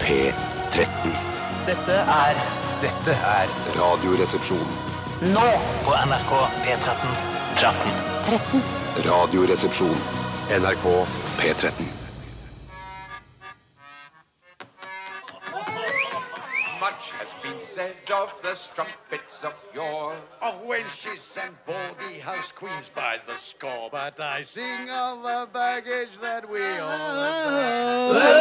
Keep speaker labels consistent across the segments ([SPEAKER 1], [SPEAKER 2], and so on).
[SPEAKER 1] P13.
[SPEAKER 2] Dette er
[SPEAKER 3] Dette er
[SPEAKER 1] Radioresepsjon.
[SPEAKER 2] nå
[SPEAKER 3] på NRK P13.
[SPEAKER 2] 13.
[SPEAKER 1] Radioresepsjon. NRK P13.
[SPEAKER 4] Much has been said of the strumpets of yore, of wenches and baldy house queens by the score. But I sing of the baggage that we all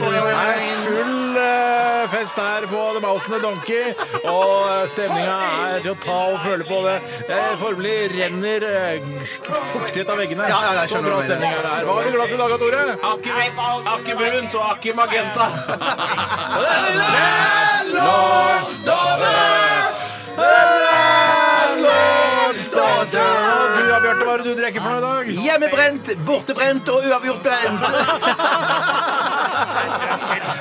[SPEAKER 5] Full eh, fest her på The Mousene Donkey, og stemninga er til å ta og føle på det. Eh, Formelig renner eh, sk- fuktighet av veggene.
[SPEAKER 6] Ja, ja, jeg
[SPEAKER 5] Så
[SPEAKER 6] skjønner
[SPEAKER 5] bra
[SPEAKER 6] hva du mener.
[SPEAKER 5] stemning er det her. Hva har vi i glasset i dag, Tore?
[SPEAKER 6] Akke brunt og akke magenta.
[SPEAKER 5] Og du, ja, Bjarte, hva er det du drikker for noe i dag?
[SPEAKER 6] Hjemmebrent, bortebrent og uavgjort brent.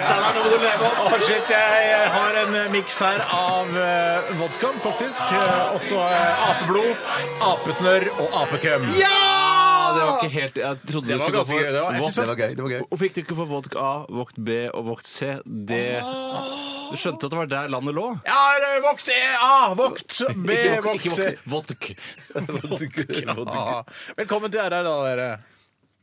[SPEAKER 5] Å, shit, jeg eh, har en eh, miks her av eh, vodka, faktisk. eh, Også eh, apeblod, apesnørr og apekøm.
[SPEAKER 6] Ja!
[SPEAKER 7] Det var ikke helt Jeg trodde
[SPEAKER 5] Det
[SPEAKER 7] du
[SPEAKER 5] var
[SPEAKER 7] skulle gå
[SPEAKER 5] ganske
[SPEAKER 7] for
[SPEAKER 5] gøy. Det var, jeg
[SPEAKER 7] Vogt-
[SPEAKER 5] synes det var
[SPEAKER 6] gøy. det var gøy.
[SPEAKER 7] Hvorfor gikk du ikke for Vogt A, Vogt B og Vogt C? Det Du skjønte at det var der landet lå?
[SPEAKER 5] Ja, eller Vogt E, A, Vogt B,
[SPEAKER 7] Ikke Vogt-
[SPEAKER 5] Vogt C.
[SPEAKER 7] ikke Vogt- Vodk.
[SPEAKER 5] Ah, Velkommen til RR, da, dere.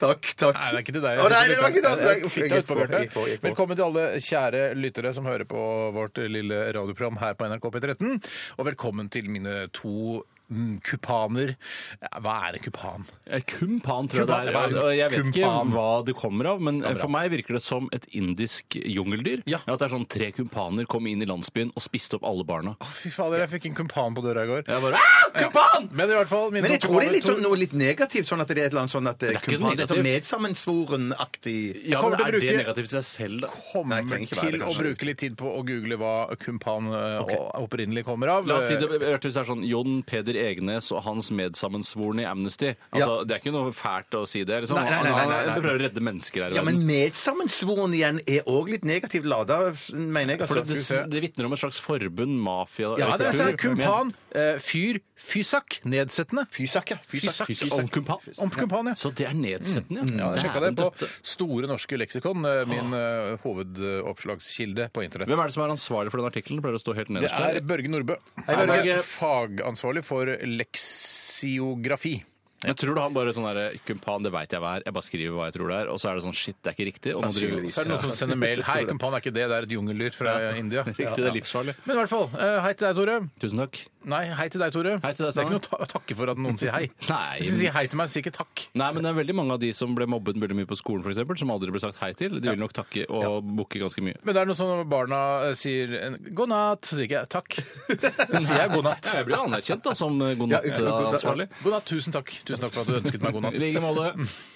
[SPEAKER 6] Takk, takk.
[SPEAKER 5] Nei, det er ikke til deg.
[SPEAKER 6] Å, nei, det var ikke til oss.
[SPEAKER 5] Jeg fikk det ut på
[SPEAKER 6] Jeg gikk på,
[SPEAKER 5] Bjarte.
[SPEAKER 6] jeg gikk på, jeg gikk på.
[SPEAKER 5] Velkommen til alle kjære lyttere som hører på vårt lille radioprogram her på NRK P13. Og velkommen til mine to mm, kupaner. Ja, Hva er en kupan?
[SPEAKER 7] Eh, Kumpan, tror jeg
[SPEAKER 5] Kumpan, det
[SPEAKER 7] det er.
[SPEAKER 5] var-
[SPEAKER 7] Og Jeg vet ikke
[SPEAKER 5] kumpan.
[SPEAKER 7] hva det kommer av, men eh,
[SPEAKER 5] Kamerat.
[SPEAKER 7] for meg virker det som et indisk jungeldyr.
[SPEAKER 5] Ja.
[SPEAKER 7] At det er sånn tre kumpaner kom inn i landsbyen og spiste opp alle barna.
[SPEAKER 5] Fy fader, jeg fikk en kumpan på døra i går.
[SPEAKER 7] Jeg bare, ah, kumpan!
[SPEAKER 5] Men i hvert fall mine
[SPEAKER 6] Men jeg
[SPEAKER 5] to
[SPEAKER 6] tror det er
[SPEAKER 5] kumpaner-
[SPEAKER 6] litt sånn, noe litt negativt, sånn at det er et eller annet sånn at
[SPEAKER 7] er ikke
[SPEAKER 6] kumpan- det er sånn
[SPEAKER 7] negativt.
[SPEAKER 6] medsammensvoren-aktig
[SPEAKER 7] Ja,
[SPEAKER 5] kommer
[SPEAKER 7] men
[SPEAKER 5] til å
[SPEAKER 7] Er det
[SPEAKER 5] bruke-
[SPEAKER 7] negativt i seg selv, da?
[SPEAKER 5] kommer
[SPEAKER 6] Nei, jeg trenger ikke være
[SPEAKER 5] til
[SPEAKER 6] det,
[SPEAKER 5] å
[SPEAKER 6] kanskje.
[SPEAKER 5] bruke litt tid på å google hva kumpan eh, o- opprinnelig kommer av. Eh,
[SPEAKER 7] La oss si det, hørte det er sånn Jon Peder Egnes og hans medsammensvorne i Amnesty. Altså, Det er ikke noe fælt å si det. Liksom.
[SPEAKER 6] Nei, nei, nei, nei, nei, nei.
[SPEAKER 7] Han prøver å redde mennesker her i
[SPEAKER 6] Ja, men
[SPEAKER 7] verden.
[SPEAKER 6] medsammensvoren igjen er òg litt negativt lada, mener jeg.
[SPEAKER 7] For
[SPEAKER 6] Altså.
[SPEAKER 7] det, det, det vitner om et slags forbund, mafia
[SPEAKER 5] ja, det er sånn
[SPEAKER 7] kultur.
[SPEAKER 5] kumpan, eh, fyr, fysak, nedsettende.
[SPEAKER 6] Fysak, ja. Fysak.
[SPEAKER 7] Fysak, fysak, om kumpan.
[SPEAKER 5] Om kumpan, ja.
[SPEAKER 7] Så det er nedsettende,
[SPEAKER 5] Mm. Ja, jeg sjekka det
[SPEAKER 7] Dæven
[SPEAKER 5] på
[SPEAKER 7] døtte.
[SPEAKER 5] Store norske leksikon, eh, min eh, hovedoppslagskilde på internett.
[SPEAKER 7] Hvem er det som er ansvarlig for den artikkelen? Pleier det å stå helt
[SPEAKER 5] Det
[SPEAKER 7] nederst
[SPEAKER 5] er
[SPEAKER 7] der.
[SPEAKER 5] Børge Nordbø.
[SPEAKER 7] Børge.
[SPEAKER 5] Han er fagansvarlig for leksiografi.
[SPEAKER 7] Men tror du han bare sånn der, Kumpan, det veit jeg hva er, jeg bare skriver hva jeg tror det er, og så er det sånn shit, det er ikke riktig. Og nå driver
[SPEAKER 5] Så er det noen som sender mail Hei, kumpan er ikke det, det er et jungeldyr fra India.
[SPEAKER 7] Riktig, det er livsfarlig.
[SPEAKER 5] Men i hvert fall, eh, hei til deg, Tore.
[SPEAKER 7] Tusen takk.
[SPEAKER 5] Nei, hei til deg, Tore.
[SPEAKER 7] Hei til deg,
[SPEAKER 5] det er ikke
[SPEAKER 7] Steinar.
[SPEAKER 5] noe ta å takke for at noen sier hei.
[SPEAKER 7] Nei.
[SPEAKER 5] Hvis du sier hei til meg, så sier jeg ikke takk.
[SPEAKER 7] Nei, men det er veldig mange av de som ble mobbet veldig mye på skolen, for eksempel, som aldri ble sagt hei til. De vil nok takke og bukke ganske mye.
[SPEAKER 5] Men det er noe sånn når barna eh, sier en- 'god natt', så sier ikke jeg 'takk'. Da sier jeg 'god natt'.
[SPEAKER 7] Jeg blir anerkjent da, som eh, god
[SPEAKER 6] Ja, god natt.
[SPEAKER 7] natt-ansvarlig.
[SPEAKER 5] God natt, tusen takk. Tusen takk for at du ønsket meg god
[SPEAKER 7] I
[SPEAKER 5] natt. Mm,
[SPEAKER 7] like måte.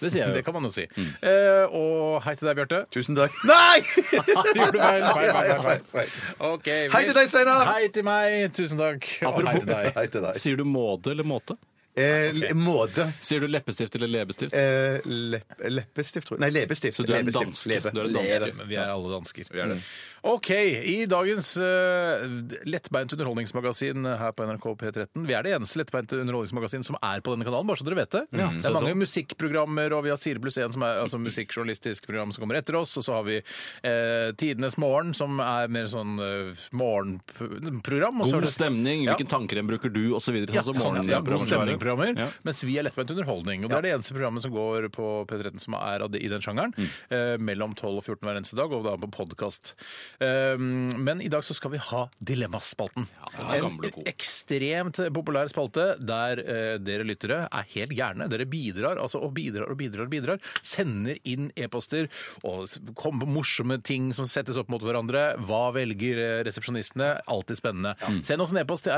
[SPEAKER 7] Det sier
[SPEAKER 5] Det
[SPEAKER 7] jeg jo.
[SPEAKER 5] kan man jo si. Eh, og hei til deg, Bjarte.
[SPEAKER 6] Tusen takk.
[SPEAKER 5] Nei! Gjorde du feil, feil, feil, feil, feil.
[SPEAKER 6] Feil.
[SPEAKER 5] Ok,
[SPEAKER 6] Hei til deg, Steinar!
[SPEAKER 5] Hei til meg. Tusen takk. Og hei til deg.
[SPEAKER 6] Hei til deg.
[SPEAKER 7] Sier du måte eller måte?
[SPEAKER 6] Eh, måte.
[SPEAKER 7] Sier du leppestift eller leppestift?
[SPEAKER 6] Eh, lepp, leppestift, tror jeg. Nei, leppestift.
[SPEAKER 7] Så du er en
[SPEAKER 6] Leppestift.
[SPEAKER 7] danske.
[SPEAKER 6] Lebe.
[SPEAKER 7] Du er en danske.
[SPEAKER 6] Leve.
[SPEAKER 5] Men Vi er alle dansker. Mm.
[SPEAKER 7] Vi er det.
[SPEAKER 5] OK. I dagens eh, lettbeint underholdningsmagasin her på NRK P13 Vi er det eneste lettbeinte underholdningsmagasin som er på denne kanalen, bare så dere vet det. det
[SPEAKER 7] så
[SPEAKER 5] er mange
[SPEAKER 7] sånn.
[SPEAKER 5] musikkprogrammer, og vi har Sire pluss 1, som er altså, musikkjournalistisk program som kommer etter oss. Og så har vi eh, Tidenes morgen, som er mer sånn eh, morgenprogram. og så er
[SPEAKER 7] God
[SPEAKER 5] det-
[SPEAKER 7] stemning,
[SPEAKER 5] Ja.
[SPEAKER 7] hvilken tannkrem bruker du, osv.
[SPEAKER 5] Ja,
[SPEAKER 7] Sånn som
[SPEAKER 5] sånn, ja, god
[SPEAKER 7] morgenprogrammer skal være.
[SPEAKER 5] stemning-programmer.
[SPEAKER 7] Ja.
[SPEAKER 5] Mens vi er lettbeint underholdning. Og det er det eneste programmet som går på P13 som er av det- i den sjangeren.
[SPEAKER 7] Mm.
[SPEAKER 5] Eh, mellom 12 og 14 hver eneste dag, og da på podkast. men i dag så skal vi ha Dilemmaspalten.
[SPEAKER 7] den er gammel og
[SPEAKER 5] en
[SPEAKER 7] god.
[SPEAKER 5] ekstremt populær spalte der eh, dere lyttere er helt gærne. Dere bidrar altså og bidrar og bidrar. og bidrar, Sender inn e-poster og s- kommer på morsomme ting som settes opp mot hverandre. Hva velger eh, resepsjonistene? Alltid spennende. Send oss en e-post til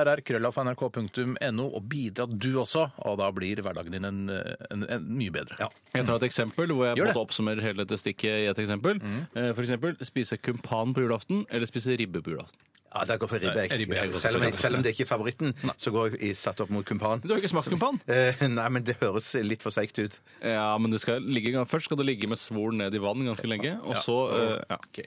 [SPEAKER 5] rrkrøllalfa.nrk.no og bidra du også, og da blir hverdagen din en, en, en mye bedre.
[SPEAKER 7] Jeg tar et eksempel hvor jeg på
[SPEAKER 5] Gjør
[SPEAKER 7] en
[SPEAKER 5] det.
[SPEAKER 7] måte oppsummerer hele dette stikket i et eksempel. Eh, For eksempel spise kumpan på julaften eller spise ribbe på julaften.
[SPEAKER 6] Ja, der går for ribbe.
[SPEAKER 5] Nei, ribbe, jeg går for
[SPEAKER 6] Selv, om jeg-
[SPEAKER 5] ribbe.
[SPEAKER 6] selv om det ikke er favoritten, så går jeg i satt opp mot kumpan.
[SPEAKER 7] Du har ikke smakt kumpan?
[SPEAKER 6] Eh, nei, men det høres litt for seigt ut.
[SPEAKER 7] Ja, men det skal ligge, Først skal det ligge med svoren ned i vann ganske lenge, og så eh, ja.
[SPEAKER 5] Ok.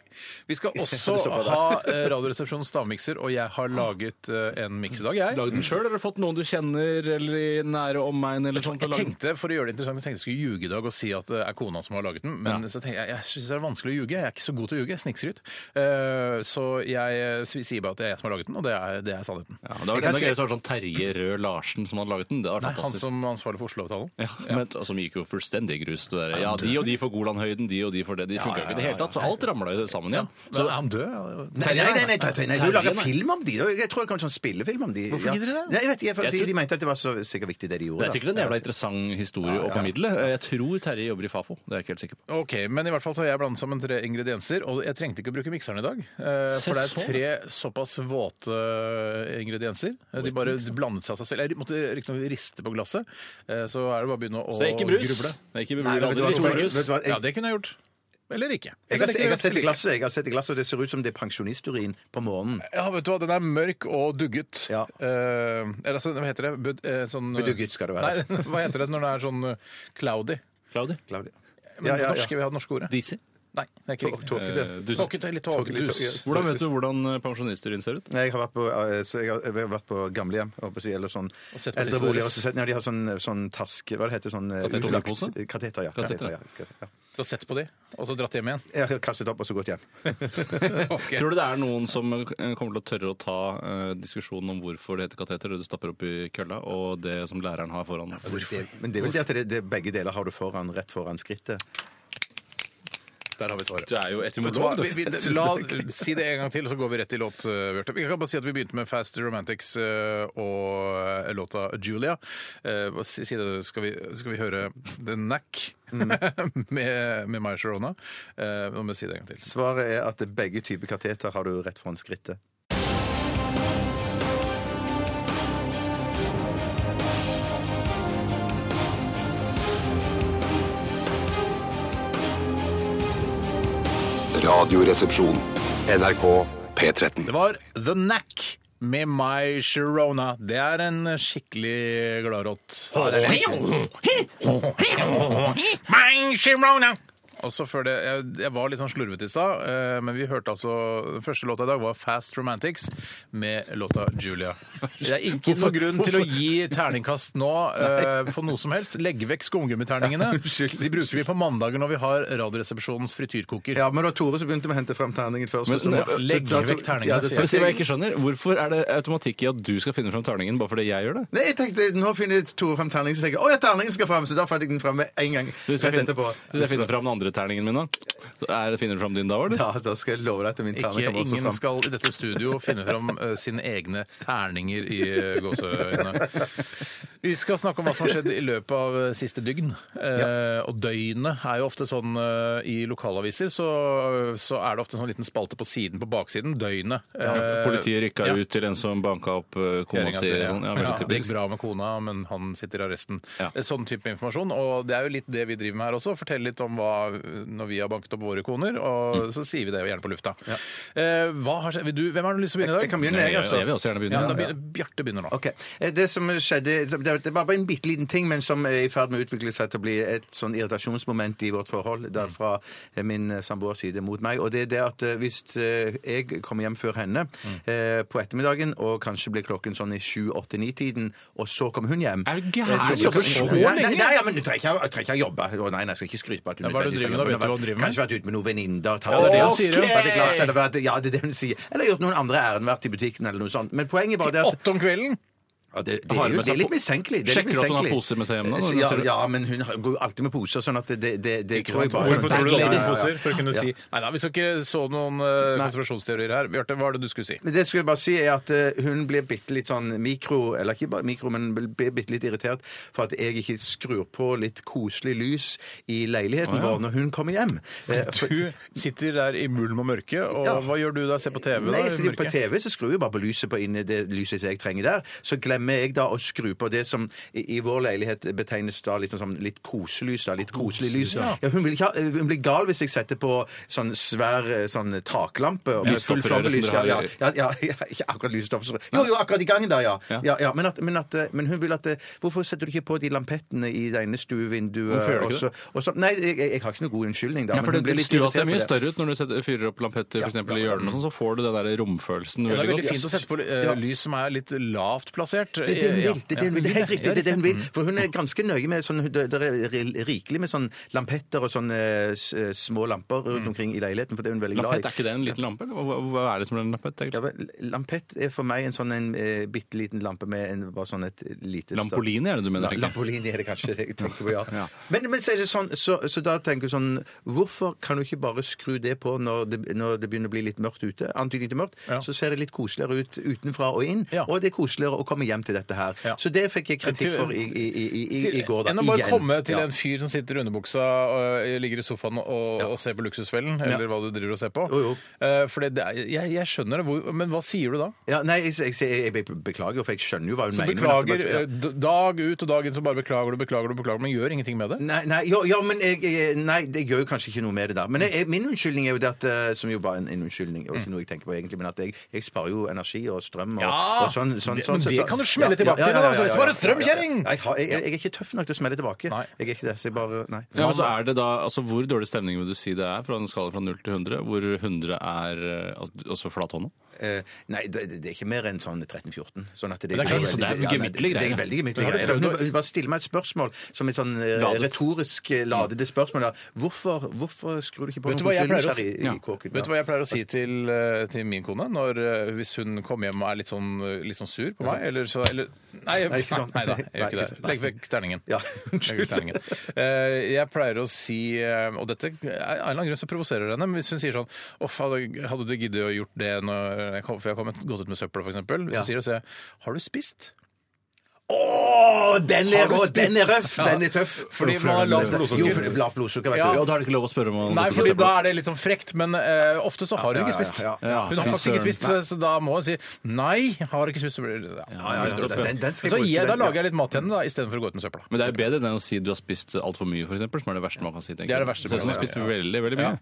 [SPEAKER 5] Vi skal også
[SPEAKER 6] Det stopper der.
[SPEAKER 5] ha eh, Radioresepsjonens stavmikser, og jeg har laget eh, en miks i dag, jeg.
[SPEAKER 7] Lagd den sjøl, eller fått noen du kjenner eller i nære omegn? eller sånt?
[SPEAKER 5] Jeg tenkte for å gjøre det interessant, jeg tenkte jeg skulle ljuge i dag og si at det er kona som har laget den. Men
[SPEAKER 7] Ja.
[SPEAKER 5] så tenkte jeg jeg syns det er vanskelig å ljuge. Jeg er ikke så god til å ljuge. Jeg Snikskryt. Eh, så jeg eh, s- sier bare at det er jeg som har laget den, og det er, det er sannheten.
[SPEAKER 7] Ja, det hadde vært enda gøyere hvis det var sånn Terje Rød Larsen som hadde laget den. Det hadde
[SPEAKER 5] Nei,
[SPEAKER 7] vært
[SPEAKER 5] han
[SPEAKER 7] fantastisk.
[SPEAKER 5] som er ansvarlig for Oslo-avtalen.
[SPEAKER 7] Ja, men, som gikk jo fullstendig i grus. Det der. Ja, de og de for Golanhøyden, de og de for det. De funka jo ikke i det hele tatt, så alt ramla jo sammen igjen.
[SPEAKER 5] Så er han død?
[SPEAKER 6] Nei, nei, nei, nei, nei, nei, nei. du lager
[SPEAKER 7] Terje, nei.
[SPEAKER 6] film om de. Jeg tror jeg kan sånn spillefilm om de.
[SPEAKER 5] Hvorfor gidder de det?
[SPEAKER 6] Nei, jeg vet, ikke, for
[SPEAKER 7] Jeg
[SPEAKER 6] de,
[SPEAKER 7] tror-
[SPEAKER 6] de mente at det var så sikkert viktig det de gjorde.
[SPEAKER 7] Det er sikkert en
[SPEAKER 6] da.
[SPEAKER 7] jævla interessant historie å formidle. Jeg tror Terje jobber i Fafo. Det er jeg ikke helt sikker på.
[SPEAKER 5] Ok, men i hvert fall så har jeg blandet sammen tre ingredienser, og jeg trengte ikke å bruke mikseren i dag. eh,
[SPEAKER 7] Se sånn.
[SPEAKER 5] For det
[SPEAKER 7] så.
[SPEAKER 5] er tre såpass våte eh, ingredienser. De bare blandet seg av seg selv. Jeg måtte riktignok riste på glasset, eh, så er det bare å begynne å
[SPEAKER 7] Så det er ikke brus.
[SPEAKER 5] gruble.
[SPEAKER 7] Det er ikke brus.
[SPEAKER 6] Nei, vet du hva,
[SPEAKER 7] Det er
[SPEAKER 6] Tore,
[SPEAKER 7] brus.
[SPEAKER 6] vet du hva,
[SPEAKER 5] Ja,
[SPEAKER 6] jeg-
[SPEAKER 5] det kunne jeg gjort. Eller ikke.
[SPEAKER 6] Jeg har, jeg har sett i
[SPEAKER 5] Eller ikke.
[SPEAKER 6] glasset, jeg har sett i glasset, og det ser ut som det er pensjonisturin på morgenen.
[SPEAKER 5] Ja, vet du hva, den er mørk og dugget.
[SPEAKER 6] Ja.
[SPEAKER 5] Eh, eller altså, hva heter det? Bud, eh, sånn,
[SPEAKER 6] Bedugget skal det være.
[SPEAKER 5] Nei, hva heter det når det er sånn eh, cloudy?
[SPEAKER 7] Claudia.
[SPEAKER 6] Claudia.
[SPEAKER 5] Men
[SPEAKER 6] Ja, ja,
[SPEAKER 5] norske,
[SPEAKER 6] ja.
[SPEAKER 5] vi har det norske ordet.
[SPEAKER 7] Disi.
[SPEAKER 5] Nei, det er ikke
[SPEAKER 6] Tå-
[SPEAKER 5] riktig.
[SPEAKER 6] Tåkete.
[SPEAKER 7] Eh, dus.
[SPEAKER 5] Tåkete, litt tåkete.
[SPEAKER 6] Tåkete,
[SPEAKER 5] dus.
[SPEAKER 6] tåkete.
[SPEAKER 7] Hvordan vet du hvordan pensjoniststudien ser ut?
[SPEAKER 6] Nei, jeg har vært på, eh, så jeg har, jeg har vært på gamlehjem holdt på å si, eller sånn
[SPEAKER 5] sett på tissen
[SPEAKER 6] eldreboliger.
[SPEAKER 5] deres.
[SPEAKER 6] og så sett- Ja, de har sånn, sånn taske Hva det heter sånn eh,
[SPEAKER 7] Kateterpose?
[SPEAKER 6] utlagt- Kateter, ja.
[SPEAKER 7] Kateter,
[SPEAKER 6] Kateter,
[SPEAKER 7] ja.
[SPEAKER 6] ja. Kateter, ja.
[SPEAKER 5] Du har sett på de, og så dratt hjem igjen?
[SPEAKER 6] Jeg har kastet opp og så gått hjem.
[SPEAKER 5] Ok.
[SPEAKER 7] Tror du det er noen som eh, kommer til å tørre å ta eh, diskusjonen om hvorfor det heter kateter, det du stapper opp i kølla, og det som læreren har foran?
[SPEAKER 6] Det, men det er vel det at det, det, begge deler har du foran, rett foran skrittet.
[SPEAKER 5] Der har vi svaret.
[SPEAKER 7] Du er jo
[SPEAKER 5] Hva-
[SPEAKER 7] etymolog,
[SPEAKER 5] vi,
[SPEAKER 7] du.
[SPEAKER 5] vi, la, si det en gang til, og så går vi rett til låt. eh, Bjarte. Vi kan bare si at vi begynte med Fast Romantics eh, og eh, låta Julia. Eh, hva si, si det, skal, vi, skal vi høre The Knack med, med Maya Sharona? Eh, Nå må vi si det en gang til.
[SPEAKER 6] Svaret er at begge typer kateter har du rett foran skrittet.
[SPEAKER 1] Radioresepsjon. NRK P13.
[SPEAKER 5] Det var The Knack med My Sharona. Det er en skikkelig gladrått. My Sharona! Også før det, jeg, jeg var litt sånn slurvete i stad, eh, men vi hørte altså Den første låta i dag var Fast Romantics med låta Julia. Det er ikke noen grunn til å gi terningkast nå eh, på noe som helst. Legg vekk skumgummiternningene. De bruker vi på mandager når vi har Radioresepsjonens frityrkoker.
[SPEAKER 6] Ja, men det var Tore som begynte med å hente frem terningen først.
[SPEAKER 7] Men-
[SPEAKER 6] og så-
[SPEAKER 7] men-
[SPEAKER 6] så-
[SPEAKER 5] legg
[SPEAKER 6] så- så-
[SPEAKER 5] vekk terningene,
[SPEAKER 6] Ja, det-
[SPEAKER 5] sier
[SPEAKER 7] Skal vi si hva jeg ikke skjønner? Hvorfor er det automatikk i at du skal finne fram terningen bare fordi jeg gjør det?
[SPEAKER 6] Nei, jeg tenkte, Nå finner Tore frem terningen, så tenker jeg å ja, terningen skal frem. Så da fant jeg den frem med en gang.
[SPEAKER 7] Hvis jeg
[SPEAKER 6] rett
[SPEAKER 7] finner,
[SPEAKER 6] etterpå.
[SPEAKER 7] hvis jeg finner fram den andre terningen min, da? Er, finner du fram din da, var det?
[SPEAKER 6] Da, da skal jeg love deg at min terning
[SPEAKER 5] Ikke,
[SPEAKER 6] kommer også
[SPEAKER 5] ingen
[SPEAKER 6] frem.
[SPEAKER 5] skal i dette studio finne fram eh, sine egne terninger i eh, gåseøyne. Vi skal snakke om hva som har skjedd i løpet av eh, siste dygn. Eh, Og døgnet er jo ofte sånn eh, i lokalaviser, så, så er det ofte en sånn liten spalte på siden, på baksiden. Døgnet. Eh,
[SPEAKER 7] Politiet rykka
[SPEAKER 5] ja.
[SPEAKER 7] ut til en som banka opp eh, kona
[SPEAKER 5] Kjerringa
[SPEAKER 7] si.
[SPEAKER 5] sier,
[SPEAKER 7] og
[SPEAKER 5] ja.
[SPEAKER 7] sånn. Ja,
[SPEAKER 5] Ja,
[SPEAKER 7] veldig
[SPEAKER 5] det gikk
[SPEAKER 7] typisk.
[SPEAKER 5] bra med kona, men han sitter i arresten.
[SPEAKER 7] Ja.
[SPEAKER 5] Det er Sånn type informasjon. Og det er jo litt det vi driver med her også. Fortell litt om hva når vi har banket opp våre koner, og så sier vi det jo gjerne på lufta. Eh, hva har, skjedd- vil du, hvem har du lyst til å begynne i dag?
[SPEAKER 6] Jeg kan begynne,
[SPEAKER 7] Jeg,
[SPEAKER 6] jeg, altså.
[SPEAKER 7] jeg vil også gjerne
[SPEAKER 5] Ja, men da
[SPEAKER 7] begynne.
[SPEAKER 5] begynner, Bjarte begynner nå.
[SPEAKER 6] Ok, Eh, Det som skjedde, som- det var bare en bitte liten ting, men som er i ferd med å utvikle seg til å bli et sånn irritasjonsmoment i vårt forhold,
[SPEAKER 5] Mm.
[SPEAKER 6] der fra eh, min eh, samboers side mot meg. Og det er det at eh, hvis eh, jeg kommer hjem før henne
[SPEAKER 5] Mm.
[SPEAKER 6] eh, på ettermiddagen, og kanskje blir klokken sånn i 7-8-9-tiden, og så kommer hun hjem
[SPEAKER 7] Er du gæren?
[SPEAKER 6] Eh,
[SPEAKER 7] Så lenge?
[SPEAKER 6] Nei, nei, nei, ja, men du trenger ikke jeg trenger ikke å jobbe. Å, nei, nei, jeg skal ikke skryte på at hun
[SPEAKER 5] Ja, hva er det du driver med da? Vet du hva du driver med?
[SPEAKER 6] Kanskje vært ute med noen venninner, tatt
[SPEAKER 5] det er
[SPEAKER 6] et
[SPEAKER 5] det hun
[SPEAKER 6] glass,
[SPEAKER 5] sier, ja.
[SPEAKER 6] tatt et glass, eller vært- ja, det er det hun sier. Eller gjort noen andre ærend, vært i butikken eller noe sånt. Men poenget var det at
[SPEAKER 5] Åtte om kvelden!
[SPEAKER 6] ja, det, det,
[SPEAKER 7] Har
[SPEAKER 6] er
[SPEAKER 7] hun
[SPEAKER 6] jo,
[SPEAKER 7] med
[SPEAKER 6] det
[SPEAKER 7] seg
[SPEAKER 6] er litt
[SPEAKER 7] po-
[SPEAKER 6] mistenkelig. det er litt
[SPEAKER 7] Sjekker du at hun har
[SPEAKER 6] mistenkelig.
[SPEAKER 7] poser med seg hjem da, når hun
[SPEAKER 6] Ja,
[SPEAKER 7] ser det?
[SPEAKER 6] ja, men hun har- går jo alltid med poser, sånn at det, det, det, det
[SPEAKER 5] Ikke
[SPEAKER 6] tror jeg
[SPEAKER 5] sant?
[SPEAKER 6] bare
[SPEAKER 5] Hvorfor
[SPEAKER 6] sånn-
[SPEAKER 5] tror du det
[SPEAKER 6] Ja, ja,
[SPEAKER 5] er
[SPEAKER 6] ja, ja.
[SPEAKER 5] poser? For å kunne
[SPEAKER 6] Ja.
[SPEAKER 5] si Nei da, vi skal ikke så noen eh, konspirasjonsteorier her. Bjarte, hva er det du skulle si?
[SPEAKER 6] Men det skulle jeg bare si er at eh, hun blir bitte litt sånn mikro, eller ikke bare mikro, men blir bitte litt irritert for at jeg ikke skrur på litt koselig lys i leiligheten vår når hun kommer hjem. Eh, for-
[SPEAKER 5] Du sitter der i mulm og mørke, og
[SPEAKER 6] Ja.
[SPEAKER 5] hva gjør du da? Ser på TV? da,
[SPEAKER 6] Nei,
[SPEAKER 5] i
[SPEAKER 6] jeg sitter jo på
[SPEAKER 5] mørket?
[SPEAKER 6] TV, så skrur jeg bare på lyset på inni det lyset som jeg trenger der. Så glemmer glemmer jeg da å skru på det som i, i vår leilighet betegnes da litt sånn som litt koselys. da, Litt koselig lys. Ja, hun, vil ikke ha, hun blir gal hvis jeg setter på sånn svær eh, sånn taklampe. og med full
[SPEAKER 7] Lysstoffrøret som
[SPEAKER 6] flomlys,
[SPEAKER 7] dere har i-
[SPEAKER 6] ja, ja, ja, ja, ja, ikke akkurat lysstoffrør. Jo, jo, akkurat i gangen der, ja.
[SPEAKER 7] Ja.
[SPEAKER 6] ja, ja men, at, men, at, men hun vil at eh, Hvorfor setter du ikke på de lampettene i det ene stuevinduet?
[SPEAKER 7] Hvorfor gjør du ikke
[SPEAKER 6] og så- og så- Nei, jeg, jeg har ikke noen god unnskyldning, da.
[SPEAKER 7] Ja,
[SPEAKER 6] men
[SPEAKER 7] for
[SPEAKER 6] hun
[SPEAKER 7] det,
[SPEAKER 6] blir litt
[SPEAKER 7] Stua
[SPEAKER 6] irritert
[SPEAKER 7] ser mye
[SPEAKER 6] på det.
[SPEAKER 7] større ut når du setter, fyrer opp lampetter for eksempel, i hjørnene, og sånn, så får du den der romfølelsen
[SPEAKER 5] Det er
[SPEAKER 7] veldig
[SPEAKER 5] veldig
[SPEAKER 7] godt.
[SPEAKER 5] fint å sette på eh, lys som er litt lavt plassert.
[SPEAKER 6] Det er det hun
[SPEAKER 5] Ja,
[SPEAKER 6] vil. Det er, det hun vil. det er helt riktig.
[SPEAKER 5] Ja,
[SPEAKER 6] det er det hun vil. For hun er ganske nøye med sånn, Det det er ri- rikelig med sånn lampetter og sånne eh, s- eh, små lamper rundt omkring i leiligheten, for det er hun veldig glad i.
[SPEAKER 7] Lampett, er ikke det en liten lampe? eller Hva, hva er det som er en lampett?
[SPEAKER 6] Ja,
[SPEAKER 7] egentlig?
[SPEAKER 6] vel, Lampett er for meg en sånn en, eh, bitte liten lampe med en, bare sånn et lite stav-
[SPEAKER 7] Lampolini er det du mener?
[SPEAKER 6] La-
[SPEAKER 7] tenker jeg.
[SPEAKER 6] Lampolini er det kanskje det jeg tenker på, ja.
[SPEAKER 7] Ja.
[SPEAKER 6] Men, men så, er det sånn, så, så da tenker du sånn Hvorfor kan du ikke bare skru det på når det, når det begynner å bli litt mørkt ute? Antydning til mørkt.
[SPEAKER 5] Ja.
[SPEAKER 6] Så ser det litt koseligere ut utenfra og inn,
[SPEAKER 5] Ja.
[SPEAKER 6] og det er koseligere å komme hjem til dette her.
[SPEAKER 5] Ja.
[SPEAKER 6] Så det fikk jeg kritikk
[SPEAKER 5] Til-
[SPEAKER 6] for i, i, i, i, i går, da.
[SPEAKER 5] Enn å bare
[SPEAKER 6] Igjen.
[SPEAKER 5] komme til
[SPEAKER 6] Ja.
[SPEAKER 5] en fyr som sitter i underbuksa og eh, ligger i sofaen og, og ser på Luksusfellen, eller hva du driver og ser på.
[SPEAKER 6] Jo, jo.
[SPEAKER 5] Eh, For det, det er, jeg, jeg skjønner det, hvor, men hva sier du da?
[SPEAKER 6] ja, Nei, jeg, jeg, jeg, jeg beklager, for jeg skjønner jo hva hun
[SPEAKER 5] Så
[SPEAKER 6] mener. men at det
[SPEAKER 5] beklager
[SPEAKER 6] bare-
[SPEAKER 5] eh, d- dag ut og dag inn, så bare beklager du, beklager du, beklager, men gjør ingenting med det?
[SPEAKER 6] Nei, nei, jo, ja, men jeg, jeg, nei, det gjør jo kanskje ikke noe med det der. Men jeg, jeg, min unnskyldning er jo det at eh, Som jo bare en, en unnskyldning, og ikke
[SPEAKER 5] Mm.
[SPEAKER 6] noe jeg tenker på egentlig, men at jeg, jeg sparer jo energi og strøm og, og sånn, sånn,
[SPEAKER 5] Det-
[SPEAKER 6] sånn,
[SPEAKER 5] men
[SPEAKER 6] sånn,
[SPEAKER 5] det
[SPEAKER 6] sånn.
[SPEAKER 5] kan du smelle tilbake til, da. Du svarer strøm, kjerring!
[SPEAKER 6] Nei, Jeg, har- jeg, jeg er ikke tøff nok til å smelle tilbake.
[SPEAKER 5] Nei.
[SPEAKER 6] Jeg er ikke det, så jeg bare Nei.
[SPEAKER 7] Ja, men så er det da, altså Hvor dårlig stemning vil du si det er fra en skala fra 0 til 100? Hvor 100 er eh, al- altså flathånda?
[SPEAKER 6] Eh, nei, det, det det er ikke mer enn sånn 13-14. Sånn at det,
[SPEAKER 5] Men det er klart,
[SPEAKER 6] veldig-
[SPEAKER 5] så
[SPEAKER 7] det er
[SPEAKER 6] ja, nei,
[SPEAKER 7] gemyttlig
[SPEAKER 6] Det er
[SPEAKER 7] greie.
[SPEAKER 6] veldig gemyttlig
[SPEAKER 5] Men har du
[SPEAKER 6] greie.
[SPEAKER 5] prøvd
[SPEAKER 6] Hun
[SPEAKER 5] å-
[SPEAKER 6] hun bare stiller meg et spørsmål som et sånn eh,
[SPEAKER 7] Ladet.
[SPEAKER 6] retorisk eh, ladede spørsmål. da. Hvorfor, hvorfor skrur du ikke på
[SPEAKER 5] Vet du hva jeg pleier å
[SPEAKER 6] i,
[SPEAKER 5] si?
[SPEAKER 6] i
[SPEAKER 7] Ja.
[SPEAKER 6] kåken?
[SPEAKER 5] Vet du hva jeg pleier å
[SPEAKER 6] Altså-
[SPEAKER 5] si til, eh, til min kone når, eh, hvis hun kommer hjem og er litt sånn, eh, litt sånn sur på meg? Eller så eller, Nei, jeg-
[SPEAKER 6] Nei, ikke sånn.
[SPEAKER 5] nei da, jeg
[SPEAKER 6] Nei,
[SPEAKER 5] gjør ikke
[SPEAKER 6] ikke
[SPEAKER 5] det.
[SPEAKER 6] sånn.
[SPEAKER 5] Legg vekk terningen.
[SPEAKER 6] Ja,
[SPEAKER 5] Legg vekk terningen. Eh, Jeg pleier å si eh, Og dette er- av en eller annen grunn så provoserer det henne. Men hvis hun sier sånn Uff, hadde, hadde du giddet å gjort det når jeg kom, for jeg har kommet gått ut med søpla, f.eks. Hvis
[SPEAKER 6] Ja.
[SPEAKER 5] hun sier det, så sier jeg Har du spist?
[SPEAKER 6] Å, den er
[SPEAKER 5] Har du
[SPEAKER 6] rå!
[SPEAKER 5] spist?
[SPEAKER 6] Den er røff!
[SPEAKER 5] Ja.
[SPEAKER 6] Den er tøff!
[SPEAKER 5] Fordi man har lavt blodsukker.
[SPEAKER 6] Jo, fordi lavt blodsukker, vet
[SPEAKER 5] Ja.
[SPEAKER 6] du.
[SPEAKER 7] da er det ikke lov å spørre om
[SPEAKER 5] Nei, fordi da er det litt sånn frekt, men eh, ofte så har hun
[SPEAKER 6] ja,
[SPEAKER 5] ikke
[SPEAKER 6] ja,
[SPEAKER 5] spist.
[SPEAKER 6] ja,
[SPEAKER 7] ja. eh,
[SPEAKER 5] Hun har
[SPEAKER 7] Fy
[SPEAKER 5] faktisk ikke
[SPEAKER 7] søren.
[SPEAKER 5] spist, så- så da må hun si nei, har ikke spist. Så blir det, ja.
[SPEAKER 6] Ja, ja, ja, den, den skal
[SPEAKER 5] Så
[SPEAKER 6] bruke,
[SPEAKER 5] gir jeg, da
[SPEAKER 6] den, ja.
[SPEAKER 5] lager jeg litt mat til henne da, istedenfor å gå ut med søpla.
[SPEAKER 7] Men det er jo bedre enn å si du har spist altfor mye, f.eks., som er det verste man kan si. tenker
[SPEAKER 5] Det er det
[SPEAKER 7] jeg.
[SPEAKER 5] verste
[SPEAKER 7] Ser
[SPEAKER 5] man
[SPEAKER 7] ut som du
[SPEAKER 5] kan
[SPEAKER 7] har spist veldig, veldig mye.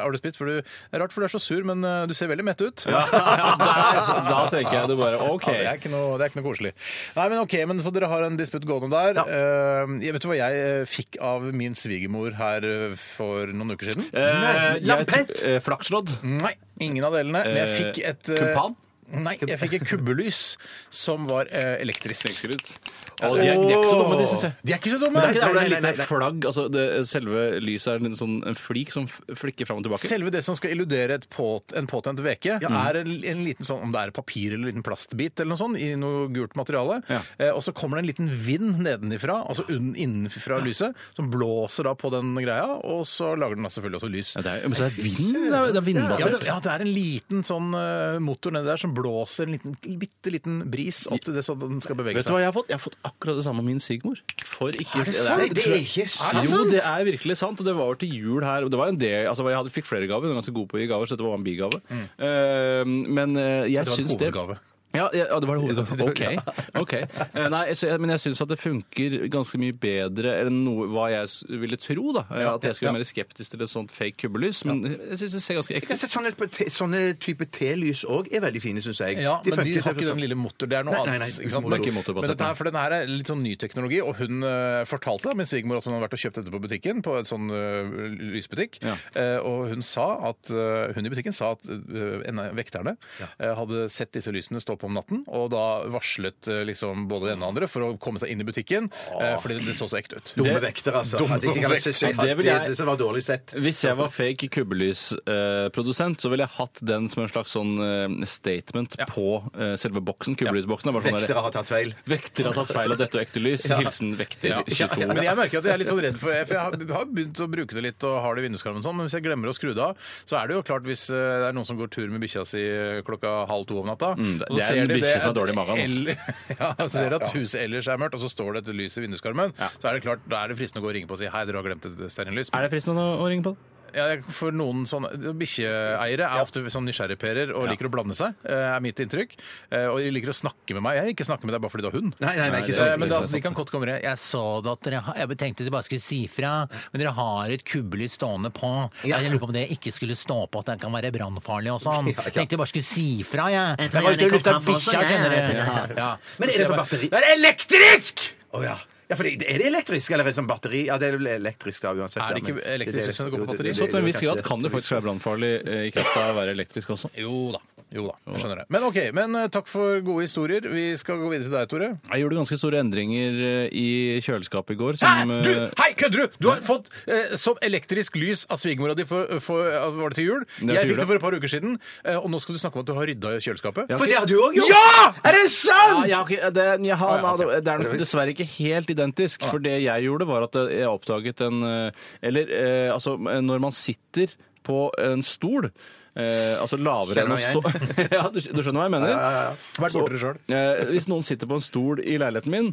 [SPEAKER 5] har du spist? For du, det er rart, for du er så sur, men eh, du ser veldig mett ut.
[SPEAKER 7] der- da tenker jeg det bare, ok.
[SPEAKER 5] Ja, det, er ikke noe, det er ikke noe koselig. Nei, men ok, men Så dere har en disputt gående der. Eh, jeg vet du hva jeg eh, fikk av min svigermor her eh, for noen uker siden?
[SPEAKER 7] Eh, jeg-
[SPEAKER 6] lampett!
[SPEAKER 7] eh, Flakslodd?
[SPEAKER 5] Nei, ingen av delene. Men jeg fikk et eh,
[SPEAKER 7] Kumpan?
[SPEAKER 5] Nei, jeg fikk et kubbelys som var eh, elektrisk.
[SPEAKER 7] Tenker ut. Og de, er, de er ikke så dumme, de, syns jeg.
[SPEAKER 5] De er ikke så dumme!
[SPEAKER 7] Men det er
[SPEAKER 5] Nei,
[SPEAKER 7] ikke der hvor det
[SPEAKER 5] nei,
[SPEAKER 7] er
[SPEAKER 5] nei,
[SPEAKER 7] litt
[SPEAKER 5] nei.
[SPEAKER 7] flagg, altså det, selve lyset er en, sånn, en flik som f- flikker fram og tilbake.
[SPEAKER 5] Selve det som skal illudere et påt, en påtent veke,
[SPEAKER 7] Mm.
[SPEAKER 5] er en, en liten sånn, om det er papir eller en liten plastbit eller noe sånt, i noe gult materiale.
[SPEAKER 7] Ja.
[SPEAKER 5] Eh, og så kommer det en liten vind nedenifra, altså unn- innenfra lyset, som blåser da på den greia, og så lager den da selvfølgelig også lys.
[SPEAKER 7] Ja, det er, men så er det vind, det er, det er
[SPEAKER 5] Ja, det,
[SPEAKER 7] vindbasert.
[SPEAKER 5] ja, det er en liten sånn eh, motor nedi der som blåser en liten, bitte liten bris opp til det, så den skal bevege
[SPEAKER 7] Vet du hva
[SPEAKER 5] seg.
[SPEAKER 7] jeg har fått? Jeg har fått akkurat det samme av min svigermor. For ikke
[SPEAKER 5] det sant?
[SPEAKER 7] er-
[SPEAKER 6] Det er ikke sant!
[SPEAKER 7] Jo, det er virkelig sant. Og det var til jul her. og Det var en del, altså Jeg hadde, fikk flere gaver, hun er ganske god på å gi gaver, så dette var en bigave. Eh, men eh, jeg
[SPEAKER 5] Det var en
[SPEAKER 7] syns det
[SPEAKER 5] hovedgave.
[SPEAKER 7] Ja, ja, ja, det var en hovedgave. OK. ok. Eh, Nei, så, jeg- men jeg syns at det funker ganske mye bedre enn noe, hva jeg s- ville tro. da. Eh, At jeg skulle være mer skeptisk til et sånt fake kubbelys. Men jeg syns det ser ganske
[SPEAKER 6] Jeg
[SPEAKER 7] ekte
[SPEAKER 6] kan
[SPEAKER 7] ut.
[SPEAKER 6] se Sånne, på te, sånne type T-lys òg er veldig fine, syns jeg.
[SPEAKER 5] Ja, men de
[SPEAKER 6] funker
[SPEAKER 5] har
[SPEAKER 6] selv
[SPEAKER 5] ikke den
[SPEAKER 6] sånn.
[SPEAKER 5] lille motor. Det er noe
[SPEAKER 6] Nei, nei,
[SPEAKER 5] annet.
[SPEAKER 6] nei,
[SPEAKER 5] ikke sant?
[SPEAKER 7] det er ikke motorbasert,
[SPEAKER 5] men dette
[SPEAKER 7] nei.
[SPEAKER 5] her, for den her er litt sånn ny teknologi, og hun eh, fortalte da, min svigermor at hun hadde vært og kjøpt dette på butikken, på en sånn eh, lysbutikk,
[SPEAKER 7] Ja.
[SPEAKER 5] Eh, og hun sa at eh, hun i butikken sa at eh, en av vekterne eh, hadde sett disse lysene stå på om natten, og da varslet eh, liksom både det ene og det andre for å komme seg inn i butikken, eh, fordi det så så ekte ut.
[SPEAKER 6] Dumme
[SPEAKER 7] Det-
[SPEAKER 6] vekter, altså.
[SPEAKER 5] Dumme
[SPEAKER 6] At de ikke kan se- se-
[SPEAKER 7] vekter. Ja, det vil
[SPEAKER 6] at
[SPEAKER 7] jeg-
[SPEAKER 6] det som var dårlig sett.
[SPEAKER 7] Hvis jeg var fake kubbelysprodusent, så ville jeg hatt den som en slags sånn eh, statement på eh, selve boksen. Kubbelysboksen. Det var sånn der-
[SPEAKER 6] Vektere har tatt feil.
[SPEAKER 7] Vekter har tatt feil av dette og ekte lys. Hilsen vekter
[SPEAKER 5] Ja, ja, men
[SPEAKER 7] 22.
[SPEAKER 5] jeg merker at jeg er litt sånn redd for det. For jeg har, har begynt å bruke det litt og har det i vinduskarmen og sånn, men hvis jeg glemmer å skru det av, så er det jo klart hvis eh, det er noen som går tur med bikkja si eh, klokka halv to om natta
[SPEAKER 7] Mm, det-
[SPEAKER 5] og så ser
[SPEAKER 7] det er en
[SPEAKER 5] de
[SPEAKER 7] bikkje
[SPEAKER 5] det
[SPEAKER 7] som er
[SPEAKER 5] at-
[SPEAKER 7] dårlig i magen, ass.
[SPEAKER 5] Eller, ja, så ser de at huset ellers er mørkt, og så står det et lys i vinduskarmen, så er det klart, da er det fristende å gå og ringe på og si hei, dere har glemt et stearinlys.
[SPEAKER 7] Er det fristende å å ringe på?
[SPEAKER 5] Ja, for noen sånne Bikkjeeiere er ofte sånn nysgjerrigperer og liker å blande seg, eh, er mitt inntrykk. Eh, Og de liker å snakke med meg. Jeg vil ikke snakke med deg bare fordi du har hund.
[SPEAKER 6] Nei, nei, nei, ikke sånn.
[SPEAKER 5] Eh,
[SPEAKER 6] sant.
[SPEAKER 5] Men da, de kan godt komme ned. Jeg så det at dere har Jeg tenkte dere bare skulle si fra, men dere har et kubbelys stående på. Jeg lurer på om det ikke skulle stå på at det kan være brannfarlig og sånn. Tenkte jeg bare skulle si fra, jeg.
[SPEAKER 8] Jeg tror Jeg var ute og lukta jeg kan ta den også, bikkja, jeg, kjenner jeg, dere. jeg vet det.
[SPEAKER 6] Men er det for batteri?
[SPEAKER 5] Det er elektrisk!
[SPEAKER 6] Å ja. Ja, for det, Er det elektrisk, eller er det sånn batteri? Ja, det er vel elektrisk da, uansett.
[SPEAKER 5] Er det
[SPEAKER 6] ja, men-
[SPEAKER 5] ikke elektrisk hvis det går på
[SPEAKER 6] jo,
[SPEAKER 5] batteri? Sånn
[SPEAKER 6] det-
[SPEAKER 7] Så til en viss
[SPEAKER 6] det-
[SPEAKER 7] grad kan det faktisk være brannfarlig eh, i kraft av å være elektrisk også.
[SPEAKER 5] Jo da. Jo da, jeg skjønner det. Men ok, men eh, takk for gode historier. Vi skal gå videre til deg, Tore.
[SPEAKER 7] Jeg gjorde ganske store endringer eh, i kjøleskapet i går. Som,
[SPEAKER 5] Hæ?
[SPEAKER 7] eh,
[SPEAKER 5] Du, hei, kødder du! Du har fått eh, sånn elektrisk lys av svigermora di for, for, eh, var det til jul.
[SPEAKER 7] Det var til
[SPEAKER 5] jeg
[SPEAKER 7] jul,
[SPEAKER 5] fikk det
[SPEAKER 7] ja.
[SPEAKER 5] for et par uker siden, eh, og nå skal du snakke om at du har rydda i kjøleskapet.
[SPEAKER 7] Ja.
[SPEAKER 6] For det har du òg gjort!
[SPEAKER 5] Ja!
[SPEAKER 6] Ah! Er det sant?!
[SPEAKER 7] Ja, jeg har ikke- det, jeg har,
[SPEAKER 5] Ah, ja, ok.
[SPEAKER 7] nei, det er nok dessverre ikke helt identisk. For det jeg gjorde, var at jeg oppdaget en eh, Eller eh, altså, når man sitter på en stol eh, altså lavere enn å
[SPEAKER 6] Kjenner
[SPEAKER 7] stå Ja, du, du skjønner hva jeg mener?
[SPEAKER 5] Vært borte sjøl.
[SPEAKER 7] Eh, hvis noen sitter på en stol i leiligheten min,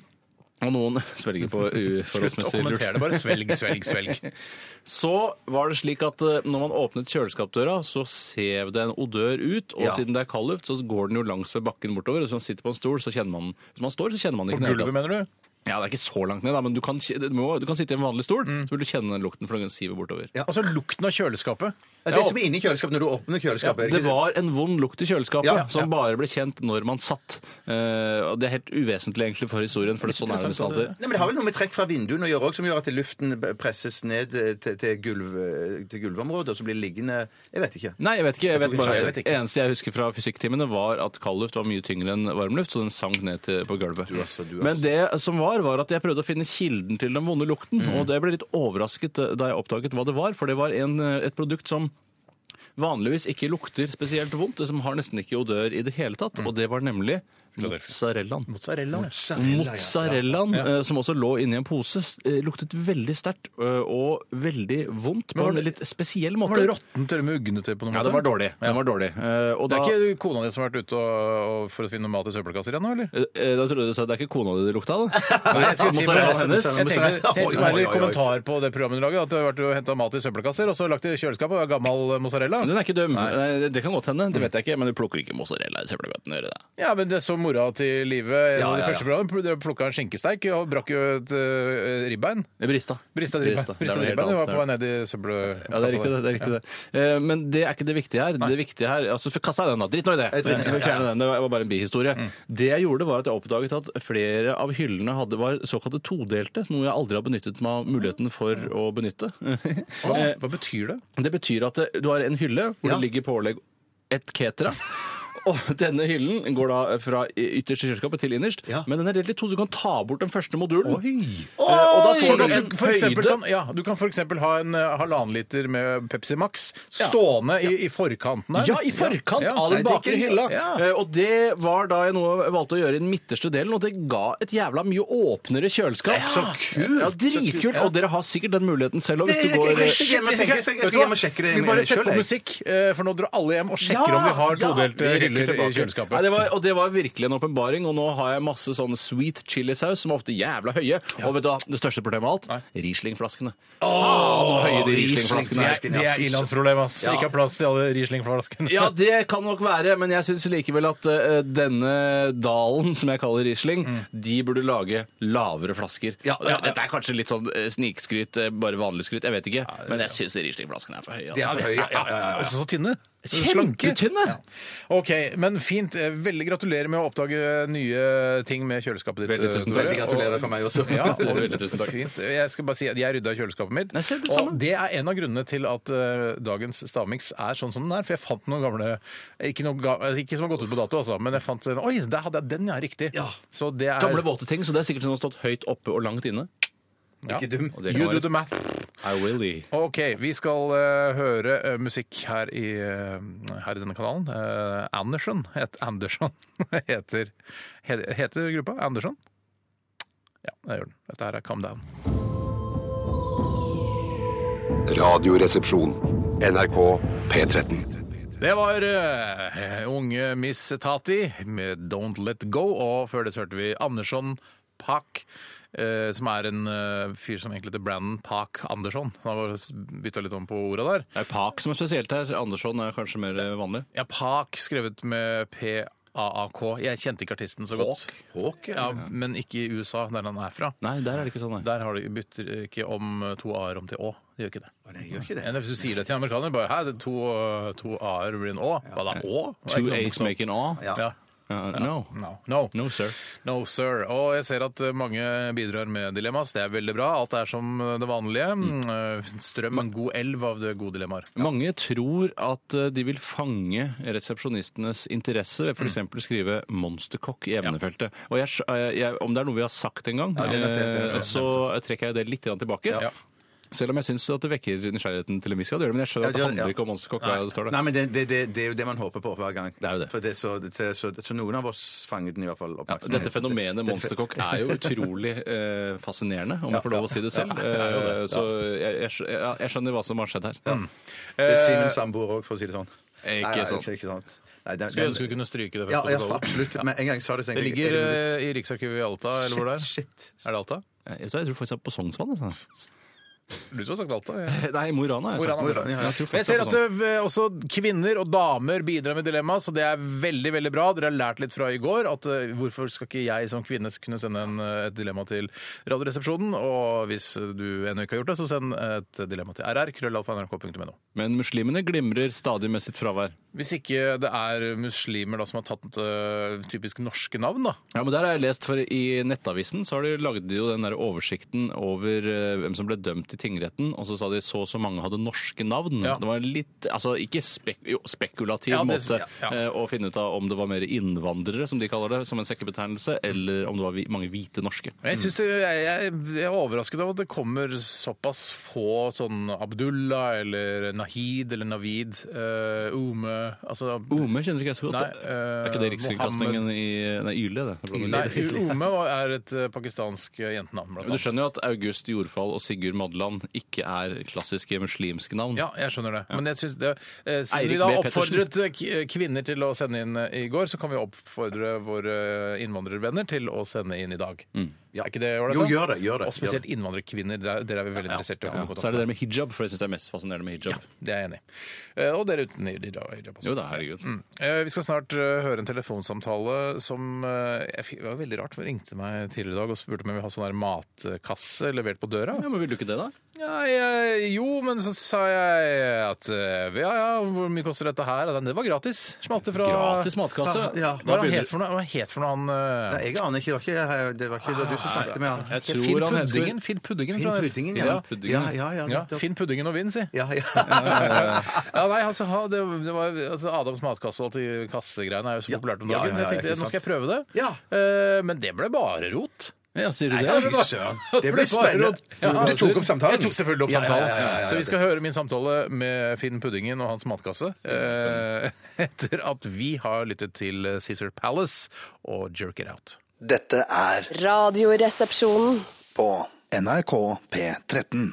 [SPEAKER 7] og noen svelger på
[SPEAKER 5] Slutt å
[SPEAKER 7] uforholdsmessig lurt
[SPEAKER 5] kommentere det. Bare svelg, svelg, svelg.
[SPEAKER 7] så var det slik at eh, når man åpnet kjøleskapdøra, så sev det en odør ut. Og
[SPEAKER 6] Ja.
[SPEAKER 7] siden det er kald luft, så går den jo langs ved bakken bortover. Og hvis man sitter på en stol, så kjenner man den. Hvis man står, så kjenner man den
[SPEAKER 5] På
[SPEAKER 7] ikke den hele
[SPEAKER 5] gulvet,
[SPEAKER 7] tatt.
[SPEAKER 5] mener du?
[SPEAKER 7] Ja, det er ikke så langt ned, da, men du kan, kje- du må, du kan sitte i en vanlig stol,
[SPEAKER 6] Mm.
[SPEAKER 7] så vil du kjenne den lukten, for den siver bortover.
[SPEAKER 5] Altså lukten av kjøleskapet.
[SPEAKER 6] Ja, Det som er inni kjøleskapet når du åpner kjøleskapet. er
[SPEAKER 7] Det
[SPEAKER 6] ikke
[SPEAKER 7] var en vond lukt i kjøleskapet
[SPEAKER 6] Ja, ja.
[SPEAKER 7] som bare ble kjent når man satt. Eh, og Det er helt uvesentlig egentlig for historien, for sånn er det nesten alltid.
[SPEAKER 6] Nei, men Det har vel noe med trekk fra vinduene å gjøre også, som gjør at luften b- presses ned eh, til, til, gulv, eh, til gulvområdet, og så blir det liggende Jeg vet ikke.
[SPEAKER 7] Nei, jeg vet ikke. Jeg vet
[SPEAKER 6] Jeg tror
[SPEAKER 7] bare,
[SPEAKER 6] ikke- jeg
[SPEAKER 7] det eneste jeg husker fra fysikktimene, var at kaldluft var mye tyngre enn varmluft, så den sank ned til, på gulvet.
[SPEAKER 6] altså, du, altså.
[SPEAKER 7] Men det som var, var at jeg prøvde å finne kilden til den vonde lukten, og det ble litt overrasket eh, da jeg oppdaget hva det var, for det var en, eh, et produkt som vanligvis ikke lukter spesielt vondt, det som har nesten ikke odør i det hele tatt, og det var nemlig mozzarellaen.
[SPEAKER 5] Mozzarella. ja.
[SPEAKER 7] Mozzarellaen, eh, som også lå inni en pose, s- eh, luktet veldig sterkt eh, og veldig vondt på
[SPEAKER 5] var
[SPEAKER 7] en
[SPEAKER 5] det-
[SPEAKER 7] litt spesiell måte.
[SPEAKER 5] Var det råttent eller muggende til på noen
[SPEAKER 7] Ja,
[SPEAKER 5] måte?
[SPEAKER 7] den var dårlig. Den var dårlig. Eh, og
[SPEAKER 5] Det
[SPEAKER 7] da,
[SPEAKER 5] er ikke kona di som har vært ute og, og for å finne mat i søppelkasser igjen nå, eller?
[SPEAKER 7] Eh, da trodde du sa det er ikke kona di det lukta av?
[SPEAKER 5] Nei, jeg skulle si bare
[SPEAKER 7] Mozzarella
[SPEAKER 5] hennes.
[SPEAKER 7] hennes.
[SPEAKER 5] Jeg tenkte-
[SPEAKER 6] Oi,
[SPEAKER 5] tenkte
[SPEAKER 6] oi,
[SPEAKER 5] bare
[SPEAKER 6] oi,
[SPEAKER 5] litt
[SPEAKER 6] oi.
[SPEAKER 5] kommentar på det programmet du lager, at du har vært og henta mat i søppelkasser, og så lagt i kjøleskapet, og det er gammel mozzarella.
[SPEAKER 7] Den er ikke dum. Nei. Mm. det- Det kan godt hende, det vet jeg ikke, men du plukker ikke mozzarella i søppelbøtten. gjør du det?
[SPEAKER 5] Ja, men det så mora til Live i
[SPEAKER 6] Ja,
[SPEAKER 5] det
[SPEAKER 6] ja,
[SPEAKER 5] første programmet. Dere plukka en skinkesteik og brakk jo et øh, ribbein.
[SPEAKER 7] Det er Brista.
[SPEAKER 5] Brista et ribbein.
[SPEAKER 7] Det er
[SPEAKER 5] Brista
[SPEAKER 7] noe
[SPEAKER 5] et
[SPEAKER 7] helt
[SPEAKER 5] ribbein. Du
[SPEAKER 7] annet.
[SPEAKER 5] var på vei ned i søppelkassa.
[SPEAKER 7] Ja, det er riktig, det. det, er riktig det. Eh, Men det er ikke det viktige her. Det viktige her, altså for- Kast deg den, da. Drit nå i det.
[SPEAKER 6] Jeg driter i det.
[SPEAKER 7] Vi fjerner den. Det var bare en bihistorie. Det jeg gjorde, var at jeg oppdaget at flere av hyllene hadde, var såkalte todelte, noe jeg aldri har benyttet meg av muligheten for å benytte. Eh,
[SPEAKER 5] Hva, hva betyr det?
[SPEAKER 7] Det betyr at det- du har en hylle hvor det ligger pålegg et ketera. Og denne hyllen går da fra ytterst i kjøleskapet til innerst, men den er delt i to. Du kan ta bort den første modulen. Eh, Og da får
[SPEAKER 5] Sånn
[SPEAKER 7] du
[SPEAKER 5] at
[SPEAKER 7] en
[SPEAKER 5] du, for eksempel,
[SPEAKER 7] høyde
[SPEAKER 5] kan, ja, du kan f.eks. ha en eh, halvannen liter med Pepsi Max stående i, i forkanten her.
[SPEAKER 7] Ja, i forkant
[SPEAKER 5] Ja.
[SPEAKER 7] av den
[SPEAKER 5] Nei,
[SPEAKER 7] bakre
[SPEAKER 5] det er ikke-
[SPEAKER 7] hylla.
[SPEAKER 5] Ja.
[SPEAKER 7] Eh, Og det var da jeg nå valgte å gjøre i den midterste delen, og det ga et jævla mye åpnere kjøleskap. Så kult! Ja, Dritkult. Og dere har sikkert den muligheten selv òg,
[SPEAKER 6] Det-
[SPEAKER 7] hvis
[SPEAKER 6] jeg-
[SPEAKER 7] du går
[SPEAKER 6] jeg- jeg- jeg- jeg- jeg- jeg- jeg- jeg- jeg skal hjem og sjekke det
[SPEAKER 5] Vi bare setter på
[SPEAKER 6] sjøl.
[SPEAKER 5] musikk, eh, for nå drar alle hjem og sjekker om vi har todelte hyller i
[SPEAKER 7] Nei,
[SPEAKER 5] kjøleskapet.
[SPEAKER 7] det var, og det var virkelig en åpenbaring, og nå har jeg masse sånn sweet chilisaus som er ofte jævla høye. Og vet du hva, det største problemet av alt? Riesling-flaskene. Faen, hvor høye de Riesling-flaskene er.
[SPEAKER 5] Det er ilandsproblem, ass. Ikke har plass til alle Riesling-flaskene.
[SPEAKER 7] Ja, det kan nok være, men jeg syns likevel at eh, denne dalen, som jeg kaller Riesling, de burde lage lavere flasker. Og det- Dette er kanskje litt sånn eh, snikskryt, eh, bare vanlig skryt, jeg vet ikke. Men jeg syns Riesling-flaskene er for høye.
[SPEAKER 6] Det er
[SPEAKER 7] Altså.
[SPEAKER 6] for høy. Ja, ja, ja, ja.
[SPEAKER 5] Så tynne.
[SPEAKER 7] Kjempetynne!
[SPEAKER 5] Slanke. OK, men fint. Eh, Veldig gratulerer med å oppdage nye ting med kjøleskapet ditt. eh,
[SPEAKER 7] Veldig tusen takk.
[SPEAKER 5] Tore.
[SPEAKER 6] Veldig gratulerer fra meg også.
[SPEAKER 5] Og- Ja, og,
[SPEAKER 7] Veldig tusen takk.
[SPEAKER 5] Fint. Jeg skal bare si at jeg rydda i kjøleskapet mitt.
[SPEAKER 7] Nei, se, det
[SPEAKER 5] og
[SPEAKER 7] samme.
[SPEAKER 5] det er en av grunnene til at eh, dagens stavmiks er sånn som den er. For jeg fant noen gamle Ikke, noen ga, altså, ikke som har gått ut på dato, altså, men jeg fant en- Oi, der hadde jeg den, ja. Riktig. Så det er
[SPEAKER 7] Gamle, våte ting, så det er sikkert sånn som har stått høyt oppe og langt inne.
[SPEAKER 5] ja.
[SPEAKER 6] Ikke dum.
[SPEAKER 7] Og det kan
[SPEAKER 5] You do
[SPEAKER 7] være-
[SPEAKER 5] the math.
[SPEAKER 7] I will.
[SPEAKER 5] Ok, vi skal eh, høre eh, musikk her i, eh, her i denne kanalen. Eh, Andersen het, Andersen heter, he, heter gruppa. Andersen? Ja, det gjør den. Dette her er Calm Down.
[SPEAKER 1] Radioresepsjon. NRK P13.
[SPEAKER 5] Det var eh, unge Miss Tati med Don't Let Go, og før det så hørte vi Andersson Pak. eh, som er en eh, fyr som egentlig heter Brandon Pak Andersson. Han har bare bytta litt om på orda der.
[SPEAKER 7] Det er Pak som er spesielt her. Andersson er kanskje mer eh, vanlig.
[SPEAKER 5] Ja, Pak skrevet med P-A-A-K. Jeg kjente ikke artisten så godt. Hawk, ja. Men ikke i USA, der han er fra.
[SPEAKER 7] Nei, der er det ikke sånn, nei.
[SPEAKER 5] Der har de, bytter ikke om eh, to a-er om til å. De gjør ikke det.
[SPEAKER 6] Nei, gjør ikke det.
[SPEAKER 5] Men hvis du sier det til en amerikaner, bare her, det er to, eh, to a-er blir en å. Hva da, å? Det er
[SPEAKER 7] Two
[SPEAKER 5] ikke noe
[SPEAKER 7] A's
[SPEAKER 6] sånn.
[SPEAKER 5] som-
[SPEAKER 7] make an A.
[SPEAKER 5] Ja.
[SPEAKER 7] Uh, no.
[SPEAKER 5] No. No.
[SPEAKER 7] No, sir.
[SPEAKER 5] No, sir. Og jeg ser at eh, mange bidrar med dilemmas. Det er veldig bra. Alt er som eh, det vanlige. Eh, Strøm, en god elv av det gode dilemmaer.
[SPEAKER 7] Mange tror at eh, de vil fange resepsjonistenes interesse ved
[SPEAKER 6] Mm.
[SPEAKER 7] f.eks. å skrive 'monsterkokk' i emnefeltet. Og jeg, skj- eh, jeg, om det er noe vi har sagt en gang,
[SPEAKER 6] det er nettopp det, det er
[SPEAKER 7] eh,
[SPEAKER 6] nettopp det.
[SPEAKER 7] så trekker jeg det litt grann tilbake.
[SPEAKER 5] Ja.
[SPEAKER 7] Selv om jeg syns det vekker nysgjerrigheten til en viss grad. det gjør det, Men jeg skjønner at
[SPEAKER 6] Ja,
[SPEAKER 7] det
[SPEAKER 6] det gjør det,
[SPEAKER 7] handler ikke om monsterkokk. hva det står der.
[SPEAKER 6] Nei, men det, det, det, det er jo det man håper på hver gang.
[SPEAKER 7] er jo det.
[SPEAKER 6] For det er så, det er så, så noen av oss fanget den i hvert fall
[SPEAKER 7] Ja,
[SPEAKER 6] oppmerksomhet.
[SPEAKER 7] dette fenomenet monsterkokk er jo utrolig eh, fascinerende, om jeg får lov å si det selv. Eh, så jeg, jeg, skj- ja, jeg skjønner hva som har skjedd her.
[SPEAKER 6] Det sier min samboer òg, for å si det sånn.
[SPEAKER 7] Eh,
[SPEAKER 6] Nei, nei,
[SPEAKER 7] Ikke sant.
[SPEAKER 6] Ikke, ikke sant. Nei, den-
[SPEAKER 5] Skulle
[SPEAKER 6] den-
[SPEAKER 5] ønske vi kunne stryke det fra
[SPEAKER 6] ja, ja,
[SPEAKER 5] protokollen.
[SPEAKER 6] absolutt. Men en gang sa det, tenkte
[SPEAKER 5] Det
[SPEAKER 6] er
[SPEAKER 5] ligger
[SPEAKER 6] det mulig?
[SPEAKER 5] eh, i Riksarkivet i Alta, eller hvor det er?
[SPEAKER 6] Shit, shit.
[SPEAKER 5] Er det Alta?
[SPEAKER 7] Jeg, Eh, vet, hva, jeg tror faktisk jeg er på Sognsvann. jeg, sa.
[SPEAKER 5] Du som har sagt Alta. Jeg.
[SPEAKER 7] Nei, Mo i Rana. har Jeg,
[SPEAKER 5] Mo i Rana,
[SPEAKER 7] sagt.
[SPEAKER 6] ja, ja.
[SPEAKER 7] jeg, tror
[SPEAKER 5] Jeg
[SPEAKER 7] faktisk jeg
[SPEAKER 5] ser
[SPEAKER 7] er
[SPEAKER 5] at
[SPEAKER 7] på Sognsvann.
[SPEAKER 5] eh, også kvinner og damer bidrar med dilemma, så det er veldig veldig bra. Dere har lært litt fra i går at eh, hvorfor skal ikke jeg som kvinne kunne sende en, eh, et dilemma til Radioresepsjonen? Og hvis eh, du ennå ikke har gjort det, så send et dilemma til rr. krøllalfa.nrk.no.
[SPEAKER 7] Men muslimene glimrer stadig med sitt fravær.
[SPEAKER 5] Hvis ikke det er muslimer da, som har tatt eh, typisk norske navn, da.
[SPEAKER 7] Ja, men der har jeg lest, for I Nettavisen så har de lagde jo den der oversikten over eh, hvem som ble dømt i tingretten. og Så sa de så og så mange hadde norske navn.
[SPEAKER 5] Ja.
[SPEAKER 7] Det var en litt, altså Ikke spek jo, spekulativ
[SPEAKER 5] Ja, det-
[SPEAKER 7] måte
[SPEAKER 5] ja, ja.
[SPEAKER 7] eh, å finne ut av om det var mer innvandrere, som de kaller det, som en sekkebetegnelse, eller om det var vi, mange hvite norske.
[SPEAKER 5] Men Jeg, synes det, jeg, jeg, jeg er overrasket over at det kommer såpass få sånn Abdullah eller Nahid eller Navid, eh, Ume altså,
[SPEAKER 7] Ome kjenner ikke Oh, jeg så godt.
[SPEAKER 5] Nei, eh,
[SPEAKER 7] er ikke det Rikskringkastingen i Nei, Yle, det.
[SPEAKER 5] Nei, Ume var- er et eh, pakistansk jentenavn, blant
[SPEAKER 7] Men Du
[SPEAKER 5] annet.
[SPEAKER 7] skjønner jo at August Jordfall og Sigurd Madland ikke er klassiske muslimske navn.
[SPEAKER 5] Ja, jeg skjønner det. Men jeg synes det, eh, siden
[SPEAKER 7] Mm. Eirik
[SPEAKER 5] vi da
[SPEAKER 7] B.
[SPEAKER 5] oppfordret eh, k- kvinner til å sende inn eh, i går, så kan vi oppfordre våre eh, innvandrervenner til å sende inn i dag. Er ikke det ålreit?
[SPEAKER 6] Jo,
[SPEAKER 5] da?
[SPEAKER 6] gjør det, gjør det,
[SPEAKER 5] Og spesielt innvandrerkvinner. der- Dere er vi veldig interessert i å
[SPEAKER 7] Ja,
[SPEAKER 5] komme i
[SPEAKER 7] Så er det
[SPEAKER 5] kontakt med.
[SPEAKER 7] det med hijab, for jeg syns det er mest fascinerende med hijab.
[SPEAKER 5] Det er jeg enig i. Eh, Og dere uten hijab også.
[SPEAKER 7] Jo da, herregud.
[SPEAKER 5] Eh, Vi skal snart eh, høre en telefonsamtale som eh, jeg fi- Det var veldig rart. for Hun ringte meg tidligere i dag og spurte om jeg ville ha sånn her matkasse levert på døra.
[SPEAKER 7] Ja, men vil du ikke det, da?
[SPEAKER 5] Ja, jeg, jo, men så sa jeg at eh, ja, ja, hvor mye koster dette her? Og den, Det var gratis. Smalt det fra
[SPEAKER 7] Gratis matkasse.
[SPEAKER 6] Ja,
[SPEAKER 5] Hva
[SPEAKER 6] da
[SPEAKER 5] var det han het
[SPEAKER 6] begynner
[SPEAKER 5] for noe? Hva het for noe han eh,
[SPEAKER 6] Nei, jeg aner ikke. Det var ikke, det var ikke det var du som snakket med han.
[SPEAKER 7] Jeg
[SPEAKER 5] Finn
[SPEAKER 7] tror han heter-
[SPEAKER 5] Puddingen? Finn Puddingen, tror jeg
[SPEAKER 6] Finn
[SPEAKER 5] han het.
[SPEAKER 6] Puddingen, Ah, ja.
[SPEAKER 7] Puddingen.
[SPEAKER 6] Ja, ja, ja.
[SPEAKER 5] Ja,
[SPEAKER 6] nettopp.
[SPEAKER 5] Finn Puddingen og vinn, si.
[SPEAKER 6] Ja, ja.
[SPEAKER 5] Ja, nei, altså, ha, det, det var, altså Adams matkasse og alt de kassegreiene er jo så
[SPEAKER 6] Ja.
[SPEAKER 5] populært om
[SPEAKER 6] Ja,
[SPEAKER 5] dagen.
[SPEAKER 6] ja, ja,
[SPEAKER 5] jeg tenkte,
[SPEAKER 6] ikke
[SPEAKER 5] Nå skal jeg prøve det.
[SPEAKER 6] Ja.
[SPEAKER 5] Eh, men det ble bare rot.
[SPEAKER 7] Ja, sier du
[SPEAKER 6] Nei,
[SPEAKER 7] det?
[SPEAKER 6] fy søren. Det ble spennende.
[SPEAKER 5] Ja,
[SPEAKER 6] Du tok opp samtalen?
[SPEAKER 5] Jeg tok selvfølgelig opp
[SPEAKER 6] Ja, ja, ja,
[SPEAKER 5] samtalen.
[SPEAKER 6] ja, ja, ja,
[SPEAKER 5] Så vi
[SPEAKER 6] det-
[SPEAKER 5] skal høre min samtale med Finn Puddingen og hans matkasse eh, etter at vi har lyttet til Cæsar Palace og Jerk It Out.
[SPEAKER 3] Dette er
[SPEAKER 9] Radioresepsjonen.
[SPEAKER 3] på NRK P13.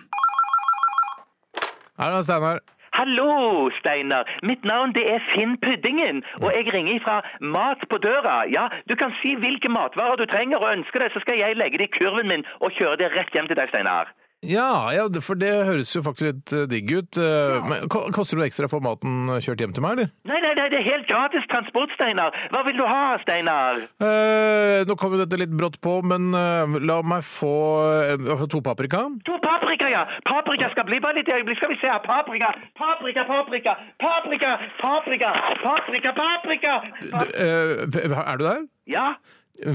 [SPEAKER 5] Her er Steinar.
[SPEAKER 10] Hallo, Steinar. Mitt navn det er Finn Puddingen, og jeg ringer fra Mat på døra. Ja, du kan si hvilke matvarer du trenger og ønsker deg, så skal jeg legge det i kurven min og kjøre det rett hjem til deg, Steinar.
[SPEAKER 5] Ja, ja, for det høres jo faktisk litt eh, digg ut. eh, Men ko- koster det ekstra å få maten eh, kjørt hjem til meg, eller?
[SPEAKER 10] Nei, nei, nei, det er helt gratis transport, Steinar. Hva vil du ha, Steinar?
[SPEAKER 5] Eh, nå kom jo dette litt brått på, men eh, la meg få eh, hva for to paprika.
[SPEAKER 10] To paprika, ja. Paprika skal bli bare litt øyeblikk. Skal vi se her. Paprika, paprika, paprika. Paprika, paprika, paprika, paprika. Pa-
[SPEAKER 5] Eh, er du der?
[SPEAKER 10] Ja,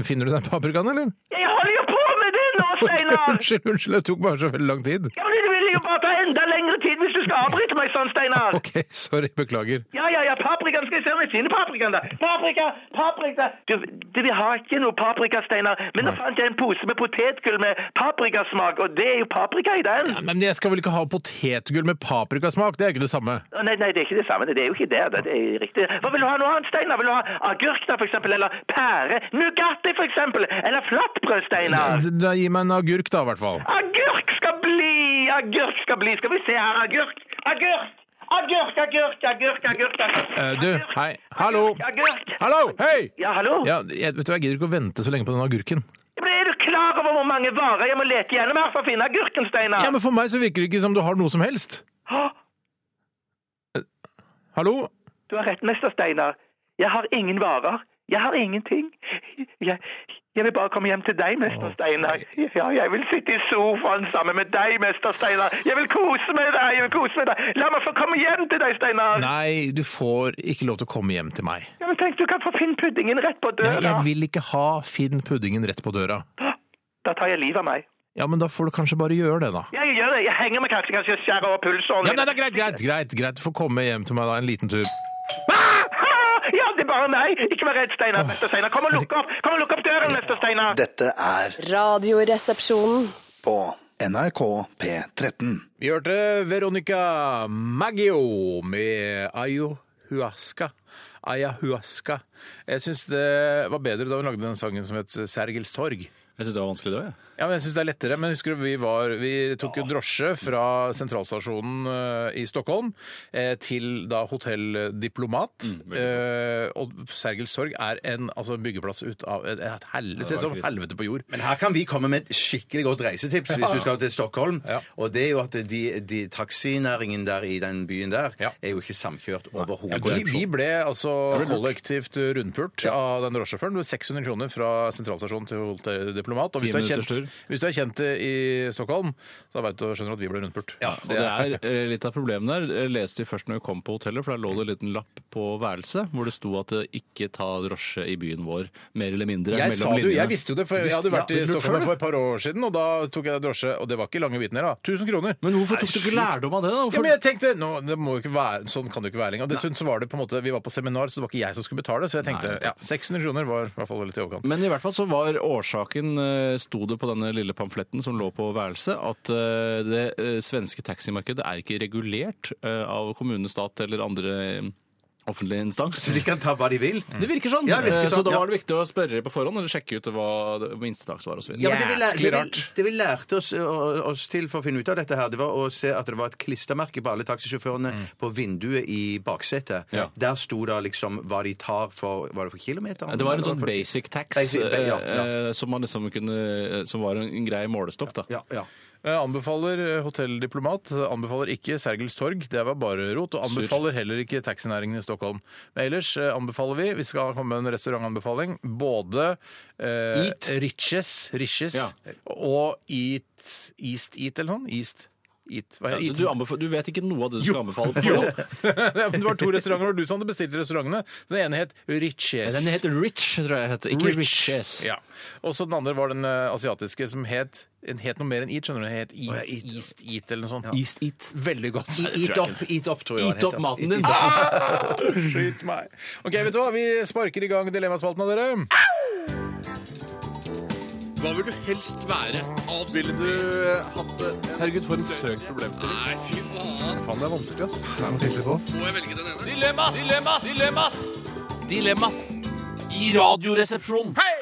[SPEAKER 5] Finner du den paprikaen, eller?
[SPEAKER 10] jeg holder jo på med det nå, Steinar.
[SPEAKER 5] Unnskyld, unnskyld, det tok bare så veldig lang tid.
[SPEAKER 10] Ja, men Det vil jo bare ta enda lengre tid hvis du skal avbryte meg sånn, Steinar.
[SPEAKER 5] Ok, sorry, beklager.
[SPEAKER 10] Ja, ja, ja, paprikaen. Skal jeg se om jeg finner paprikaen, da. Paprika! Paprika! Du, du vi har ikke noe paprika, Steinar. Men nå fant jeg en pose med potetgull med paprikasmak, og det er jo paprika i den.
[SPEAKER 5] Men jeg skal vel ikke ha potetgull med paprikasmak? Det er ikke det samme.
[SPEAKER 10] Å, Nei, nei, det er ikke det samme. Det er jo ikke det. da. Det er riktig. Hva vil du ha noe annet, Steinar? Vil du ha agurk, da, for eksempel? Eller pære? Nugatti, for eksempel? Eller flatbrød, Steinar?
[SPEAKER 5] Da Gi meg en agurk, da, i hvert fall.
[SPEAKER 10] Agurk skal bli! Agurk skal bli. Skal vi se her. Agurk! Agurk! Agurk, agurk, agurk, agurk. agurk.
[SPEAKER 5] Eh, du,
[SPEAKER 10] Agurk,
[SPEAKER 5] hei. Hallo!
[SPEAKER 10] Agurk! agurk.
[SPEAKER 5] Hallo! Hei!
[SPEAKER 10] Ja, hallo?
[SPEAKER 5] Ja, jeg, vet du, jeg gidder ikke å vente så lenge på den agurken.
[SPEAKER 10] Men er du klar over hvor mange varer jeg må lete gjennom her for å finne agurken, Steinar.
[SPEAKER 5] Ja, men for meg så virker det ikke som du har noe som helst.
[SPEAKER 10] Hå,
[SPEAKER 5] Hallo?
[SPEAKER 10] Du har rett, mester Steinar. Jeg har ingen varer. Jeg har ingenting. Jeg, jeg vil bare komme hjem til deg, mester Steinar. Ja, jeg vil sitte i sofaen sammen med deg, mester Steinar. Jeg vil kose med deg, jeg vil kose med deg. La meg få komme hjem til deg, Steinar.
[SPEAKER 5] Nei, du får ikke lov til å komme hjem til meg.
[SPEAKER 10] Ja, men tenk, du kan få finnpuddingen rett på
[SPEAKER 5] Nei,
[SPEAKER 10] døra.
[SPEAKER 5] jeg vil ikke ha Finn Puddingen rett på døra.
[SPEAKER 10] Da tar jeg livet av meg.
[SPEAKER 5] Ja, men da får du kanskje bare gjøre det, da.
[SPEAKER 10] Jeg gjør det. Jeg henger meg kanskje, kanskje jeg skjærer opp pulsåren.
[SPEAKER 5] Ja, nei, det er greit, greit, greit, greit. Du får komme hjem til meg da en liten tur.
[SPEAKER 10] Ah, Ja, det er bare meg. Ikke vær redd, Steinar. Mester Steinar, kom og lukk opp. Kom og lukk opp døren, mester Steinar.
[SPEAKER 3] Dette er
[SPEAKER 9] Radioresepsjonen.
[SPEAKER 3] på NRK P13.
[SPEAKER 5] Vi hørte Veronica Maggio med Ayahuasca. Ayahuasca. Jeg syns det var bedre da hun lagde den sangen som het Sergels torg.
[SPEAKER 7] Jeg syns det var vanskelig da, jeg.
[SPEAKER 5] Ja, men jeg synes det er lettere, men husker du, vi, var, vi tok jo drosje fra sentralstasjonen eh, i Stockholm eh, til da Hotell Diplomat. eh, og Sergels torg er en altså, en byggeplass ut av et, et helvete, ser ut som helvete på jord.
[SPEAKER 6] Men her kan vi komme med et skikkelig godt reisetips hvis du skal til Stockholm.
[SPEAKER 5] Ja.
[SPEAKER 6] Og det er jo at de, de taxinæringen der i den byen der
[SPEAKER 5] Ja.
[SPEAKER 6] er jo ikke samkjørt overhodet.
[SPEAKER 5] Ja, vi, vi ble altså kollektivt rundpult av den drosjesjåføren. Det var 600 kroner fra sentralstasjonen til Hotell Diplomat. Og hvis
[SPEAKER 7] Ti
[SPEAKER 5] du, er
[SPEAKER 7] minutters
[SPEAKER 5] kjent, hvis du er kjent i Stockholm, så vet du og skjønner du at vi ble rundpult.
[SPEAKER 6] Ja,
[SPEAKER 7] Og det er eh, litt av problemet der. Jeg leste vi først når vi kom på hotellet, for der lå det en liten lapp på værelset hvor det sto at eh, ikke ta drosje i byen vår, mer eller mindre.
[SPEAKER 5] Jeg sa
[SPEAKER 7] mellom
[SPEAKER 5] det jo, jeg
[SPEAKER 7] linjene.
[SPEAKER 5] visste jo det, for jeg hadde vært i
[SPEAKER 6] ja, men du
[SPEAKER 5] Stockholm
[SPEAKER 6] tror det.
[SPEAKER 5] for et par år siden, og da tok jeg drosje, og det var ikke lange biten her, da. 1000 kroner.
[SPEAKER 7] Men hvorfor tok du ikke lærdom av det, da?
[SPEAKER 5] Ja,
[SPEAKER 7] Hvorfor...
[SPEAKER 5] men jeg tenkte, nå, det må jo ikke være, Sånn kan det jo ikke være lenger. Og dessuten så var det på en måte, Vi var på seminar, så det var ikke jeg som skulle betale. Så jeg tenkte
[SPEAKER 7] Nei,
[SPEAKER 5] ja, 600 kroner var i hvert fall veldig i overkant.
[SPEAKER 7] Men i hvert fall så var årsaken, eh, sto det på denne lille pamfletten som lå på værelset, at eh, det eh, svenske taximarkedet er ikke regulert eh, av kommune, stat eller andre eh, offentlige instans.
[SPEAKER 6] Så de kan ta hva de vil.
[SPEAKER 7] Det virker sånn.
[SPEAKER 6] Mm. Ja, det virker
[SPEAKER 7] Eh,
[SPEAKER 6] sånn,
[SPEAKER 7] Så da
[SPEAKER 6] ja.
[SPEAKER 7] var det viktig å spørre på forhånd eller sjekke ut hva det- minstetax var osv.
[SPEAKER 6] Ja, men det vi, lær,
[SPEAKER 5] Jæsklig
[SPEAKER 6] det, vi,
[SPEAKER 5] rart.
[SPEAKER 6] det vi lærte oss, å- oss til for å finne ut av dette, her, det var å se at det var et klistremerke på alle taxisjåførene på vinduet i baksetet.
[SPEAKER 7] Mm. Ja.
[SPEAKER 6] Der sto det liksom hva de tar for Var det for kilometer?
[SPEAKER 7] Det var en
[SPEAKER 6] Eller
[SPEAKER 7] sånn
[SPEAKER 6] for-
[SPEAKER 7] basic tax
[SPEAKER 6] Basic, ba- ja, ja.
[SPEAKER 7] eh, eh, som, man liksom kunne, som var en, en grei målestokk. da.
[SPEAKER 6] Ja, ja.
[SPEAKER 5] Jeg anbefaler eh, Hotell Diplomat, eh, anbefaler ikke Sergels torg, det var bare rot. Og anbefaler heller ikke taxinæringen i Stockholm. Men ellers eh, anbefaler vi, vi skal komme med en restaurantanbefaling, både eh,
[SPEAKER 6] Eat.
[SPEAKER 5] Riches, Riches
[SPEAKER 7] Ja.
[SPEAKER 5] og Eat East Eat eller noe sånt. East Eat. Hva
[SPEAKER 7] Ja,
[SPEAKER 5] heter
[SPEAKER 7] så
[SPEAKER 5] Eat?
[SPEAKER 7] du, anbef- du vet ikke noe av det du skal anbefale? på forhånd?
[SPEAKER 5] Ja, men det var to restauranter, og du som hadde bestilt restaurantene. Den ene het Riches.
[SPEAKER 7] Den heter Rich, tror jeg. Heter. Ikke Riches.
[SPEAKER 5] Ja. Og så den andre var den eh, asiatiske som het, den het noe mer enn Eat, skjønner du. Den het Eat,
[SPEAKER 6] ja, Eat.
[SPEAKER 5] East Eat eller noe sånt.
[SPEAKER 7] East Eat.
[SPEAKER 5] Veldig godt.
[SPEAKER 6] Eat up, eat up, tror jeg.
[SPEAKER 7] Eat
[SPEAKER 6] den
[SPEAKER 7] opp
[SPEAKER 6] heter.
[SPEAKER 7] maten din!
[SPEAKER 5] Skyt meg. Ok, vet du hva? Vi sparker i gang dilemmaspalten av dere.
[SPEAKER 7] Hva vil du helst være? Ville du eh, hatt det? Herregud, for en søk problem. Nei, fy faen.
[SPEAKER 5] Faen, det er vanskelig, ass.
[SPEAKER 7] Må jeg velge den ene? Dilemmas! Dilemmas! Dilemmas! Dilemmas! I radioresepsjonen!
[SPEAKER 5] Hei!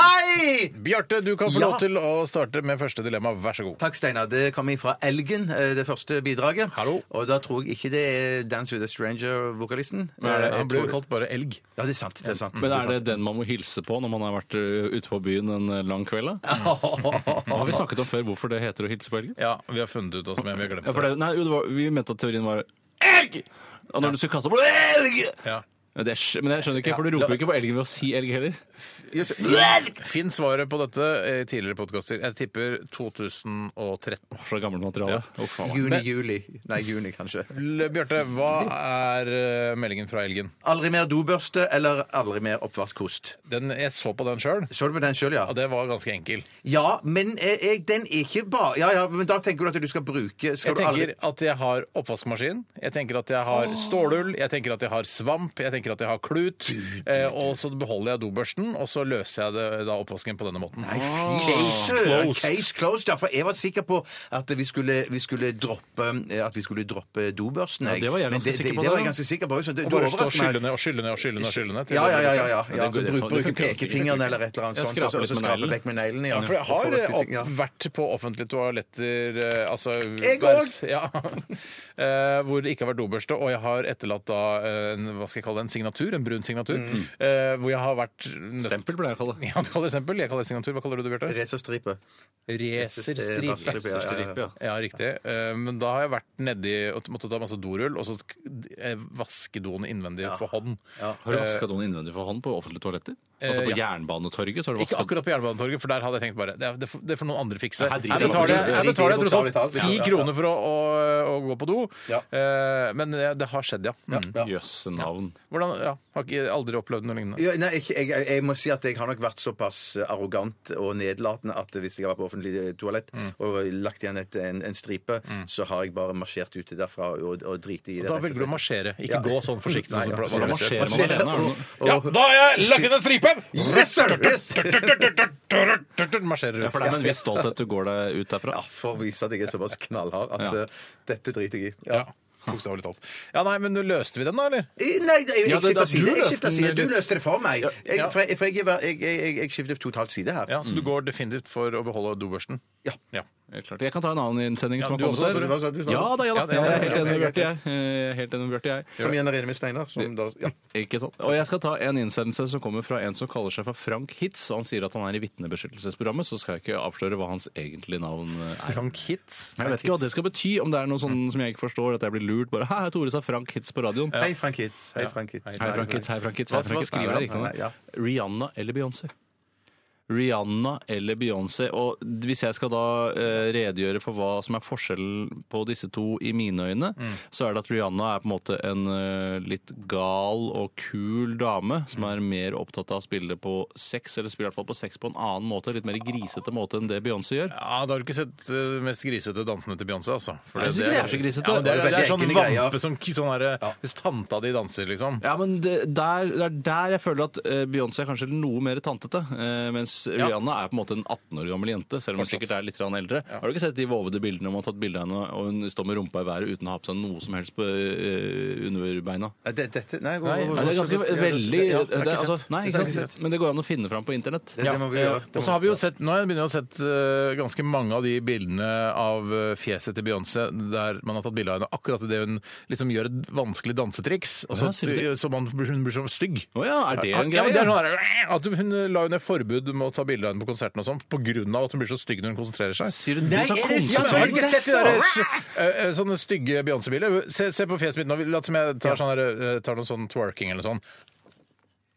[SPEAKER 6] Hei!
[SPEAKER 5] Bjarte, du kan få
[SPEAKER 6] Ja.
[SPEAKER 5] lov til å starte med første dilemma. Vær så god.
[SPEAKER 6] Takk, Steinar. Det kommer fra Elgen, eh, det første bidraget.
[SPEAKER 5] Hallo.
[SPEAKER 6] Og da tror jeg ikke det er Dance with a Stranger-vokalisten. Eh, jeg
[SPEAKER 5] Han ble
[SPEAKER 6] tror-
[SPEAKER 5] jo kalt bare elg.
[SPEAKER 6] Ja, det er sant. Det er sant.
[SPEAKER 7] Men
[SPEAKER 6] det
[SPEAKER 7] er det den man må hilse på når man har vært ø, ute på byen en ø, lang kveld? da?
[SPEAKER 6] sant.
[SPEAKER 7] Nå har vi snakket om før hvorfor det heter å hilse på elgen.
[SPEAKER 5] Ja, vi har funnet ut oss med, vi har glemt
[SPEAKER 7] Ja, for
[SPEAKER 5] det.
[SPEAKER 7] det, nei, jo, det var, vi mente at teorien var elg! Og når du skulle kaste opp elg!
[SPEAKER 5] Ja.
[SPEAKER 7] Men, det, er- men jeg skjønner ikke, for du roper jo ikke på elgen ved å si elg heller.
[SPEAKER 5] Finn svaret på dette eh, i tidligere podkaster. Jeg tipper 2013.
[SPEAKER 7] Så gammelt materiale. Å, faen.
[SPEAKER 6] Juni-juli. Nei, juni, kanskje.
[SPEAKER 5] Bjarte, hva er eh, meldingen fra elgen?
[SPEAKER 6] Aldri mer dobørste eller aldri mer oppvaskkost.
[SPEAKER 5] Den, jeg så på den sjøl,
[SPEAKER 6] Så du på den sjøl, ja?
[SPEAKER 5] og det var ganske enkel.
[SPEAKER 6] Ja, men eh, jeg, den er ikke bare Ja, ja, men da tenker du at du skal bruke skal
[SPEAKER 5] Jeg
[SPEAKER 6] du aldri-
[SPEAKER 5] tenker at jeg har oppvaskmaskin, jeg tenker at jeg har stålull, jeg tenker at jeg har svamp, jeg tenker at jeg har klut, eh, og så beholder jeg dobørsten, og så løser jeg det, da oppvasken på denne måten.
[SPEAKER 6] Nei, fy søren! Case closed. Ja, for jeg var sikker på at vi skulle, vi skulle droppe At vi skulle droppe dobørsten.
[SPEAKER 7] Ja, det var jeg
[SPEAKER 6] Men
[SPEAKER 7] ganske sikker på
[SPEAKER 6] Det, det
[SPEAKER 7] da.
[SPEAKER 6] var jeg ganske sikker på. også, Så det,
[SPEAKER 5] Og
[SPEAKER 6] du
[SPEAKER 5] bare stå og
[SPEAKER 6] overrasker meg.
[SPEAKER 5] skylle ned og skylle ned og skylle ned. og skylle ned til
[SPEAKER 6] Ja, ja,
[SPEAKER 5] det
[SPEAKER 6] ja.
[SPEAKER 5] blir-
[SPEAKER 6] ja, ja, ja.
[SPEAKER 7] det-
[SPEAKER 6] Altså,
[SPEAKER 7] det-
[SPEAKER 6] bruk,
[SPEAKER 7] det
[SPEAKER 6] bruk
[SPEAKER 7] funker også.
[SPEAKER 6] pekefingeren eller et eller annet
[SPEAKER 7] Ja,
[SPEAKER 6] sånt. altså, og
[SPEAKER 7] skrape
[SPEAKER 6] så- Og
[SPEAKER 7] litt
[SPEAKER 6] så
[SPEAKER 7] med
[SPEAKER 6] skrape
[SPEAKER 7] neglen.
[SPEAKER 6] vekk med neglen.
[SPEAKER 5] Ja, for jeg
[SPEAKER 6] og få
[SPEAKER 5] har
[SPEAKER 6] det
[SPEAKER 5] eh,
[SPEAKER 6] til- ja.
[SPEAKER 5] opp, vært på offentlige toaletter eh, altså,
[SPEAKER 6] Jeg
[SPEAKER 5] vers- Ja, eh, hvor det ikke har vært dobørste, og jeg har etterlatt da eh, en, hva skal jeg kalle det, en signatur, en brun signatur,
[SPEAKER 6] Mm.
[SPEAKER 5] eh, hvor jeg har vært nødt-
[SPEAKER 7] Stempel, pleier jeg å kalle det.
[SPEAKER 5] Ja, du kaller det stempel. Jeg kaller det signatur. Hva kaller du det, Bjarte?
[SPEAKER 6] Racerstripe.
[SPEAKER 5] Racerstripe.
[SPEAKER 6] Racerstripe, ja, ja, ja.
[SPEAKER 5] Ja, riktig. Eh, Men da har jeg vært nedi og måtte ta masse dorull, og så sk- eh, vaske doen innvendig for hånd.
[SPEAKER 7] Har du vaska noen innvendig for hånd på offentlige toaletter? Altså på Jernbanetorget? så har du
[SPEAKER 5] Ikke
[SPEAKER 7] vasket-
[SPEAKER 5] akkurat på Jernbanetorget, for der hadde jeg tenkt bare Det, det, får- det får noen andre fikse.
[SPEAKER 7] Ja, her driter
[SPEAKER 5] Her
[SPEAKER 7] jeg
[SPEAKER 5] betaler
[SPEAKER 7] bort.
[SPEAKER 5] jeg, her betaler jeg
[SPEAKER 6] Bokstavelig
[SPEAKER 5] tross
[SPEAKER 6] talt,
[SPEAKER 5] alt
[SPEAKER 6] ja.
[SPEAKER 5] ti
[SPEAKER 6] Ja, ja.
[SPEAKER 5] kroner for å, å, å gå på do.
[SPEAKER 6] Ja.
[SPEAKER 5] Eh, Men det det har skjedd, ja. Mm.
[SPEAKER 7] Jøsse navn.
[SPEAKER 5] Hvordan, ja har ikke, aldri opplevd noe lignende.
[SPEAKER 6] Ja, nei, ikke- jeg, jeg, jeg må si at jeg har nok vært såpass eh, arrogant og nedlatende at hvis jeg har vært på offentlig eh, toalett og lagt igjen et, en, en stripe, så har jeg bare marsjert ut derfra og, og driti i det.
[SPEAKER 5] Da
[SPEAKER 6] rett og
[SPEAKER 5] velger du å
[SPEAKER 6] slett.
[SPEAKER 5] marsjere, ikke
[SPEAKER 6] Ja.
[SPEAKER 5] gå sånn forsiktig.
[SPEAKER 6] Nei,
[SPEAKER 5] Sånn,
[SPEAKER 6] ja.
[SPEAKER 5] som
[SPEAKER 7] Hvordan
[SPEAKER 5] Barbara sier.
[SPEAKER 7] marsjerer man alene? Er det noe-
[SPEAKER 5] Ja, da har jeg lagt inn en stripe!
[SPEAKER 6] Yes, sir! Yes!
[SPEAKER 5] Marsjerer
[SPEAKER 7] For
[SPEAKER 5] ut.
[SPEAKER 7] det er med en viss stolthet du går deg ut derfra.
[SPEAKER 6] Ja, for å vise at jeg er såpass knallhard at
[SPEAKER 7] Ja.
[SPEAKER 6] eh, dette driter jeg i.
[SPEAKER 5] Ja. Bokstavelig talt. Ja, nei, men løste vi den, da, eller?
[SPEAKER 6] Eh, Nei, jeg, jeg
[SPEAKER 7] Ja,
[SPEAKER 6] skifter
[SPEAKER 7] det- da-
[SPEAKER 6] side.
[SPEAKER 7] du
[SPEAKER 6] Jeg
[SPEAKER 7] løste
[SPEAKER 6] skifter
[SPEAKER 7] den,
[SPEAKER 6] side. Du
[SPEAKER 7] du-
[SPEAKER 6] løste det for meg.
[SPEAKER 5] Ja.
[SPEAKER 6] Jeg, for jeg, for jeg, jeg, jeg, jeg skifter totalt side her.
[SPEAKER 5] Ja, Så du går definitivt for å beholde dobørsten?
[SPEAKER 6] Ja.
[SPEAKER 5] ja.
[SPEAKER 7] Helt klart. Jeg kan ta en annen innsending
[SPEAKER 5] Ja,
[SPEAKER 7] som har
[SPEAKER 5] du
[SPEAKER 7] kommet
[SPEAKER 5] også,
[SPEAKER 7] her.
[SPEAKER 5] Tore.
[SPEAKER 6] Hva sa du, sa du?
[SPEAKER 7] Ja da, ja da.
[SPEAKER 5] Ja, det- ja,
[SPEAKER 7] Jeg er helt
[SPEAKER 6] ja,
[SPEAKER 7] enig med
[SPEAKER 6] ja,
[SPEAKER 7] Bjarte, jeg. Jeg er Helt enig med Bjarte, jeg.
[SPEAKER 6] Som igjen er enig med Steinar. Som da, ja.
[SPEAKER 7] Ikke sant? Og jeg skal ta en innsendelse som kommer fra en som kaller seg for Frank Hitz. og Han sier at han er i vitnebeskyttelsesprogrammet, så skal jeg ikke avsløre hva hans egentlige navn er.
[SPEAKER 5] Frank Hitz?
[SPEAKER 7] Jeg vet ikke hva det skal bety, om det er noe sånn som jeg ikke forstår, at jeg blir lurt bare Hei, Tore sa Frank Hitz på radioen.
[SPEAKER 6] Hei, Frank Hitz. Hei, Frank Hitz.
[SPEAKER 7] Hei, Frank Hitz, hei, Frank Hitz.
[SPEAKER 5] Hva-
[SPEAKER 7] hei, Frank
[SPEAKER 5] hva
[SPEAKER 7] Hitz.
[SPEAKER 5] skriver
[SPEAKER 7] Nei,
[SPEAKER 5] jeg
[SPEAKER 6] riktig nå?
[SPEAKER 7] nei, nei, ja. Rihanna eller Beyoncé? Rihanna eller Beyoncé. Og hvis jeg skal da eh, redegjøre for hva som er forskjellen på disse to i mine øyne, så er det at Rihanna er på en måte en eh, litt gal og kul dame som er mer opptatt av å spille på sex, eller spille i hvert fall på sex på en annen måte, litt mer grisete måte enn det Beyoncé gjør.
[SPEAKER 5] Ja, Da har du ikke sett eh, mest grisete dansene til Beyoncé, altså. For
[SPEAKER 7] Nei, jeg synes ikke det er så grisete.
[SPEAKER 5] Ja, men det,
[SPEAKER 7] Det
[SPEAKER 5] er,
[SPEAKER 7] er
[SPEAKER 5] det, er,
[SPEAKER 6] veldig
[SPEAKER 5] sånn
[SPEAKER 6] enkle greier.
[SPEAKER 5] vampe som sånn her, eh, Hvis tanta di danser, liksom.
[SPEAKER 7] Ja, men det, der, det er der jeg føler at eh, Beyoncé er kanskje noe mer tantete. eh, Mens Rihanna er på en måte en 18 år gammel jente, selv om hun sikkert er litt grann eldre. Har du ikke sett de vovede bildene om hun har tatt bilde av henne, og hun står med rumpa i været uten å ha på seg noe som helst på eh, underbeina?
[SPEAKER 6] Ja, det- Dette Nei,
[SPEAKER 7] Nei,
[SPEAKER 6] hvor- hvor-
[SPEAKER 7] det er ganske
[SPEAKER 6] hvor-
[SPEAKER 7] veldig
[SPEAKER 6] Ja,
[SPEAKER 7] det, er altså, Nei,
[SPEAKER 6] Det har
[SPEAKER 7] ikke
[SPEAKER 6] jeg ikke
[SPEAKER 7] sant? Men det går an å finne fram på internett.
[SPEAKER 6] Det, det må vi
[SPEAKER 5] Ja,
[SPEAKER 6] gjøre.
[SPEAKER 5] Og
[SPEAKER 6] Det må-
[SPEAKER 5] så har vi jo sett, Nå har jeg begynner jeg å sett eh, ganske mange av de bildene av eh, fjeset til Beyoncé der man har tatt bilde av henne akkurat idet hun liksom gjør et vanskelig dansetriks, og så,
[SPEAKER 7] Ja, sier du det?
[SPEAKER 5] så man, hun blir så stygg.
[SPEAKER 7] Å ja, er det
[SPEAKER 5] Ja,
[SPEAKER 7] en
[SPEAKER 5] ja, men
[SPEAKER 7] greie?
[SPEAKER 5] det er sånn her, at Hun la jo ned forbud med å ta bilde av henne på konserten og sånn, på grunn av at hun blir så stygg når hun konsentrerer seg.
[SPEAKER 7] Sier du det? Så
[SPEAKER 5] Ja, men har du
[SPEAKER 7] konseptuelt.
[SPEAKER 5] ikke sett de der, eh, eh, sånne stygge Beyoncé-biler? Se, se på fjeset mitt nå. Lat som jeg tar, sånn der, eh, tar noe sånn twerking eller sånn.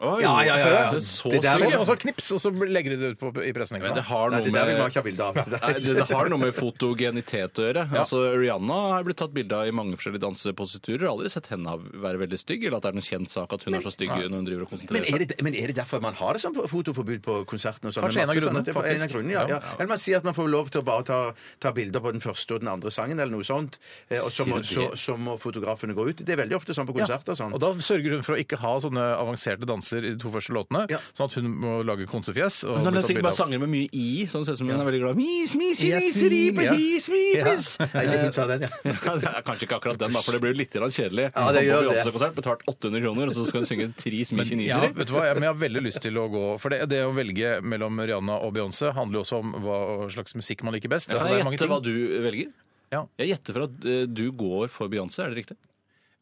[SPEAKER 7] Oi, altså,
[SPEAKER 6] Ja, ja, ja, ja.
[SPEAKER 7] det er Så
[SPEAKER 6] Det der-
[SPEAKER 7] stygg.
[SPEAKER 5] Og så knips, og så legger de det ut på, i pressen. Ikke
[SPEAKER 7] Men det
[SPEAKER 5] sant?
[SPEAKER 7] har
[SPEAKER 6] Nei,
[SPEAKER 7] noe
[SPEAKER 6] det der vil man
[SPEAKER 7] med
[SPEAKER 6] ikke ha bilde av. Det der-
[SPEAKER 7] Nei, det, det har noe med fotogenitet å gjøre. Altså, Rihanna har blitt tatt bilde av i mange forskjellige dansepositurer. Jeg har Aldri sett henne være veldig stygg, eller at det er noen kjent sak at hun er så stygg når hun driver og
[SPEAKER 6] Men
[SPEAKER 7] konsentrerer
[SPEAKER 6] er,
[SPEAKER 7] seg.
[SPEAKER 6] det, men er det derfor man har det som fotoforbud på konsertene? og sånn?
[SPEAKER 5] Kanskje
[SPEAKER 6] Med masse
[SPEAKER 5] en av grunnene,
[SPEAKER 6] sånn at det-
[SPEAKER 5] faktisk.
[SPEAKER 6] En av grunnene, ja,
[SPEAKER 5] Ja,
[SPEAKER 6] ja. Eller man sier at man får lov til å bare ta, ta bilder på den første og den andre sangen, eller noe sånt. eh, Og så må, så,
[SPEAKER 7] Sier du det?
[SPEAKER 6] så må fotografene gå ut. Det er veldig ofte sånn på konserter. og Sånn.
[SPEAKER 5] Og da sørger hun for å ikke ha sånne avanserte danser i de to første låtene,
[SPEAKER 6] Ja.
[SPEAKER 5] sånn at hun må lage konsefjes. og bli
[SPEAKER 7] Hun har
[SPEAKER 5] tatt
[SPEAKER 7] sikkert
[SPEAKER 5] bilde
[SPEAKER 7] bare
[SPEAKER 5] av.
[SPEAKER 7] sanger med mye i, så hun ser ut som hun er veldig glad. Mis, mis,
[SPEAKER 5] Yes,
[SPEAKER 7] kineseri, på
[SPEAKER 5] ja.
[SPEAKER 7] his, mi,
[SPEAKER 5] Ja.
[SPEAKER 7] plis.
[SPEAKER 6] Nei, det, vi tar den, ja.
[SPEAKER 7] Ja, det er Kanskje ikke akkurat den, da, for det blir jo litt grann kjedelig.
[SPEAKER 6] Ja, det
[SPEAKER 7] På
[SPEAKER 6] gjør det.
[SPEAKER 7] Beyoncé-konsert betalt 800 kroner, og så skal hun synge Tri smi
[SPEAKER 5] Ja,
[SPEAKER 7] kineseri.
[SPEAKER 5] vet du hva? Jeg, men jeg har veldig lyst til å gå For det, det å velge mellom Rihanna og Beyoncé handler jo også om hva slags musikk man liker best.
[SPEAKER 7] Kan
[SPEAKER 5] Altså, det er
[SPEAKER 7] jeg
[SPEAKER 5] mange
[SPEAKER 7] gjette
[SPEAKER 5] ting.
[SPEAKER 7] hva du velger?
[SPEAKER 5] Ja.
[SPEAKER 7] Jeg gjetter for at eh, du går for Beyoncé, er det riktig?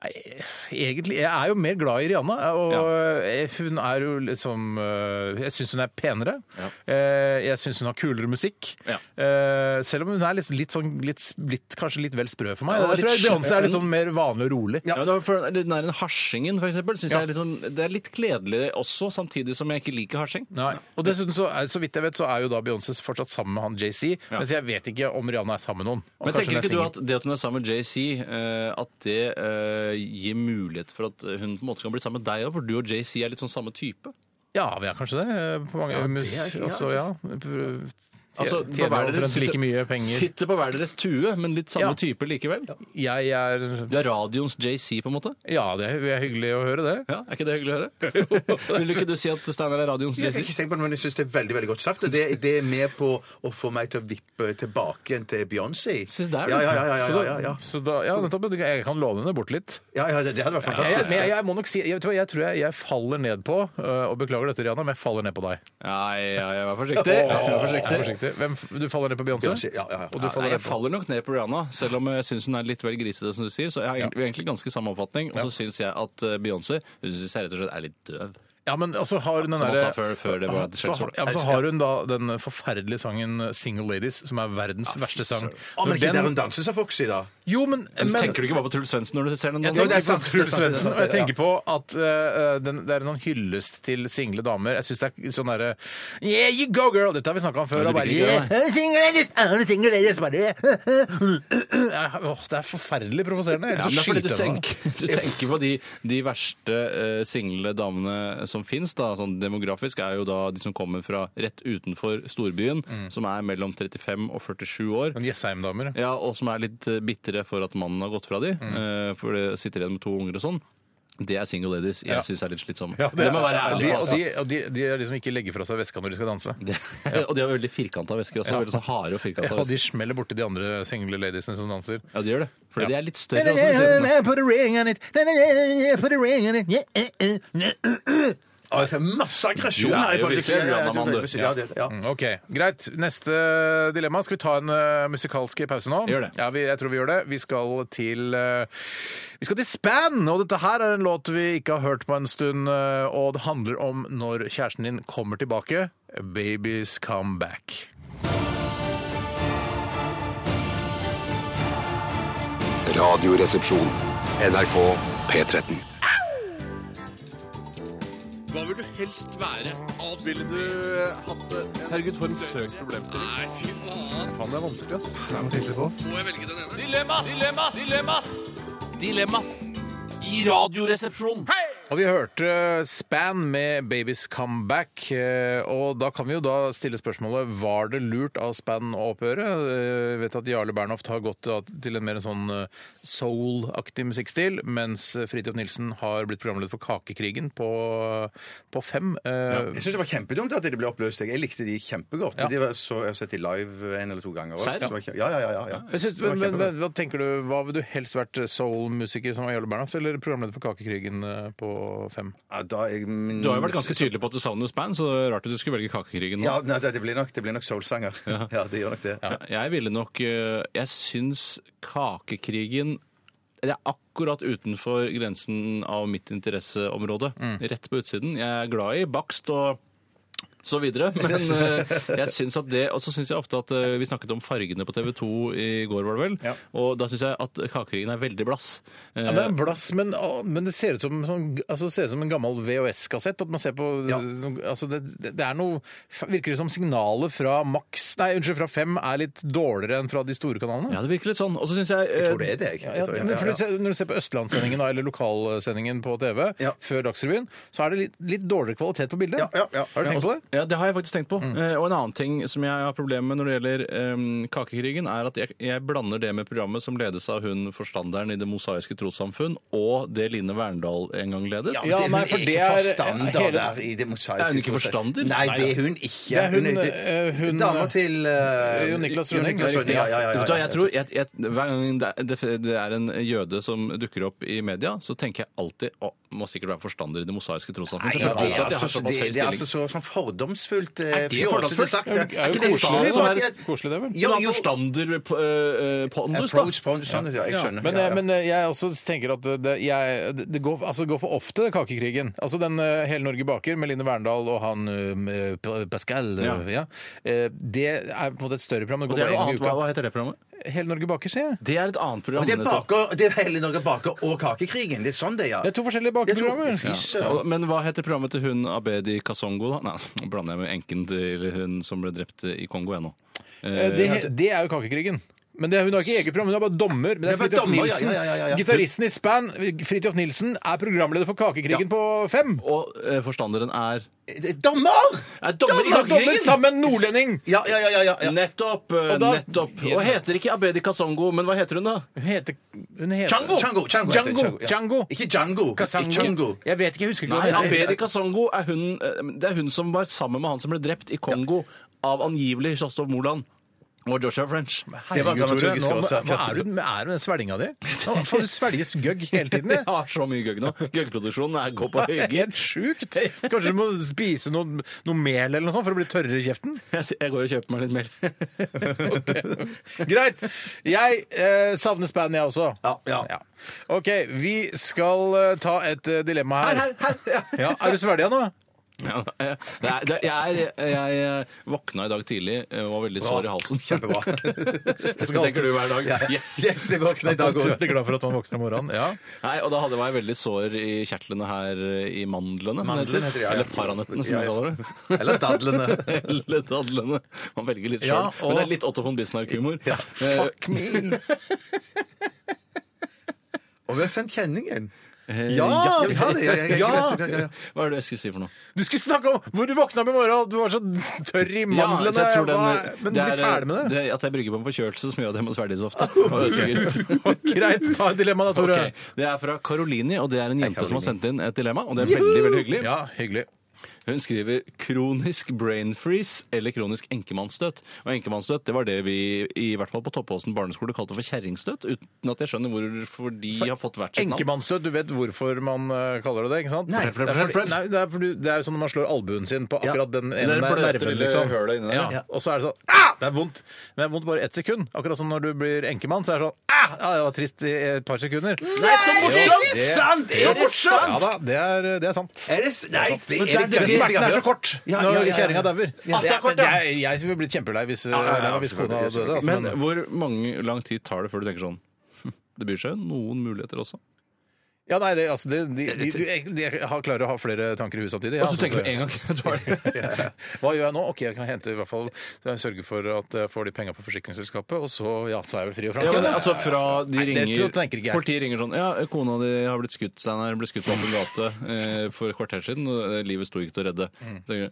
[SPEAKER 5] Nei, Egentlig, Jeg er jo mer glad i Rihanna, og eh, hun er jo liksom eh, Jeg syns hun er penere.
[SPEAKER 7] Ja.
[SPEAKER 5] Eh, Jeg syns hun har kulere musikk.
[SPEAKER 7] Ja.
[SPEAKER 5] Eh, Selv om hun er litt, litt sånn litt, litt, kanskje litt vel sprø for meg.
[SPEAKER 7] Ja,
[SPEAKER 5] Jeg tror
[SPEAKER 7] litt
[SPEAKER 5] Beyoncé er litt
[SPEAKER 7] skitten.
[SPEAKER 5] sånn mer vanlig og rolig.
[SPEAKER 7] Ja. men for den der harsingen, for eksempel, synes
[SPEAKER 5] Ja.
[SPEAKER 7] jeg er litt sånn- det er litt kledelig også, samtidig som jeg ikke liker harsing.
[SPEAKER 5] Nei. Og dessuten så, er, så vidt jeg vet, så er jo da Beyoncé fortsatt sammen med han JC.
[SPEAKER 7] Ja.
[SPEAKER 5] Mens jeg vet ikke om Rihanna er sammen med noen. Og
[SPEAKER 7] Men
[SPEAKER 5] kanskje
[SPEAKER 7] tenker
[SPEAKER 5] hun er
[SPEAKER 7] ikke du
[SPEAKER 5] singel.
[SPEAKER 7] at det at hun er sammen med JC, eh, at det eh, gir mulighet for at hun på en måte kan bli sammen med deg òg, for du og JC er litt sånn samme type?
[SPEAKER 5] Ja, vi er kanskje det. eh, På mange mus, altså, ja. Pr-
[SPEAKER 7] Altså, på
[SPEAKER 5] Tjener
[SPEAKER 7] hver deres-
[SPEAKER 5] omtrent like mye penger.
[SPEAKER 7] Sitter på hver deres tue, men litt samme
[SPEAKER 5] Ja.
[SPEAKER 7] type likevel?
[SPEAKER 5] Jeg er
[SPEAKER 7] Du er radioens JC, på en måte?
[SPEAKER 5] Ja, det er hyggelig å høre det.
[SPEAKER 7] Ja, Er ikke det hyggelig å høre? Vil ikke du si at Steinar er radioens
[SPEAKER 6] Jeg har
[SPEAKER 7] JC?
[SPEAKER 6] ikke tenkt på det, men jeg syns det er veldig veldig godt sagt. Og det, det er med på å få meg til å vippe tilbake igjen til Beyoncé.
[SPEAKER 7] Se der, du.
[SPEAKER 6] ja, ja, ja, ja,
[SPEAKER 5] Så
[SPEAKER 6] ja,
[SPEAKER 5] da,
[SPEAKER 6] ja, ja.
[SPEAKER 5] Så da, ja, nettopp, jeg kan låne henne bort litt.
[SPEAKER 6] ja, ja det, det hadde
[SPEAKER 5] Jeg,
[SPEAKER 6] vært fantastisk.
[SPEAKER 5] men jeg, jeg må nok si, jeg, vet du hva, jeg tror jeg, jeg eh, faller ned på, øh, og beklager dette, Rihanna, men jeg faller ned på deg.
[SPEAKER 7] Nei, ja, jeg var forsiktig. Jeg var forsiktig.
[SPEAKER 5] riktig. Hvem, f- du faller ned på Beyoncé?
[SPEAKER 6] Beyoncé, ja, ja, ja.
[SPEAKER 5] Og du
[SPEAKER 7] Ja,
[SPEAKER 5] faller
[SPEAKER 7] nei,
[SPEAKER 5] ned
[SPEAKER 7] jeg
[SPEAKER 5] på
[SPEAKER 7] faller nok ned på Rihanna, selv om jeg syns hun er litt vel grisete, som du sier. Så jeg har egentlig, vi har egentlig ganske samme oppfatning. Og så syns jeg at eh, Beyoncé hun synes jeg rett og slett er litt døv.
[SPEAKER 5] Ja, men altså har hun den
[SPEAKER 7] Som han
[SPEAKER 5] derre-
[SPEAKER 7] sa før- før det var et
[SPEAKER 5] så,
[SPEAKER 7] skjellsord.
[SPEAKER 5] ja, men så har hun da den forferdelige sangen eh, 'Single Ladies', som er
[SPEAKER 7] Ah,
[SPEAKER 5] verdens verste sang.
[SPEAKER 6] Å, men ikke
[SPEAKER 5] Den-
[SPEAKER 6] der hun danser, sa Foxy, da.
[SPEAKER 5] Jo, men,
[SPEAKER 7] Men,
[SPEAKER 5] men
[SPEAKER 7] Altså, tenker du ikke bare på Truls Svendsen når du ser den?
[SPEAKER 5] Jeg
[SPEAKER 7] dansen?
[SPEAKER 6] det
[SPEAKER 5] tenker
[SPEAKER 6] er
[SPEAKER 5] på
[SPEAKER 6] sant, det er
[SPEAKER 5] Truls
[SPEAKER 6] sant, det er
[SPEAKER 5] Svendsen,
[SPEAKER 6] sant,
[SPEAKER 5] og jeg
[SPEAKER 6] ja.
[SPEAKER 5] tenker på at eh, den, det er en sånn hyllest til single damer. Jeg syns det er sånn derre Yeah, you go, girl! Dette har vi snakka om før.
[SPEAKER 7] Ja,
[SPEAKER 5] og
[SPEAKER 7] du
[SPEAKER 5] bare,
[SPEAKER 7] liker ikke det,
[SPEAKER 5] yeah, single ladies, I'm a single ladies, bare, Jeg- åh, Det er forferdelig provoserende. Ellers
[SPEAKER 7] Ja, men
[SPEAKER 5] så
[SPEAKER 7] det er fordi du,
[SPEAKER 5] skyter jeg meg.
[SPEAKER 7] tenker, du tenker på de, de verste eh, single damene som fins. da, Sånn demografisk er jo da de som kommer fra rett utenfor storbyen, som er mellom 35 og 47 år.
[SPEAKER 5] Men Jessheim-damer
[SPEAKER 7] Ja, og som er litt eh, bitre for at mannen har gått fra de,
[SPEAKER 5] Mm.
[SPEAKER 7] eh, for det sitter igjen med to unger og sånn. Det er single ladies. Jeg
[SPEAKER 5] Ja.
[SPEAKER 7] synes syns er litt slitsomme.
[SPEAKER 5] Ja,
[SPEAKER 7] det, må være ærlig.
[SPEAKER 5] de, og
[SPEAKER 7] altså.
[SPEAKER 5] de, og de, de er de som ikke legger fra seg veska når de skal danse.
[SPEAKER 7] og de har veldig firkanta vesker også.
[SPEAKER 5] Ja.
[SPEAKER 7] Veldig sånn harde
[SPEAKER 5] Ja,
[SPEAKER 7] og firkanta
[SPEAKER 5] og de
[SPEAKER 7] vesker.
[SPEAKER 5] smeller borti de andre single ladiesene som danser.
[SPEAKER 7] Ja, de gjør det. Fordi
[SPEAKER 5] Ja.
[SPEAKER 7] de er litt større. altså, Også, de ser-
[SPEAKER 5] Put a ring on it. Put a ring on it. Yeah, eh, eh, eh, eh.
[SPEAKER 6] Å, det er masse aggresjon
[SPEAKER 7] Du er
[SPEAKER 6] her. i
[SPEAKER 7] jo
[SPEAKER 6] forhold til-
[SPEAKER 7] virkelig en
[SPEAKER 6] Ja, ja, ja,
[SPEAKER 7] Rihanna-mann,
[SPEAKER 6] du
[SPEAKER 7] du.
[SPEAKER 6] er- ja, det- ja.
[SPEAKER 5] Mm, Ok, Greit. Neste dilemma. Skal vi ta en eh, musikalsk pause nå?
[SPEAKER 7] Gjør det.
[SPEAKER 5] Ja, vi, jeg tror vi gjør det. Vi skal til eh, Vi skal til Span! Og dette her er en låt vi ikke har hørt på en stund. eh, og det handler om når kjæresten din kommer tilbake. Babies come back.
[SPEAKER 1] Radioresepsjon. NRK P13.
[SPEAKER 5] Og vi hørte Span med 'Babies Come Back'. eh, Og da kan vi jo da stille spørsmålet var det lurt av Span å opphøre. Eh, Jeg vet at Jarle Bernhoft har gått da til en mer sånn eh, soul-aktig musikkstil, mens Fridtjof Nilsen har blitt programleder for Kakekrigen på, på fem. Eh,
[SPEAKER 6] Jeg syns det var kjempedumt at de ble oppløst. Jeg likte de kjempegodt.
[SPEAKER 5] Ja.
[SPEAKER 6] De var så, jeg har sett de live en eller to ganger. også.
[SPEAKER 7] Serr?
[SPEAKER 6] Så var kje- Ja, ja, ja. ja, ja.
[SPEAKER 5] jeg synes,
[SPEAKER 6] Det var
[SPEAKER 5] men, men,
[SPEAKER 6] kjempegodt.
[SPEAKER 5] men, hva tenker du, hva ville du helst vært eh, soul-musiker som var Jarle Bernhoft, eller programleder for Kakekrigen eh, på fem?
[SPEAKER 6] Ja, da, jeg, min-
[SPEAKER 7] Du har jo vært ganske tydelig på at du savner Span, så det er rart at du skulle velge Kakekrigen nå.
[SPEAKER 6] Ja, nei, det det blir nok, det blir nok soulsanger. Ja. det gjør nok det.
[SPEAKER 7] Jeg ville nok eh, Jeg syns kakekrigen det er akkurat utenfor grensen av mitt interesseområde.
[SPEAKER 6] Mm.
[SPEAKER 7] Rett på utsiden. Jeg er glad i bakst og så videre, men eh, jeg syns at det Og så syns jeg ofte at eh, vi snakket om fargene på TV 2 i går, var det vel?
[SPEAKER 5] Ja.
[SPEAKER 7] Og da syns jeg at kakekrigen er veldig blass. Eh,
[SPEAKER 5] Ja, det er en blass, men, å, men det ser ut som, sånn- altså, det ser ut som en gammel VHS-kassett. At man ser på altså, det, det det er noe Virker det som signalet fra Max Nei, unnskyld, fra Fem er litt dårligere enn fra de store kanalene?
[SPEAKER 7] ja, det virker litt sånn. Og så syns jeg eh,
[SPEAKER 6] Jeg tror det er det, jeg.
[SPEAKER 5] Ja,
[SPEAKER 6] jeg tror,
[SPEAKER 5] men for du ser- Når du ser på Østlandssendingen da, eller lokalsendingen på TV
[SPEAKER 6] Ja.
[SPEAKER 5] før Dagsrevyen, så er det litt, litt dårligere kvalitet på bildet.
[SPEAKER 6] Ja, ja, ja.
[SPEAKER 5] Har du tenkt på det?
[SPEAKER 7] Ja, det har jeg faktisk tenkt på.
[SPEAKER 6] Mm.
[SPEAKER 7] Eh, og en annen ting som jeg har problemer med når det gjelder em, Kakekrigen, er at jeg, jeg blander det med programmet som ledes av hun forstanderen i Det mosaiske trossamfunn, og det Line Verndal en gang ledet.
[SPEAKER 6] Ja,
[SPEAKER 5] Ja,
[SPEAKER 6] det, hun
[SPEAKER 5] nei,
[SPEAKER 6] er
[SPEAKER 5] for det
[SPEAKER 6] ikke
[SPEAKER 5] er-
[SPEAKER 6] forstander
[SPEAKER 5] hele-
[SPEAKER 6] der i det mosaiske.
[SPEAKER 7] Er hun ikke forstander?
[SPEAKER 6] Nei, det er hun ikke.
[SPEAKER 5] er hun, eh, hun-
[SPEAKER 6] Dama til eh,
[SPEAKER 5] Jo Niklas Rønning, det er riktig,
[SPEAKER 6] Ja, ja, ja,
[SPEAKER 7] Vet du
[SPEAKER 6] ja,
[SPEAKER 7] hva,
[SPEAKER 6] ja.
[SPEAKER 7] jeg tror, jeg, jeg, Hver gang det, er- det- det er en jøde som dukker opp i media, så tenker jeg alltid å, må sikkert være forstander i Det mosaiske trossamfunn.
[SPEAKER 6] Nei,
[SPEAKER 7] for
[SPEAKER 6] det
[SPEAKER 7] jeg føler alltid
[SPEAKER 6] er
[SPEAKER 7] at jeg har
[SPEAKER 6] altså,
[SPEAKER 7] såpass høy
[SPEAKER 6] det, det er
[SPEAKER 7] stilling.
[SPEAKER 6] altså så sånn fordomsfullt eh,
[SPEAKER 7] Er det
[SPEAKER 6] fjåsete
[SPEAKER 7] fordomsfullt?
[SPEAKER 6] sagt.
[SPEAKER 5] Det er jo
[SPEAKER 6] ikke det
[SPEAKER 5] koselig,
[SPEAKER 6] sånn at
[SPEAKER 5] det er
[SPEAKER 6] jeg-
[SPEAKER 5] koselig, det vel?
[SPEAKER 7] Du
[SPEAKER 6] Jo,
[SPEAKER 7] er
[SPEAKER 6] jo.
[SPEAKER 7] forstander på, eh, eh, pondus, da.
[SPEAKER 6] Approach fordomsfullt, ja, eh, jeg skjønner.
[SPEAKER 5] Men, eh,
[SPEAKER 6] Ja, ja.
[SPEAKER 5] men jeg også tenker at eh, det, jeg, det går, altså, det går for ofte, kakekrigen. Altså den eh, Hele Norge baker med Line Verndal og han eh, P- Pascal eh, ja.
[SPEAKER 7] Ja.
[SPEAKER 5] Eh, Det er på en måte et større program. Det
[SPEAKER 7] Og
[SPEAKER 5] går
[SPEAKER 7] det er noe
[SPEAKER 5] bare en gang i
[SPEAKER 7] annet. Hva,
[SPEAKER 5] uka.
[SPEAKER 7] hva heter det programmet?
[SPEAKER 5] Hele Norge baker, sier jeg.
[SPEAKER 7] Det er et annet program.
[SPEAKER 6] Og det er
[SPEAKER 7] nettopp.
[SPEAKER 6] baker, det er hele Norge baker og kakekrigen. Det er sånn det er, ja.
[SPEAKER 5] Det er to forskjellige
[SPEAKER 6] Det er to-
[SPEAKER 5] bakeprogrammer.
[SPEAKER 6] Fy søren.
[SPEAKER 7] Og- Men hva heter programmet til hun Abedi Kasongo, da? Nei, nå blander jeg med enken til hun som ble drept i Kongo ennå.
[SPEAKER 5] Eh, Det, det er jo kakekrigen. Men det, hun har ikke eget program, hun er bare dommer. Men det
[SPEAKER 6] Det
[SPEAKER 5] er
[SPEAKER 6] er bare
[SPEAKER 5] Fridtjof
[SPEAKER 6] dommer, ja,
[SPEAKER 5] Nilsen.
[SPEAKER 6] ja, ja, ja, ja.
[SPEAKER 5] Gitaristen i Span, Fridtjof Nilsen, er programleder for Kakekrigen på Fem.
[SPEAKER 7] Og eh, forstanderen er
[SPEAKER 6] Det er Dommer!
[SPEAKER 7] Er dommer i
[SPEAKER 5] Han er dommer
[SPEAKER 7] Kakekrigen!
[SPEAKER 5] sammen med en nordlending!
[SPEAKER 6] Ja, ja, ja. ja, ja, ja.
[SPEAKER 7] Nettopp! eh,
[SPEAKER 5] Og da-
[SPEAKER 7] nettopp. Og heter ikke Abedi Kasongo, men hva heter hun, da?
[SPEAKER 5] Hun heter, hun heter
[SPEAKER 6] Django! Django, Django, heter det,
[SPEAKER 5] Django,
[SPEAKER 6] ja.
[SPEAKER 5] Django.
[SPEAKER 6] Ikke Django.
[SPEAKER 5] Kasango.
[SPEAKER 6] Ikke Django.
[SPEAKER 5] Jeg vet ikke, jeg husker ikke
[SPEAKER 7] Nei,
[SPEAKER 5] hva hun
[SPEAKER 7] Abedi Kasongo er hun eh, Det er hun som var sammen med han som ble drept i Kongo av angivelig Sjostov Moland. Og Joshua French.
[SPEAKER 6] Det var
[SPEAKER 5] Herregud, Tore,
[SPEAKER 6] dramaturgisk
[SPEAKER 5] nå,
[SPEAKER 6] også.
[SPEAKER 5] hva er du er du den svelginga di? Nå får du svelges gøgg hele tiden.
[SPEAKER 7] Jeg
[SPEAKER 5] jeg.
[SPEAKER 7] har så mye gøgg nå. Gøggproduksjonen er- går på
[SPEAKER 5] Det er
[SPEAKER 7] høygir.
[SPEAKER 5] helt sjukt! Kanskje du må spise noe, noe mel eller noe sånt for å bli tørrere i kjeften?
[SPEAKER 7] Jeg s- jeg går og kjøper meg litt mer.
[SPEAKER 5] Greit. Jeg eh, savner spann, jeg også.
[SPEAKER 6] Ja, ja.
[SPEAKER 5] OK, vi skal eh, ta et eh, dilemma her. Ja, er du svelga nå?
[SPEAKER 7] Ja, eh, det er, det, jeg, er, jeg eh, våkna i dag tidlig eh, og var veldig sår i halsen.
[SPEAKER 6] Kjempebra.
[SPEAKER 7] Det tenker du hver dag. Yes!
[SPEAKER 6] Yes, jeg våkna i dag
[SPEAKER 5] Jeg er
[SPEAKER 6] òg.
[SPEAKER 5] veldig glad for at man våkner om morgenen. Ja.
[SPEAKER 7] Nei, og da hadde jeg veldig sår i kjertlene her eh, i mandlene. som det
[SPEAKER 6] Mandelen heter det, ja, ja.
[SPEAKER 7] Eller paranøttene, som
[SPEAKER 6] Ja,
[SPEAKER 7] jeg
[SPEAKER 6] ja.
[SPEAKER 7] kaller det.
[SPEAKER 6] Eller dadlene.
[SPEAKER 7] Eller dadlene. Man velger litt sjøl.
[SPEAKER 5] Ja, og-
[SPEAKER 7] Men det er litt Otto von Bismarck-humor. Eh,
[SPEAKER 5] Fuck me!
[SPEAKER 6] Og vi har sendt kjenningen.
[SPEAKER 5] Ja!
[SPEAKER 6] Ja, vi har det. Ja, ja, ja,
[SPEAKER 5] Ja.
[SPEAKER 6] ja, ja, ja.
[SPEAKER 7] eh, Hva er det jeg skulle si for noe?
[SPEAKER 5] Du skulle snakke om hvor du våkna opp i morgen, og du var så tørr i mandlene.
[SPEAKER 7] Ja, så jeg tror den- eh,
[SPEAKER 5] Hva- Men
[SPEAKER 7] det
[SPEAKER 5] bli
[SPEAKER 7] er,
[SPEAKER 5] ferdig med det.
[SPEAKER 7] At jeg brygger på en forkjølelse som gjør at jeg må svelge så ofte. Og ødelegger.
[SPEAKER 5] Greit, ta et dilemma da, Tore.
[SPEAKER 7] Ok, Det er fra Karoline, og det er en jente som har sendt inn et dilemma. Og det er veldig veldig hyggelig.
[SPEAKER 5] Ja, hyggelig.
[SPEAKER 7] Hun skriver 'kronisk brain freeze' eller 'kronisk enkemannsstøt'. Og enkemannsstøt det var det vi i hvert fall på Toppåsen barneskole kalte for kjerringstøt. Uten at jeg skjønner hvorfor de har fått hvert sitt navn.
[SPEAKER 5] Enkemannsdød, du vet hvorfor man eh, kaller det det, ikke sant?
[SPEAKER 7] Nei.
[SPEAKER 5] det, er fordi, nei, det, er fordi, det er jo sånn når man slår albuen sin på akkurat den ene
[SPEAKER 7] Det er
[SPEAKER 5] der
[SPEAKER 7] bløte
[SPEAKER 5] nerven,
[SPEAKER 7] lille
[SPEAKER 5] liksom.
[SPEAKER 7] hølet inni der.
[SPEAKER 5] Ja.
[SPEAKER 7] Ja.
[SPEAKER 5] Og så er det sånn ah! Det er vondt, men det er vondt bare ett sekund. Akkurat som når du blir enkemann, så er det sånn ah! Ja, det var trist i et par sekunder. Nei, så
[SPEAKER 6] morsomt! Sant! Mm. Er det sant?
[SPEAKER 5] Ja da, det er, det er sant.
[SPEAKER 6] Er det s- Nei, det
[SPEAKER 5] Men
[SPEAKER 6] er
[SPEAKER 5] det,
[SPEAKER 6] det
[SPEAKER 5] er-
[SPEAKER 6] gøyeste jeg
[SPEAKER 5] smerten
[SPEAKER 6] har
[SPEAKER 5] er så
[SPEAKER 6] hørt.
[SPEAKER 5] kort
[SPEAKER 6] Ja, ja, ja,
[SPEAKER 5] når
[SPEAKER 6] ja.
[SPEAKER 5] kjerringa dauer.
[SPEAKER 6] Ja,
[SPEAKER 5] Det
[SPEAKER 6] det er
[SPEAKER 5] er-
[SPEAKER 6] kort,
[SPEAKER 5] det
[SPEAKER 6] ja.
[SPEAKER 5] er- Jeg ville blitt kjempelei hvis, eh,
[SPEAKER 6] ja,
[SPEAKER 5] hvis
[SPEAKER 6] selvfølgelig,
[SPEAKER 5] kona døde. Altså,
[SPEAKER 7] Men
[SPEAKER 5] men,
[SPEAKER 7] hvor mange, lang tid tar det før du tenker sånn «Hm, Det byr seg jo noen muligheter også.
[SPEAKER 5] ja, nei, det, altså, de, de, de, de, de har klarer å ha flere tanker i huet samtidig. ja,
[SPEAKER 7] Og så
[SPEAKER 5] altså,
[SPEAKER 7] tenker
[SPEAKER 5] så-
[SPEAKER 7] du en gang du har det.
[SPEAKER 5] Hva gjør jeg nå? Ok, jeg kan hente i hvert fall så jeg sørger for at jeg får de penga på forsikringsselskapet, og så ja, så er jeg vel fri og frank.
[SPEAKER 7] Ja, men,
[SPEAKER 5] igjen, da.
[SPEAKER 7] altså fra de
[SPEAKER 5] Nei, det
[SPEAKER 7] ringer
[SPEAKER 5] tenker ikke jeg.
[SPEAKER 7] Politiet ringer sånn Ja, kona di har blitt skutt, Steinar. Ble skutt på åpen gate eh, for et kvarter siden. og, eh, Livet sto ikke til å redde. Tenker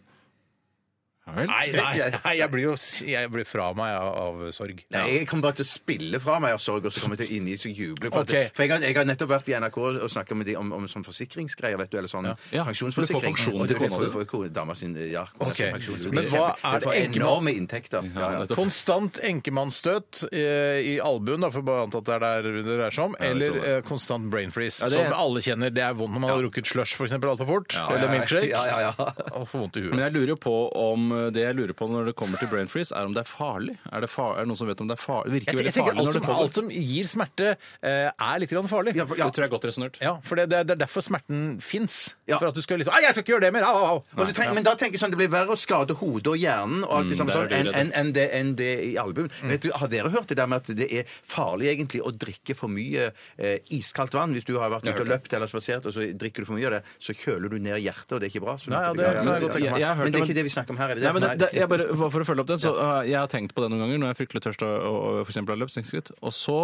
[SPEAKER 7] du, Ja vel.
[SPEAKER 5] Nei, nei, nei, jeg blir jo jeg blir fra meg av, av sorg.
[SPEAKER 6] Nei, jeg kommer bare til å spille fra meg av sorg, og så kommer jeg til å inni og juble. For, at-
[SPEAKER 5] Ok.
[SPEAKER 6] for jeg, har, jeg har nettopp vært i NRK og snakka med de om, om sånn forsikringsgreier, vet du, eller sånn
[SPEAKER 7] Ja,
[SPEAKER 6] pensjonsforsikring.
[SPEAKER 7] for du får pensjon
[SPEAKER 6] Og
[SPEAKER 7] til
[SPEAKER 6] det-
[SPEAKER 7] kona
[SPEAKER 6] for-
[SPEAKER 7] di.
[SPEAKER 6] for kona- dama sin ja, kona sin
[SPEAKER 5] Ok.
[SPEAKER 6] pensjon. Så det
[SPEAKER 5] Men
[SPEAKER 6] blir
[SPEAKER 5] hva
[SPEAKER 6] kjempe-
[SPEAKER 5] er
[SPEAKER 6] Du får
[SPEAKER 5] det enkemann-
[SPEAKER 6] Enorme inntekter. Ja, ja.
[SPEAKER 5] Konstant enkemannsstøt eh, i albuen, da, for bare å anta at det er der det dreier seg om, eller
[SPEAKER 6] tror det.
[SPEAKER 5] eh, konstant brain freeze,
[SPEAKER 7] det-
[SPEAKER 5] som alle kjenner. Det er vondt når man har drukket slush for eksempel altfor fort, eller milkshake,
[SPEAKER 6] Ja, ja, ja.
[SPEAKER 5] og får vondt i huet.
[SPEAKER 7] Men jeg lurer jo på om eh, det jeg lurer på når det kommer til brain freeze, er om det er farlig. Er det, far, er det noen som vet om det er farlig? Det virker
[SPEAKER 5] Jeg, jeg
[SPEAKER 7] veldig
[SPEAKER 5] tenker
[SPEAKER 7] farlig
[SPEAKER 5] alt
[SPEAKER 7] når det
[SPEAKER 5] som,
[SPEAKER 7] pågår.
[SPEAKER 5] alt som gir smerte, eh, er litt grann farlig.
[SPEAKER 6] Ja, ja.
[SPEAKER 7] Det tror jeg er godt resonnert.
[SPEAKER 5] Ja, for det, det er- det er derfor smerten fins.
[SPEAKER 6] Ja.
[SPEAKER 5] For at du skal liksom Ai, jeg skal ikke gjøre det mer! Au, au, au!
[SPEAKER 6] Og så tenk, men da tenker jeg sånn, det blir verre å skade hodet og hjernen og alt det samme
[SPEAKER 7] der er
[SPEAKER 6] sånn,
[SPEAKER 7] du
[SPEAKER 6] enn
[SPEAKER 7] redd.
[SPEAKER 6] enn- enn det, enn det i albuen. Vet du, har dere hørt det der med at det er farlig egentlig å drikke for mye eh, iskaldt vann? Hvis du har vært ute og løpt eller spasert, og så drikker du for mye av det, så kjøler du ned hjertet, og det er ikke bra. Så du-
[SPEAKER 5] Ja, ja, det kan jeg godt tenke meg.
[SPEAKER 7] Jeg har hørt
[SPEAKER 6] Men det
[SPEAKER 7] det,
[SPEAKER 6] er
[SPEAKER 7] men-
[SPEAKER 6] ikke det vi snakker om her, er det
[SPEAKER 7] Nei,
[SPEAKER 6] det?
[SPEAKER 7] men det, det,
[SPEAKER 6] Nei.
[SPEAKER 7] jeg bare, for å følge opp det, så uh, jeg har tenkt på det noen ganger når jeg er fryktelig tørst og, og, og for eksempel har løpt seks skritt. Og så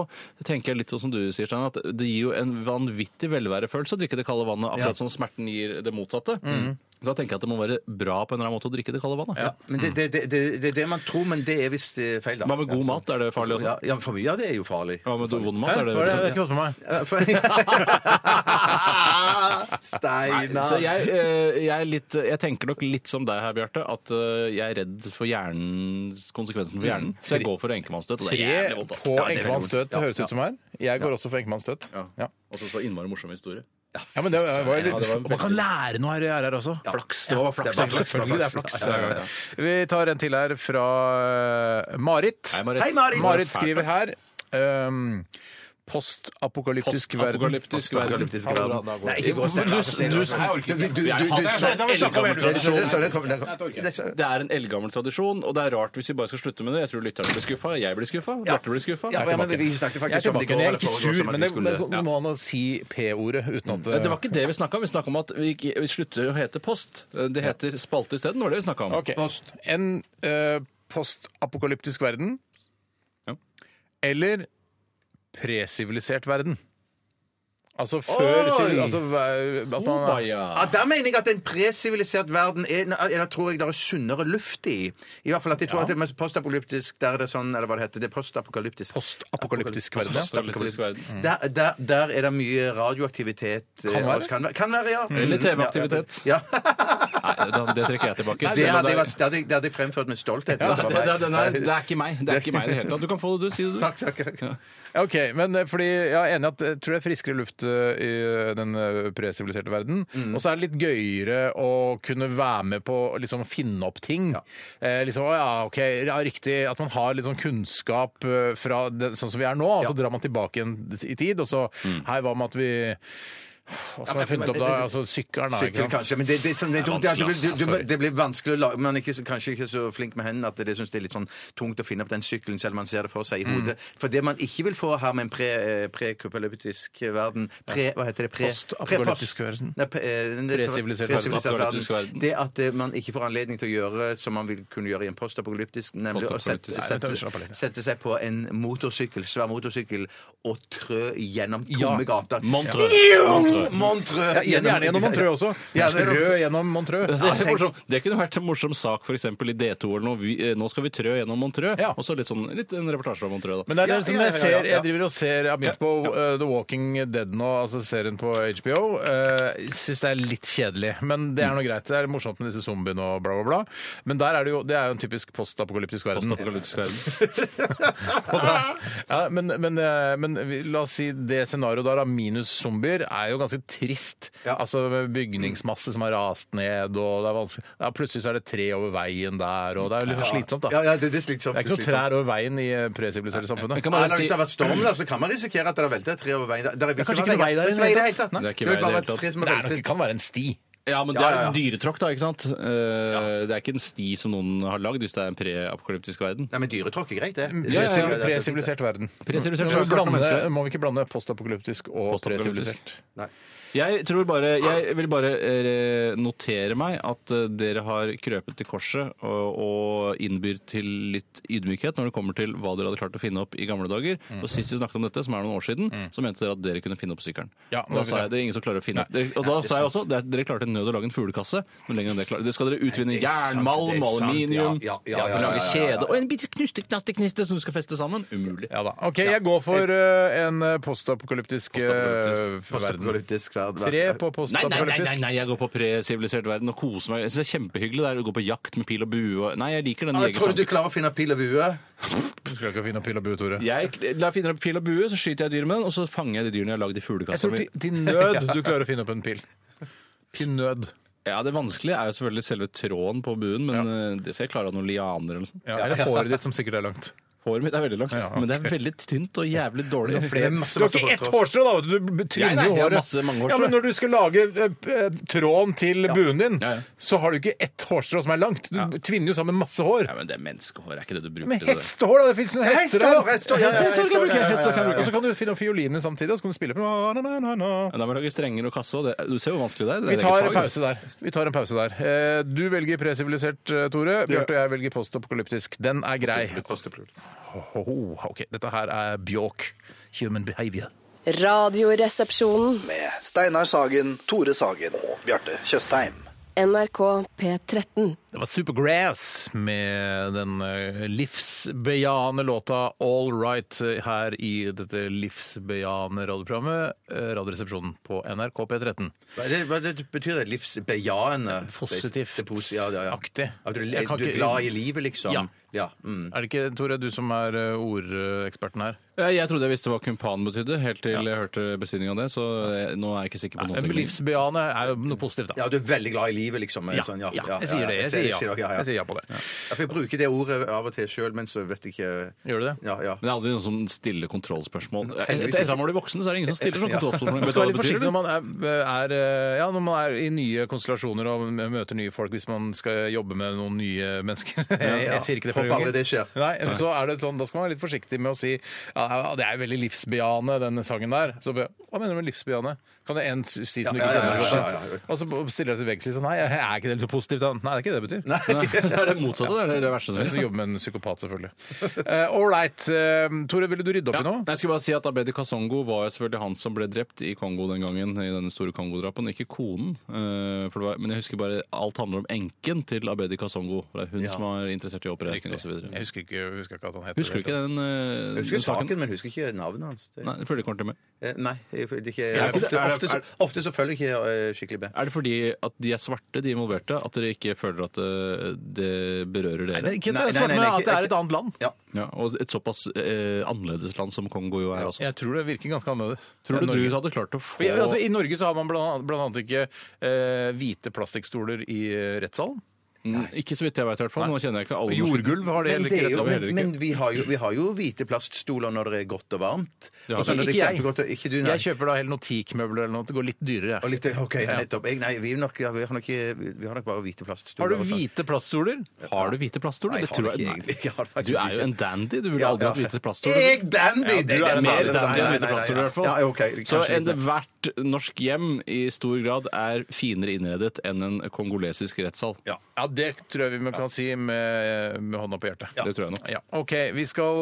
[SPEAKER 7] tenker jeg litt sånn som du sier, Stein, at det gir jo en vanvittig velværefølelse å drikke det kalde vannet, akkurat som smerten gir det motsatte.
[SPEAKER 5] Mm.
[SPEAKER 7] Mm. Så da tenker jeg at det må være bra på en eller annen måte å drikke det kalde vannet.
[SPEAKER 6] Men det, det, det, det, det er det man tror, men det er visst eh, feil, da.
[SPEAKER 7] Hva med god mat, er det
[SPEAKER 6] Ja,
[SPEAKER 7] farlig også?
[SPEAKER 6] ja, men for mye av det er jo farlig.
[SPEAKER 7] Hva med vond
[SPEAKER 5] Hæ?
[SPEAKER 7] mat, er det
[SPEAKER 5] Hva er
[SPEAKER 7] liksom-
[SPEAKER 5] det? Jeg har ikke fått med meg.
[SPEAKER 6] Eh, for- Steinar.
[SPEAKER 7] Så jeg, eh, jeg, er litt, jeg tenker nok litt som deg her, Bjarte, at eh, jeg er redd for hjernens konsekvensen for hjernen. Så jeg går for enkemannsstøt. og det er
[SPEAKER 5] Mm. Tre
[SPEAKER 7] jævlig vondt, ass.
[SPEAKER 5] på
[SPEAKER 7] Ja, det er veldig
[SPEAKER 5] enkemannsstøt
[SPEAKER 7] vondt. Ja,
[SPEAKER 5] høres ut som her. Jeg går også for enkemannsstøt.
[SPEAKER 7] Ja.
[SPEAKER 5] Ja.
[SPEAKER 7] Og så så innmari morsom historie.
[SPEAKER 5] Ja, men det var jo litt...
[SPEAKER 7] Ja, det var
[SPEAKER 5] Og man kan lære noe her i RR også. Flaks. Det var flaks.
[SPEAKER 6] det var flaks,
[SPEAKER 5] Selvfølgelig det er
[SPEAKER 6] det var
[SPEAKER 5] flaks.
[SPEAKER 6] flaks. Ja, ja,
[SPEAKER 5] Vi tar en til her fra eh, Marit.
[SPEAKER 7] Hei, Marit.
[SPEAKER 5] Marit skriver her ehm, Postapokalyptisk verden.
[SPEAKER 7] Postapokalyptisk verden.
[SPEAKER 6] Apokalyptisk verden. Nei, ikke gå
[SPEAKER 7] Du- du-
[SPEAKER 6] Du- du-
[SPEAKER 7] Jeg hater det.
[SPEAKER 6] du-
[SPEAKER 7] Dette har vi snakket om hele tiden.
[SPEAKER 6] Det- det- det- det kom- det kom- det- det-
[SPEAKER 7] Det er en eldgammel tradisjon, og det er rart hvis vi bare skal slutte med det. Jeg tror lytterne blir skuffa, jeg blir skuffa, Bjarte blir skuffa.
[SPEAKER 6] Ja,
[SPEAKER 7] Det er
[SPEAKER 6] men
[SPEAKER 7] tilbake.
[SPEAKER 6] vi snakket
[SPEAKER 5] Jeg er
[SPEAKER 6] faktisk om det
[SPEAKER 5] tilbake,
[SPEAKER 6] i
[SPEAKER 5] men
[SPEAKER 6] går,
[SPEAKER 5] jeg er
[SPEAKER 6] eller
[SPEAKER 5] ikke
[SPEAKER 6] foregår,
[SPEAKER 5] sur,
[SPEAKER 6] som at
[SPEAKER 5] men
[SPEAKER 6] vi
[SPEAKER 5] det
[SPEAKER 6] skulle-
[SPEAKER 5] det må an å si P-ordet uten at
[SPEAKER 7] Det var ikke det vi snakka om. Vi snakka om at vi, ikke- vi slutter å hete Post. Det heter Spalte isteden. Det var det vi snakka om.
[SPEAKER 5] Ok. En eh, postapokalyptisk verden
[SPEAKER 7] Ja.
[SPEAKER 5] eller presivilisert verden. Altså før sivil- altså, eh, at man,
[SPEAKER 7] Obaja.
[SPEAKER 6] Ja, der mener jeg at en presivilisert verden er, eller tror jeg det er sunnere luft i. I hvert fall at jeg tror at det er postapokalyptisk der er det sånn, eller hva det heter, det er postapokalyptisk.
[SPEAKER 5] Postapokalyptisk verden. ja.
[SPEAKER 7] Postapokalyptisk verden.
[SPEAKER 6] Der, der, der er det mye radioaktivitet. eh,
[SPEAKER 5] Kan være.
[SPEAKER 6] og Kan være, kan være ja.
[SPEAKER 7] Eller TV-aktivitet.
[SPEAKER 6] Ja.
[SPEAKER 7] Nei, da- det trekker jeg tilbake.
[SPEAKER 6] Det
[SPEAKER 7] selv om
[SPEAKER 6] hadde
[SPEAKER 7] det
[SPEAKER 6] jeg
[SPEAKER 7] er-
[SPEAKER 6] vært- det hadde jeg- det hadde jeg fremført med stolthet.
[SPEAKER 7] Ja,
[SPEAKER 6] hvis
[SPEAKER 7] det,
[SPEAKER 6] var meg.
[SPEAKER 7] det, det, nei, det er ikke meg. Det er ikke meg i det hele tatt. Du kan få det, du. Si det, du.
[SPEAKER 6] Takk, takk, takk.
[SPEAKER 5] Ja, Ok, men eh, fordi Jeg er enig i at jeg tror det er friskere luft eh, i eh, den eh, presiviliserte verden.
[SPEAKER 6] Mm.
[SPEAKER 5] Og så er det litt gøyere å kunne være med på å liksom finne opp ting. Eh, liksom, å ja, ok, ja, Riktig at man har litt sånn kunnskap eh, fra det, sånn som vi er nå, og så drar man tilbake igjen i tid, og så Hei, hva med at vi Hva skal man
[SPEAKER 6] Mm. men-
[SPEAKER 5] finne opp da?
[SPEAKER 6] men-
[SPEAKER 5] Altså sykkelen, da. ikke
[SPEAKER 6] Sykkel,
[SPEAKER 5] sant?
[SPEAKER 6] kanskje, men det, det, er sånn- det, er dumt,
[SPEAKER 5] Det er vanskelig,
[SPEAKER 6] det, er- du- du-
[SPEAKER 5] ass, sorry.
[SPEAKER 6] det blir vanskelig å lage Man er ikke, så- kanskje ikke så flink med hendene at det syns det er litt sånn tungt å finne opp den sykkelen selv om man ser det for seg i
[SPEAKER 5] Mm.
[SPEAKER 6] hodet. For det man ikke vil få her med en pre- eh, prekupalyptisk verden pre, Hva heter det? Pre,
[SPEAKER 5] Post-apokalyptisk verden.
[SPEAKER 6] Nei, pre- eh, det-
[SPEAKER 5] Presivilisert verden.
[SPEAKER 6] presivilisert
[SPEAKER 7] Apokalyptisk verden.
[SPEAKER 6] verden. Det at eh, man ikke får anledning til å gjøre som man vil kunne gjøre i en postapokalyptisk, nemlig å sette,
[SPEAKER 7] Postapokalyptisk.
[SPEAKER 5] Nei,
[SPEAKER 6] sette,
[SPEAKER 5] det er slapp av litt.
[SPEAKER 6] sette seg på en motorsykkel, svær motorsykkel, og trø gjennom tomme
[SPEAKER 5] Ja.
[SPEAKER 6] gater.
[SPEAKER 7] Montreux.
[SPEAKER 6] Montreux!
[SPEAKER 5] Ja, gjerne gjennom Montreux også.
[SPEAKER 6] Gjerne gjennom-
[SPEAKER 5] Rød gjennom Montreux.
[SPEAKER 7] Det, er morsom- det kunne vært en morsom sak for eksempel i D2 eller noe. Vi, eh, nå skal vi trø gjennom Montreux.
[SPEAKER 5] Ja.
[SPEAKER 7] Og så litt, sånn, litt en reportasje fra Montreux, da.
[SPEAKER 5] Men det er det
[SPEAKER 6] Ja,
[SPEAKER 5] som
[SPEAKER 6] ja,
[SPEAKER 5] jeg
[SPEAKER 6] ja,
[SPEAKER 5] ser
[SPEAKER 6] ja, ja.
[SPEAKER 5] Jeg driver og ser Jeg har begynt på uh, The Walking Dead nå, altså serien på HBO. Uh, Syns det er litt kjedelig, men det er
[SPEAKER 7] Mm.
[SPEAKER 5] nå greit. Det er morsomt med disse zombiene og bla, bla, bla. Men der er det jo Det er jo en typisk postapokalyptisk verden.
[SPEAKER 7] Postapokalyptisk verden.
[SPEAKER 5] ja, men, men, uh, men vi- la oss si det scenarioet der, da, minus zombier, er jo ganske trist. Altså med bygningsmasse som har rast ned, og det er vanskelig ja, Plutselig så er det tre over veien der, og det er jo litt slitsomt, da.
[SPEAKER 6] Ja, ja, det, det er slitsomt.
[SPEAKER 5] Det er ikke noe
[SPEAKER 6] slitsomt.
[SPEAKER 5] trær over veien i eh, presiviliserte samfunnet.
[SPEAKER 7] kan
[SPEAKER 6] Nei,
[SPEAKER 7] bare
[SPEAKER 6] nei,
[SPEAKER 7] si
[SPEAKER 6] hvis det har vært storm, da, så kan man risikere at det har veltet tre over veien. Der, der vil
[SPEAKER 5] kanskje
[SPEAKER 6] være
[SPEAKER 5] ikke noe vei der i det hele tatt.
[SPEAKER 6] Det er ikke vei i det hele tatt.
[SPEAKER 7] Det er ikke
[SPEAKER 6] Det
[SPEAKER 7] vei i
[SPEAKER 6] vil bare være
[SPEAKER 7] det hele
[SPEAKER 6] tre
[SPEAKER 7] tatt.
[SPEAKER 6] som
[SPEAKER 5] Det
[SPEAKER 6] har
[SPEAKER 5] er nok,
[SPEAKER 6] veltet.
[SPEAKER 5] kan være en sti.
[SPEAKER 7] Ja, men det
[SPEAKER 6] Ja,
[SPEAKER 7] er
[SPEAKER 6] ja, ja.
[SPEAKER 7] dyretråkk, da, ikke sant? Eh, Det er ikke en sti som noen har lagd, hvis det er en preapokalyptisk verden.
[SPEAKER 6] Nei, men dyretråkk er greit, det.
[SPEAKER 5] Mm. Ja,
[SPEAKER 6] Det-
[SPEAKER 5] ja,
[SPEAKER 6] det- det- det-
[SPEAKER 5] Presivilisert verden.
[SPEAKER 7] Presivilisert
[SPEAKER 5] Men vi
[SPEAKER 7] verden.
[SPEAKER 5] blande, må vi ikke blande postapokalyptisk og
[SPEAKER 7] Postapokalyptisk.
[SPEAKER 5] presivilisert?
[SPEAKER 7] Jeg tror bare, jeg vil bare eh, notere meg at eh, dere har krøpet til korset og, og innbyr til litt ydmykhet når det kommer til hva dere hadde klart å finne opp i gamle dager.
[SPEAKER 6] Mhm.
[SPEAKER 7] Og Sist vi snakket om dette, som er noen år siden, så mente dere at dere kunne finne opp sykkelen.
[SPEAKER 5] Ja,
[SPEAKER 7] og da
[SPEAKER 5] det-
[SPEAKER 7] sa jeg det er ingen som klarer å finne opp. Dere- Og da sa jeg også at dere klarte i nød å lage en fuglekasse. Men lenger enn det klarer Det skal dere utvinne
[SPEAKER 6] Nei, det er sant, det
[SPEAKER 7] jernmalm,
[SPEAKER 6] er sant.
[SPEAKER 7] aluminium,
[SPEAKER 6] Ja, ja, ja, ja, ja,
[SPEAKER 7] dere lager
[SPEAKER 6] ja, ja, ja.
[SPEAKER 7] kjede og en bitte knusteknastekniste som du skal feste sammen. Umulig.
[SPEAKER 5] Ja da. OK, jeg går for eh, en eh, postapokalyptisk eh,
[SPEAKER 7] Postapokalyptisk.
[SPEAKER 5] verden.
[SPEAKER 6] Postapokalyptisk verden.
[SPEAKER 5] Tre på
[SPEAKER 7] Nei, nei, nei, nei,
[SPEAKER 5] postapokalyptisk.
[SPEAKER 7] nei, jeg går på presivilisert verden og koser meg. Jeg synes det er kjempehyggelig der å gå på jakt med pil og bue. og- Nei, jeg liker den
[SPEAKER 6] Ja, Tror du du
[SPEAKER 7] jegersangen.
[SPEAKER 6] klarer å finne pil og bue?
[SPEAKER 5] Du skal ikke finne opp pil og bue, Tore.
[SPEAKER 7] Jeg la- finner opp pil og bue, så skyter jeg dyr med den, og så fanger jeg de dyrene jeg har lagd i
[SPEAKER 5] Jeg
[SPEAKER 7] fuglekassa
[SPEAKER 5] tror
[SPEAKER 7] mi.
[SPEAKER 5] til til nød du klarer å finne opp en pil. Til nød.
[SPEAKER 7] Ja, det vanskelige er jo selvfølgelig selve tråden på buen, men eh, det skal jeg klare av noen lianer eller noe sånt.
[SPEAKER 5] Ja, eller håret ditt, som sikkert er langt.
[SPEAKER 7] Håret mitt er veldig langt,
[SPEAKER 5] Ja, ok.
[SPEAKER 7] men det er veldig tynt og jævlig dårlig.
[SPEAKER 5] Du har ikke ett hårstrå, da! vet Du Du
[SPEAKER 7] Nei,
[SPEAKER 5] tryner
[SPEAKER 7] nei,
[SPEAKER 5] jo
[SPEAKER 7] jeg har
[SPEAKER 5] håret.
[SPEAKER 7] masse mange hårstrå.
[SPEAKER 5] Ja, men når du skal lage eh, eh, tråden til buen din,
[SPEAKER 7] Ja, ja.
[SPEAKER 5] så har du ikke ett hårstrå som er langt. Du
[SPEAKER 7] Ja.
[SPEAKER 5] tvinner jo sammen masse hår.
[SPEAKER 7] Nei, men det er menneskehår, er ikke det du bruker
[SPEAKER 5] Med
[SPEAKER 7] til det der?
[SPEAKER 5] hestehår, da! Det fins noen hester
[SPEAKER 6] Hestehår, hestehår, ja, ja,
[SPEAKER 5] Hestehår kan du bruke,
[SPEAKER 6] hestehår, ja, ja,
[SPEAKER 5] hestehår kan du bruke. Og så kan du finne opp fiolinene samtidig, og så kan du spille på na, na, na, na.
[SPEAKER 7] Ja, Da må jeg lage strenger og kasse, og det, du ser hvor vanskelig det er. det er
[SPEAKER 5] Vi
[SPEAKER 7] et
[SPEAKER 5] tar
[SPEAKER 7] eget
[SPEAKER 5] en
[SPEAKER 7] fag.
[SPEAKER 5] pause der. Vi tar en pause der. Eh, Du velger presivilisert, eh, Tore. Bjarte og jeg velger postapokalyptisk. Den er grei. Ho, ho, OK, dette her er Bjåk. Human behavior.
[SPEAKER 9] Radioresepsjonen.
[SPEAKER 3] Med Steinar Sagen, Tore Sagen og Bjarte Tjøstheim.
[SPEAKER 9] NRK P13.
[SPEAKER 5] Det var Supergrass med den eh, livsbejaende låta All Right eh, her i dette livsbejaende radioprogrammet, eh, Radioresepsjonen på NRK P13.
[SPEAKER 6] Hva, er det, hva er det, betyr det livsbejaende?
[SPEAKER 5] Positivt.
[SPEAKER 6] Det er posi- ja, ja, ja.
[SPEAKER 5] Aktig.
[SPEAKER 6] At du,
[SPEAKER 5] Jeg kan
[SPEAKER 6] du er
[SPEAKER 5] ikke-
[SPEAKER 6] glad i livet, liksom?
[SPEAKER 5] Ja.
[SPEAKER 6] ja mm.
[SPEAKER 5] Er det ikke, Tore, du som er eh, ordeksperten her?
[SPEAKER 7] Ja, Jeg trodde jeg visste hva kumpan betydde, helt til jeg hørte besynningen av det, så jeg, nå er jeg ikke sikker på noe.
[SPEAKER 5] Eh, Men livsbejaende er jo noe positivt, da.
[SPEAKER 6] ja, du er veldig glad i livet, liksom?
[SPEAKER 5] Ja,
[SPEAKER 6] sånn,
[SPEAKER 5] ja, jeg sier det. Jeg
[SPEAKER 6] ser-
[SPEAKER 5] sier ja.
[SPEAKER 6] det,
[SPEAKER 5] Jeg sier ja på det.
[SPEAKER 6] Ja, for Jeg bruker det ordet av og til sjøl, men så vet jeg ikke
[SPEAKER 5] Gjør du det?
[SPEAKER 6] Ja, ja.
[SPEAKER 7] Men det er aldri noen som stiller sånn kontrollspørsmål. Etter
[SPEAKER 6] Heldigvis
[SPEAKER 7] etter at man blir voksen, så er det ingen som stiller sånn kontrollspørsmål.
[SPEAKER 5] Man
[SPEAKER 7] Vet du
[SPEAKER 5] skal
[SPEAKER 7] hva
[SPEAKER 5] være
[SPEAKER 7] det
[SPEAKER 5] litt
[SPEAKER 7] betyr,
[SPEAKER 5] forsiktig når
[SPEAKER 7] eller?
[SPEAKER 5] man er, er, eh, ja, når man er i nye konstellasjoner og møter nye folk, hvis man skal jobbe med noen nye mennesker. Jeg, jeg sier ikke det
[SPEAKER 6] Håper
[SPEAKER 5] flere
[SPEAKER 6] aldri
[SPEAKER 5] ganger.
[SPEAKER 6] det skjer.
[SPEAKER 5] Nei, så er det sånn, Da skal man være litt forsiktig med å si ja, ja, det er jo veldig livsbejaende, den sangen der. Så, be- hva mener du med livsbejaende? Kan det en si som
[SPEAKER 6] Ja,
[SPEAKER 5] ikke
[SPEAKER 6] ja, ja,
[SPEAKER 5] kjenner
[SPEAKER 6] ja,
[SPEAKER 5] det?
[SPEAKER 6] ja, ja, ja.
[SPEAKER 5] Og så stiller jeg til veggs litt sånn Nei, er ikke det litt så positivt? da? Nei, det er ikke det det sitter.
[SPEAKER 7] Nei, det er det motsatte. Det er det verste som
[SPEAKER 5] Hvis du
[SPEAKER 7] finnes.
[SPEAKER 5] jobber med en psykopat, selvfølgelig. Uh, all right. Eh, Tore, ville du rydde opp
[SPEAKER 7] Ja.
[SPEAKER 5] i noe?
[SPEAKER 7] Nei, Jeg skulle bare si at Abedi Kasongo var jo selvfølgelig han som ble drept i Kongo den gangen. i denne store Kongo-drapen, Ikke konen. eh, For det var, men jeg husker bare alt handler om enken til Abedi Kasongo. Det er hun som er interessert i oppreisning
[SPEAKER 5] Riktig.
[SPEAKER 7] osv.
[SPEAKER 5] Jeg husker ikke, jeg husker ikke at han heter
[SPEAKER 7] Husker du ikke den, eh,
[SPEAKER 6] Jeg husker
[SPEAKER 7] den saken?
[SPEAKER 6] saken, men husker ikke navnet hans. Det,
[SPEAKER 7] Nei, jeg følger ikke ordentlig med.
[SPEAKER 6] Eh, nei jeg- det er ikke,
[SPEAKER 5] Er det-
[SPEAKER 6] ofte,
[SPEAKER 5] er det-
[SPEAKER 6] ofte, så, ofte så følger jeg ikke eh, skikkelig med.
[SPEAKER 7] Er det fordi at de er svarte, de involverte, at dere ikke føler at eh, det berører dere?
[SPEAKER 5] Er det ikke
[SPEAKER 6] Nei,
[SPEAKER 5] det
[SPEAKER 6] nei,
[SPEAKER 5] svarte
[SPEAKER 6] nei,
[SPEAKER 5] med
[SPEAKER 6] nei,
[SPEAKER 5] at det
[SPEAKER 6] ikke-
[SPEAKER 5] er et annet land?
[SPEAKER 6] Ja.
[SPEAKER 7] Ja, og et såpass eh, annerledes land som Kongo jo er også.
[SPEAKER 5] Jeg tror det virker ganske annerledes.
[SPEAKER 7] Tror
[SPEAKER 5] enn
[SPEAKER 7] du
[SPEAKER 5] Norge.
[SPEAKER 7] du hadde klart å få
[SPEAKER 5] For, altså, I Norge så har man blant annet, blant annet ikke eh, hvite plastikkstoler i eh, rettssalen.
[SPEAKER 7] Mm, Ikke så vidt jeg vet, i hvert fall. Nå kjenner jeg ikke alle norske-
[SPEAKER 5] Jordgulv har det
[SPEAKER 6] Men,
[SPEAKER 5] heller ikke.
[SPEAKER 6] det
[SPEAKER 5] i
[SPEAKER 6] er jo,
[SPEAKER 5] rettssalen
[SPEAKER 6] men,
[SPEAKER 5] heller ikke.
[SPEAKER 6] men vi, har jo, vi har jo hvite plaststoler når det er godt og varmt.
[SPEAKER 7] har
[SPEAKER 6] Og så når
[SPEAKER 7] vi.
[SPEAKER 6] det er
[SPEAKER 5] Ikke jeg.
[SPEAKER 6] kjempegodt og- Ikke du, nei.
[SPEAKER 5] Jeg kjøper da heller noen teakmøbler eller noe. Det går litt dyrere.
[SPEAKER 6] Og
[SPEAKER 5] jeg.
[SPEAKER 6] litt, eh, ok, ja, nettopp. Jeg, nei, vi, er nok, ja, vi, har nok, eh, vi har nok bare hvite plaststoler.
[SPEAKER 5] Har du
[SPEAKER 6] og sånn.
[SPEAKER 5] hvite plaststoler?
[SPEAKER 7] Har du hvite plaststoler?
[SPEAKER 6] Nei, jeg
[SPEAKER 7] Det tror
[SPEAKER 6] har
[SPEAKER 7] jeg-
[SPEAKER 6] ikke egentlig. Jeg har
[SPEAKER 7] Nei.
[SPEAKER 6] faktisk
[SPEAKER 7] Du er jo en
[SPEAKER 6] ikke.
[SPEAKER 7] dandy. Du ville
[SPEAKER 6] Ja,
[SPEAKER 7] aldri
[SPEAKER 6] ja.
[SPEAKER 7] hatt hvite
[SPEAKER 6] Jeg
[SPEAKER 7] plaststoler.
[SPEAKER 6] dandy!
[SPEAKER 7] Ja, liksom. du
[SPEAKER 6] Det
[SPEAKER 7] er
[SPEAKER 6] det
[SPEAKER 7] mer
[SPEAKER 6] det
[SPEAKER 7] dandy
[SPEAKER 6] nei,
[SPEAKER 7] enn hvite
[SPEAKER 6] nei, nei,
[SPEAKER 7] plaststoler, i hvert fall.
[SPEAKER 6] Ja, ok.
[SPEAKER 7] Så
[SPEAKER 6] kanskje litt mer.
[SPEAKER 7] ethvert norsk hjem i stor grad er finere innredet enn en kongolesisk rettssal.
[SPEAKER 6] Ja.
[SPEAKER 5] Ja, det tror jeg vi kan si med, med hånda på hjertet.
[SPEAKER 7] Det tror jeg nok.
[SPEAKER 5] Ja, ok. Vi skal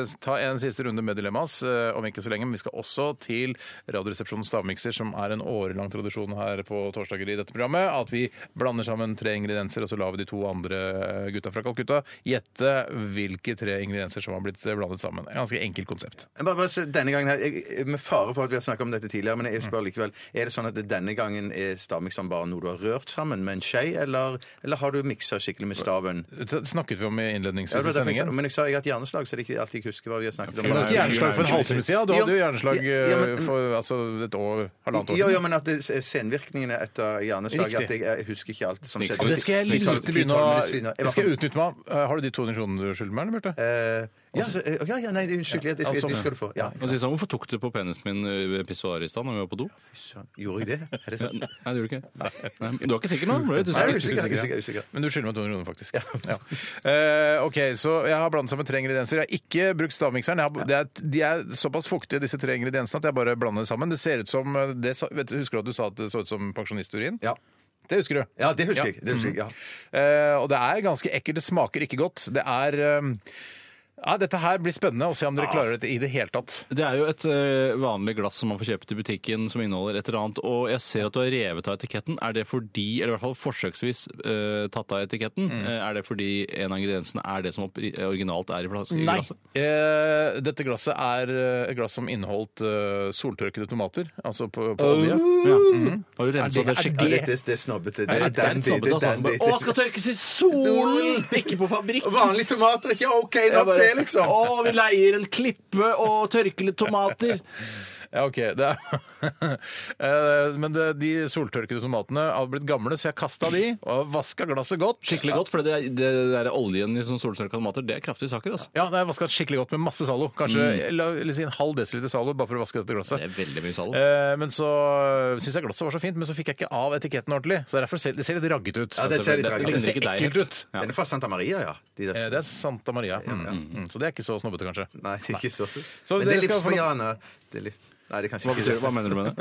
[SPEAKER 5] eh, ta en siste runde med Dilemmas eh, om ikke så lenge. Men vi skal også til Radioresepsjonens stavmikser, som er en årelang tradisjon her på torsdager i dette programmet. At vi blander sammen tre ingredienser, og så lar vi de to andre eh, gutta fra Calcutta gjette hvilke tre ingredienser som har blitt eh, blandet sammen. Et ganske enkelt konsept.
[SPEAKER 6] Men Bare, bare, se, denne gangen her, jeg, Med fare for at vi har snakket om dette tidligere, men jeg spør likevel Er det sånn at denne gangen er stavmikseren bare noe du har rørt sammen med en skje, eller, eller har du miksa skikkelig med staven?
[SPEAKER 5] Det snakket vi om i innledningsvis
[SPEAKER 6] Ja, det var
[SPEAKER 5] i
[SPEAKER 6] derfor jeg sa-
[SPEAKER 5] sendingen.
[SPEAKER 6] men jeg sa jeg har hatt hjerneslag, så det er ikke alltid jeg husker hva vi har snakket om.
[SPEAKER 5] Du hadde ikke hjerneslag for en halvtime siden. Du hadde jo hjerneslag
[SPEAKER 6] Ja, ja, men-
[SPEAKER 5] eh, for altså, et år, halvannet år
[SPEAKER 6] Jo, jo,
[SPEAKER 5] siden.
[SPEAKER 6] men at det, senvirkningene etter hjerneslag
[SPEAKER 5] Riktig.
[SPEAKER 6] At jeg, jeg husker ikke alt som
[SPEAKER 5] Og
[SPEAKER 6] skjedde.
[SPEAKER 5] det skal jeg
[SPEAKER 6] Seks-
[SPEAKER 5] lite begynne
[SPEAKER 6] ti-tolv
[SPEAKER 5] å
[SPEAKER 6] minutter siden. Jeg
[SPEAKER 5] Det
[SPEAKER 6] var-
[SPEAKER 5] skal jeg utnytte meg av. Eh, Har du de 200 kronene du skylder meg, eller, Bjarte?
[SPEAKER 6] Eh, ja, så, eh, ja, ja, nei, unnskyld. Det, skal- det skal du få. Ja,
[SPEAKER 7] Og så sier han, sånn, Hvorfor tok du på penisen min ved pissoaret i stad når vi var på do?
[SPEAKER 6] Sånn. Gjorde jeg det? Er det sant?
[SPEAKER 7] Nei, det gjorde du ikke. Nei, men du var ikke sikker nå? Ble litt
[SPEAKER 6] Nei, jeg er
[SPEAKER 7] usikker.
[SPEAKER 6] usikker. jeg er usikker, jeg er usikker.
[SPEAKER 5] Men du skylder meg 200 kroner, faktisk. Ja. Eh, ok, så Jeg har blandet sammen tre ingredienser. Jeg har ikke brukt stavmikseren. Jeg har, det er, de er såpass fuktige, disse tre ingrediensene, at jeg bare blander det sammen. Det ser ut som eh, det, sa- vet, du- Husker du at du sa at det så ut som pensjonisturin?
[SPEAKER 6] Ja.
[SPEAKER 5] Det husker du.
[SPEAKER 6] ja, Mhm. det husker jeg. Det husker jeg ja.
[SPEAKER 5] Eh, og det er ganske ekkelt. Det smaker ikke godt. Det er eh, ja, Dette her blir spennende å se om dere
[SPEAKER 6] Ah.
[SPEAKER 5] klarer dette i det hele tatt.
[SPEAKER 7] Det er jo et eh, vanlig glass som man får kjøpt i butikken som inneholder et eller annet, og jeg ser at du har revet av etiketten. Er det fordi, eller i hvert fall forsøksvis eh, tatt av etiketten, eh, er det fordi en av ingrediensene er det som oppri- originalt er i, plass, i glasset?
[SPEAKER 5] Eh, dette glasset er eh, et glass som inneholdt eh, soltørkede tomater, altså på, på olje.
[SPEAKER 7] Ja. Har du
[SPEAKER 5] Er det-
[SPEAKER 7] rensa
[SPEAKER 5] er
[SPEAKER 7] det
[SPEAKER 6] Ja,
[SPEAKER 7] skikkelig?
[SPEAKER 6] det, det, det er snobbete. Det
[SPEAKER 7] Det
[SPEAKER 6] er
[SPEAKER 7] er en
[SPEAKER 6] dandy.
[SPEAKER 7] sabbe,
[SPEAKER 6] Det er
[SPEAKER 7] da, sa han
[SPEAKER 6] dandy.
[SPEAKER 7] bare, Å, skal tørkes i solen! Ikke på fabrikk!
[SPEAKER 6] Vanlige tomater er ikke OK nok, det, liksom.
[SPEAKER 7] Å, vi leier en klippe og tørker litt tomater.
[SPEAKER 5] Ja, ok. Det er... Eh, Men det, de soltørkede tomatene har blitt gamle, så jeg kasta de og vaska glasset godt.
[SPEAKER 7] Skikkelig godt, for det, det der oljen i sånn soltørka tomater, det er kraftige saker, altså.
[SPEAKER 5] Ja, jeg vaska skikkelig godt med masse Zalo. Kanskje la, la oss si en halv desiliter Zalo bare for å vaske dette
[SPEAKER 7] Det
[SPEAKER 5] glasset.
[SPEAKER 7] er veldig mye salt.
[SPEAKER 5] Eh, Men så syns jeg glasset var så fint, men så fikk jeg ikke av etiketten ordentlig. Så derfor ser det ser litt ragget ut. Altså,
[SPEAKER 6] Ja, det ser litt
[SPEAKER 7] Det
[SPEAKER 6] rart
[SPEAKER 5] det
[SPEAKER 7] ligner
[SPEAKER 5] ser
[SPEAKER 7] ikke deg
[SPEAKER 5] ekkelt
[SPEAKER 7] helt.
[SPEAKER 5] ut.
[SPEAKER 6] Den er fra Santa Maria, ja. De der-
[SPEAKER 5] Eh, Det er Santa Maria. Mm, mm. Så det er ikke så snobbete, kanskje.
[SPEAKER 6] Nei, det er ikke så
[SPEAKER 5] Så
[SPEAKER 6] Men det
[SPEAKER 5] dere
[SPEAKER 6] er
[SPEAKER 5] skal få-
[SPEAKER 6] livsfriana. Det er liv... Nei, det er kanskje
[SPEAKER 7] Hva
[SPEAKER 6] ikke
[SPEAKER 7] betyr det? Hva mener du med det?